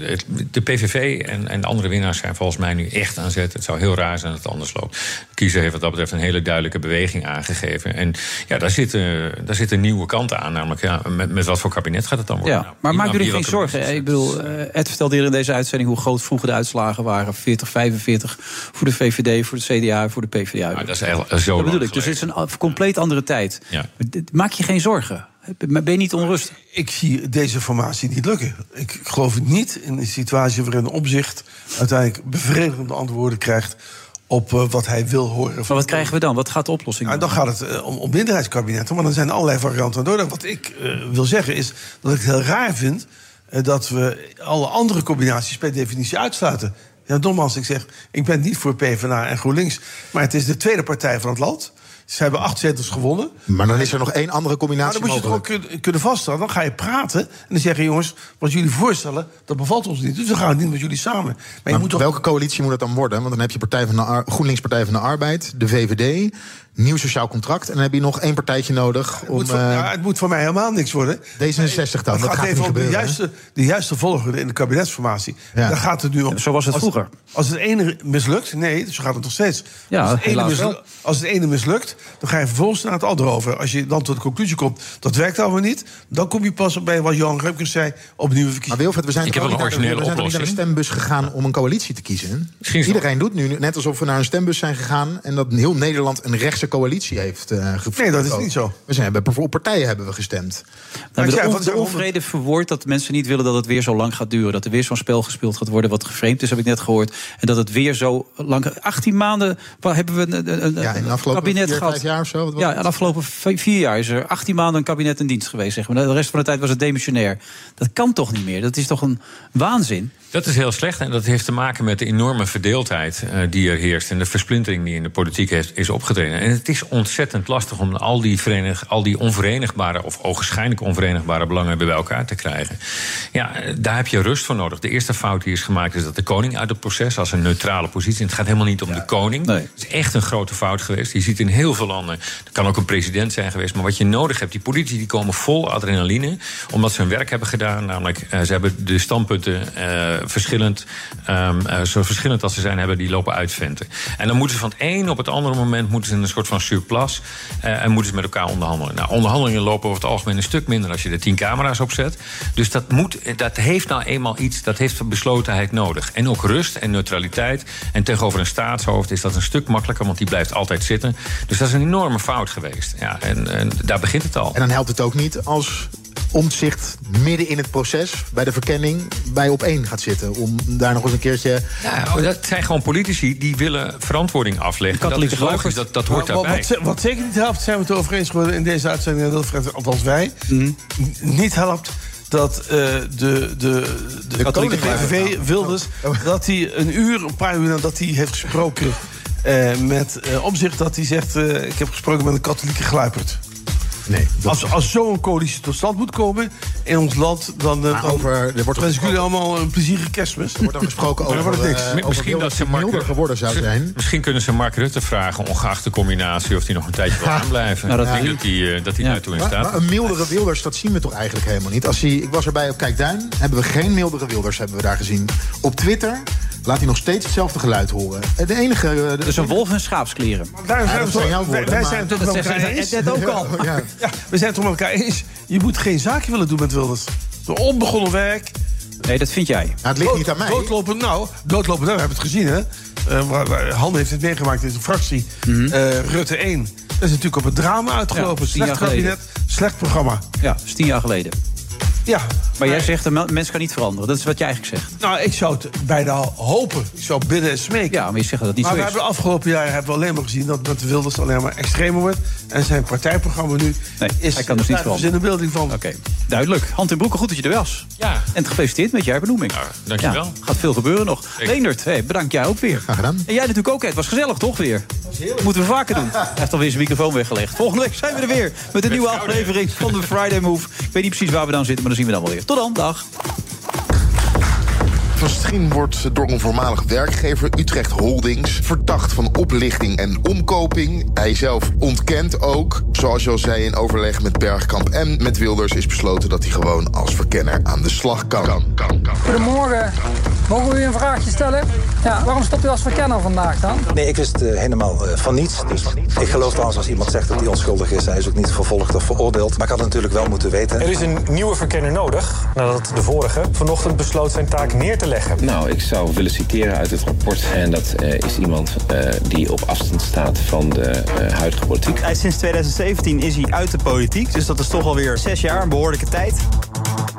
Speaker 21: het- de PVV en, en de andere winnaars zijn volgens mij nu echt aan zet. Het zou heel raar zijn dat het anders loopt. De kiezer heeft wat dat betreft een hele duidelijke beweging aangegeven. En ja, daar zit, eh, daar zit een nieuwe kant aan. Namelijk, ja, met, met wat voor kabinet gaat het dan worden? Nou,
Speaker 7: Ja, maar maak jullie geen zorgen. hè? Ik bedoel, eh, Ed vertelde hier in deze uitzending hoe groot vroeger de uitslagen waren. 40, 45 voor de VVD, voor de CDA, voor de PvdA.
Speaker 21: dat is eigenlijk zo
Speaker 7: Dat bedoel
Speaker 21: lang
Speaker 7: ik. Dus het is een a- compleet andere tijd.
Speaker 21: Ja.
Speaker 7: Dit- Maak je geen zorgen. Ben je niet onrustig?
Speaker 8: Ik zie deze formatie niet lukken. Ik geloof niet in de situatie waarin de opzicht uiteindelijk bevredigende antwoorden krijgt op eh, wat hij wil horen. Maar
Speaker 7: wat krijgen we dan? Wat gaat de oplossing
Speaker 8: En dan gaat het eh, om, om minderheidskabinetten, maar dan zijn er allerlei varianten aan nodig. Wat ik eh, wil zeggen is dat ik het heel raar vind eh, dat we alle andere combinaties per definitie uitsluiten. Ja, dom als ik zeg, ik ben niet voor PvdA en GroenLinks, maar het is de tweede partij van het land. Ze hebben acht zetels gewonnen.
Speaker 20: Maar dan is er nog één andere
Speaker 8: Maar
Speaker 20: combinatie
Speaker 8: dan moet je het ook
Speaker 20: mogelijk.
Speaker 8: kun- kunnen vaststellen. Dan ga je praten en dan zeggen jongens, wat jullie voorstellen, dat bevalt ons niet. Dus we gaan niet met jullie samen. Maar, je
Speaker 20: Maar
Speaker 8: moet toch...
Speaker 20: welke coalitie moet dat dan worden? Want dan heb je Partij van de Ar- GroenLinks Partij van de Arbeid, de VVD, Nieuw Sociaal Contract. En dan heb je nog één partijtje nodig om...
Speaker 8: Het moet, voor,
Speaker 20: eh,
Speaker 8: ja, het moet voor mij helemaal niks worden. D66
Speaker 20: dan, dat gaat niet
Speaker 8: even om de
Speaker 20: gebeuren, hè?
Speaker 8: juiste, de juiste volgorde in de kabinetsformatie.
Speaker 20: Ja.
Speaker 8: Daar gaat het nu om.
Speaker 7: Zo was het
Speaker 8: Als-
Speaker 7: vroeger.
Speaker 8: Als het ene mislukt, nee, zo gaat het nog steeds.
Speaker 7: Ja,
Speaker 8: als, het ene
Speaker 7: helaas
Speaker 8: mislukt,
Speaker 7: wel.
Speaker 8: als het ene mislukt, dan ga je vervolgens naar het andere over. Als je dan tot de conclusie komt, dat werkt allemaal niet... dan kom je pas bij wat Johan Remkes zei, opnieuw verkiezingen. Maar
Speaker 20: Wilfred, we zijn toch ook niet naar de- we zijn toch niet naar de stembus gegaan om een coalitie te kiezen. Iedereen doet nu net alsof we naar een stembus zijn gegaan en dat heel Nederland een rechtse coalitie heeft eh gevoerd.
Speaker 8: Nee, dat is niet zo.
Speaker 20: We zijn hebben voor partijen hebben we gestemd.
Speaker 7: Nou, de, on- de onvrede verwoord dat mensen niet willen dat het weer zo lang gaat duren. Dat er weer zo'n spel gespeeld gaat worden wat geframed is, heb ik net gehoord. En dat het weer zo lang... 18 maanden waar hebben we een, een- een,
Speaker 20: in de
Speaker 7: een
Speaker 20: afgelopen
Speaker 7: kabinet
Speaker 20: vier,
Speaker 7: gehad.
Speaker 20: vijf jaar of zo, wat was
Speaker 7: ja,
Speaker 20: het?
Speaker 7: de afgelopen v- vier jaar is er 18 maanden een kabinet in dienst geweest. Zeg maar. De rest van de tijd was het demissionair. Dat kan toch niet meer? Dat is toch een waanzin?
Speaker 21: Dat is heel slecht en dat heeft te maken met de enorme verdeeldheid eh, die er heerst. En de versplintering die in de politiek heeft, is opgetreden. En het is ontzettend lastig om al die, verenig, al die onverenigbare of ogenschijnlijk onverenigbare belangen weer bij elkaar te krijgen. Ja, eh, daar heb je rust voor nodig. De eerste fout die is gemaakt is dat de koning uit het proces als een neutrale positie. En het gaat helemaal niet om de koning. Het is echt een grote fout geweest. Je ziet in heel veel landen, er kan ook een president zijn geweest. Maar wat je nodig hebt, die politici die komen vol adrenaline. Omdat ze hun werk hebben gedaan. Namelijk, eh, ze hebben de standpunten eh, verschillend, ehm, eh, zo verschillend als ze zijn, hebben die lopen uitventen. En dan moeten ze van het een op het andere moment moeten ze in een soort van surplus. eh, en moeten ze met elkaar onderhandelen. Nou, onderhandelingen lopen over het algemeen een stuk minder als je er tien camera's op zet. Dus dat, moet, dat heeft nou eenmaal iets, dat heeft beslotenheid nodig. En ook rust en neutraliteit. En tegenover een staatshoofd is dat een stuk makkelijker, want die blijft altijd zitten. Dus dat is een enorme fout geweest. Ja, en, en daar begint het al.
Speaker 20: En dan helpt het ook niet als omzicht midden in het proces bij de verkenning bij op één gaat zitten om daar nog eens een keertje.
Speaker 21: Nou, dat zijn gewoon politici die willen verantwoording afleggen. Dat is logisch, dat, dat hoort
Speaker 8: Maar Nou, wat-
Speaker 21: daarbij.
Speaker 8: Wat, ze- wat zeker niet helpt, zijn we het over eens geworden in deze uitzending. En dat Fred, althans wij, n- niet helpt, dat eh, de, de, de,
Speaker 22: katholieke
Speaker 8: koning van
Speaker 22: vijver.
Speaker 8: PVV, Wilders... dat hij een uur, een paar uur nadat hij heeft gesproken... eh, met eh, opzicht dat hij zegt... eh, ik heb gesproken met een katholieke gluipert.
Speaker 22: Nee,
Speaker 8: als als zo'n coalitie tot stand moet komen in ons land... dan, eh, dan wens ik jullie allemaal een plezierige kerstmis. Er wordt
Speaker 22: dan gesproken
Speaker 8: Maar dan wordt
Speaker 22: eh,
Speaker 8: het niks.
Speaker 21: Mi- Misschien dat ze Mark Rutte
Speaker 22: geworden zou zijn.
Speaker 21: Misschien kunnen ze Mark Rutte vragen, ongeacht de combinatie, of hij nog een tijdje wil aanblijven.
Speaker 22: Nou, dat
Speaker 21: ik denk
Speaker 22: denk
Speaker 21: dat hij, eh, dat hij daartoe in
Speaker 22: Maar-
Speaker 21: staat.
Speaker 22: Maar, een mildere Wilders, dat zien we toch eigenlijk helemaal niet. Als hij, ik was erbij op Kijkduin, hebben we geen mildere Wilders hebben we daar gezien. Op Twitter laat hij nog steeds hetzelfde geluid horen. De enige... eh, De,
Speaker 7: Dus een wolf in schaapskleren.
Speaker 8: Daar zijn
Speaker 22: Ja,
Speaker 8: we
Speaker 22: dat
Speaker 8: toch-
Speaker 22: zijn jouw
Speaker 8: wij-
Speaker 22: woorden,
Speaker 8: wij
Speaker 22: maar-
Speaker 8: zijn het toch
Speaker 22: Dat
Speaker 8: met
Speaker 22: zeggen
Speaker 8: elkaar
Speaker 22: zij
Speaker 8: eens.
Speaker 22: net ook al.
Speaker 8: Ja, we zijn het toch met elkaar eens. Je moet geen zaakje willen doen met Wilders. Door onbegonnen werk.
Speaker 7: Nee, dat vind jij.
Speaker 22: het ligt niet aan mij.
Speaker 8: Doodlopen, nou, doodlopen, nou, we hebben het gezien, hè. Eh, waar- waar- Han heeft het meegemaakt in zijn fractie. Eh, Rutte 1. Dat is natuurlijk op het drama uitgelopen.
Speaker 7: Ja, tien
Speaker 8: slecht
Speaker 7: jaar geleden.
Speaker 8: kabinet, slecht programma.
Speaker 7: Ja, dat is tien jaar geleden.
Speaker 8: Ja.
Speaker 7: Maar jij zegt, een mens kan niet veranderen. Dat is wat jij eigenlijk zegt.
Speaker 8: Nou, ik zou het bijna hopen. Ik zou bidden en smeken.
Speaker 7: Ja, maar je zegt dat het niet
Speaker 8: maar
Speaker 7: zo
Speaker 8: we
Speaker 7: is.
Speaker 8: hebben de afgelopen jaren hebben we alleen maar gezien dat, dat Wilders alleen maar extremer wordt. En zijn partijprogramma nu
Speaker 7: Nee,
Speaker 8: is
Speaker 7: hij kan
Speaker 8: daar
Speaker 7: dus niet veranderen.
Speaker 8: is in de beelding van. Oké,
Speaker 7: duidelijk. Hand in broeken, goed dat je er was. Ja. En gefeliciteerd met je herbenoeming.
Speaker 21: dankjewel.
Speaker 7: Ja, gaat veel gebeuren nog. Leendert, hey, bedankt jij ook weer. Graag gedaan. En jij natuurlijk ook, hè. Het was gezellig, toch weer? Moeten we vaker doen. Hij heeft alweer zijn microfoon weggelegd. Volgende week zijn we er weer met een nieuwe aflevering van de Friday Move. Ik weet niet precies waar we dan zitten, maar dan zien we dan wel weer. Tot dan, dag.
Speaker 4: Misschien wordt door een voormalig werkgever Utrecht Holdings verdacht van oplichting en omkoping. Hij zelf ontkent ook. Zoals je al zei, in overleg met Bergkamp en met Wilders is besloten dat hij gewoon als verkenner aan de slag kan.
Speaker 9: Goedemorgen. Mogen we u een vraagje stellen? Ja, waarom stopt u als verkenner vandaag dan?
Speaker 6: Nee, ik wist eh, helemaal eh, van niets. Dus ik geloof trouwens als iemand zegt dat hij onschuldig is. Hij is ook niet vervolgd of veroordeeld. Maar ik had het natuurlijk wel moeten weten.
Speaker 5: Er is een nieuwe verkenner nodig, nadat de vorige vanochtend besloot zijn taak neer te leggen.
Speaker 11: Nou, ik zou willen citeren uit het rapport. En dat eh, is iemand eh, die op afstand staat van de eh, huidige politiek.
Speaker 23: Hij is sinds 2017 is hij uit de politiek, dus dat is toch alweer zes jaar, een behoorlijke tijd.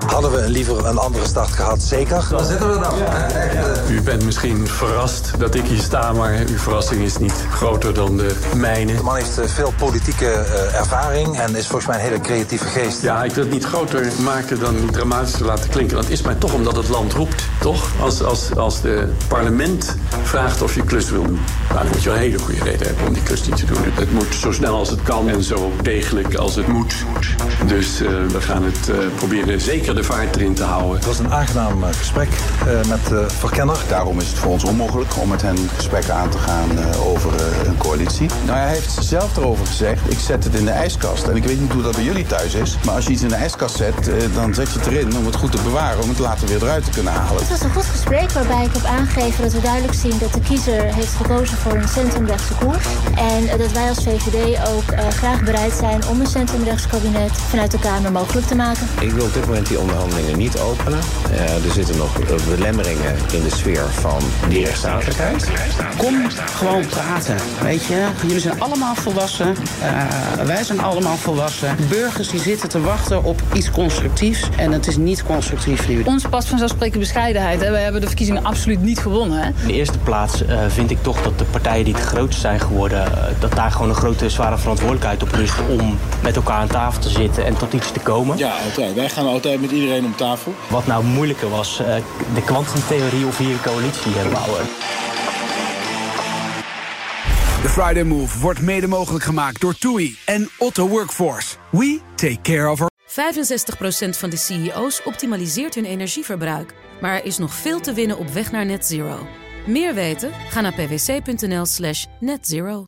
Speaker 6: Hadden we liever een andere start gehad, zeker. Dan zitten we er dan. Eh,
Speaker 24: U bent misschien verrast dat ik hier sta, maar uw verrassing is niet groter dan de mijne.
Speaker 6: De man heeft eh, veel politieke eh, ervaring en is volgens mij een hele creatieve geest.
Speaker 24: Ja, ik wil het niet groter maken dan dramatisch te laten klinken. Dat is maar toch omdat het land roept, toch? Als, als, als de parlement vraagt of je klus wil doen. Nou, dan moet je wel een hele goede reden hebben om die klus niet te doen. Het, het moet zo snel als het kan en zo degelijk als het moet. Dus eh, we gaan het eh, proberen zeker de vaart erin te houden.
Speaker 6: Het was een aangenaam eh, gesprek eh, met de verkenner.
Speaker 25: Daarom is het voor ons onmogelijk om met hen gesprekken aan te gaan eh, over eh, een coalitie. Nou, hij heeft zelf erover gezegd, ik zet het in de ijskast. En ik weet niet hoe dat bij jullie thuis is, maar als je iets in de ijskast zet, eh, dan zet je het erin om het goed te bewaren, om het later weer eruit te kunnen halen.
Speaker 26: Het was een goed gesprek waarbij ik heb aangegeven dat we duidelijk zien dat de kiezer heeft gekozen voor een centrumrechtse koers. En eh, dat wij als VVD ook eh, graag bereid zijn om een centrumrechts kabinet vanuit de Kamer mogelijk te maken.
Speaker 11: Ik wil op dit moment die onderhandelingen niet openen. Eh, er zitten nog eh, belemmeringen in de sfeer van die rechtsstatelijkheid.
Speaker 3: Kom gewoon praten, weet je. Jullie zijn allemaal volwassen. Eh, wij zijn allemaal volwassen. Burgers die zitten te wachten op iets constructiefs. En het is niet constructief nu.
Speaker 27: Ons past vanzelfsprekend bescheidenheid. Hè. We hebben de verkiezingen absoluut niet gewonnen. Hè.
Speaker 12: In de eerste plaats eh, vind ik toch dat de partijen die het grootst zijn geworden... eh, dat daar gewoon een grote zware verantwoordelijkheid op rust... om met elkaar aan tafel te zitten en tot iets te komen.
Speaker 28: Ja, altijd. Wij gaan altijd met iedereen om tafel.
Speaker 12: Wat nou moeilijker was, eh, de kwantumtheorie of hier een coalitie eh, bouwen.
Speaker 2: De Friday Move wordt mede mogelijk gemaakt door TUI en Otto Workforce. We take care of our...
Speaker 1: 65% van de CEO's optimaliseert hun energieverbruik. Maar er is nog veel te winnen op weg naar net zero. Meer weten? Ga naar pwc.nl slash netzero.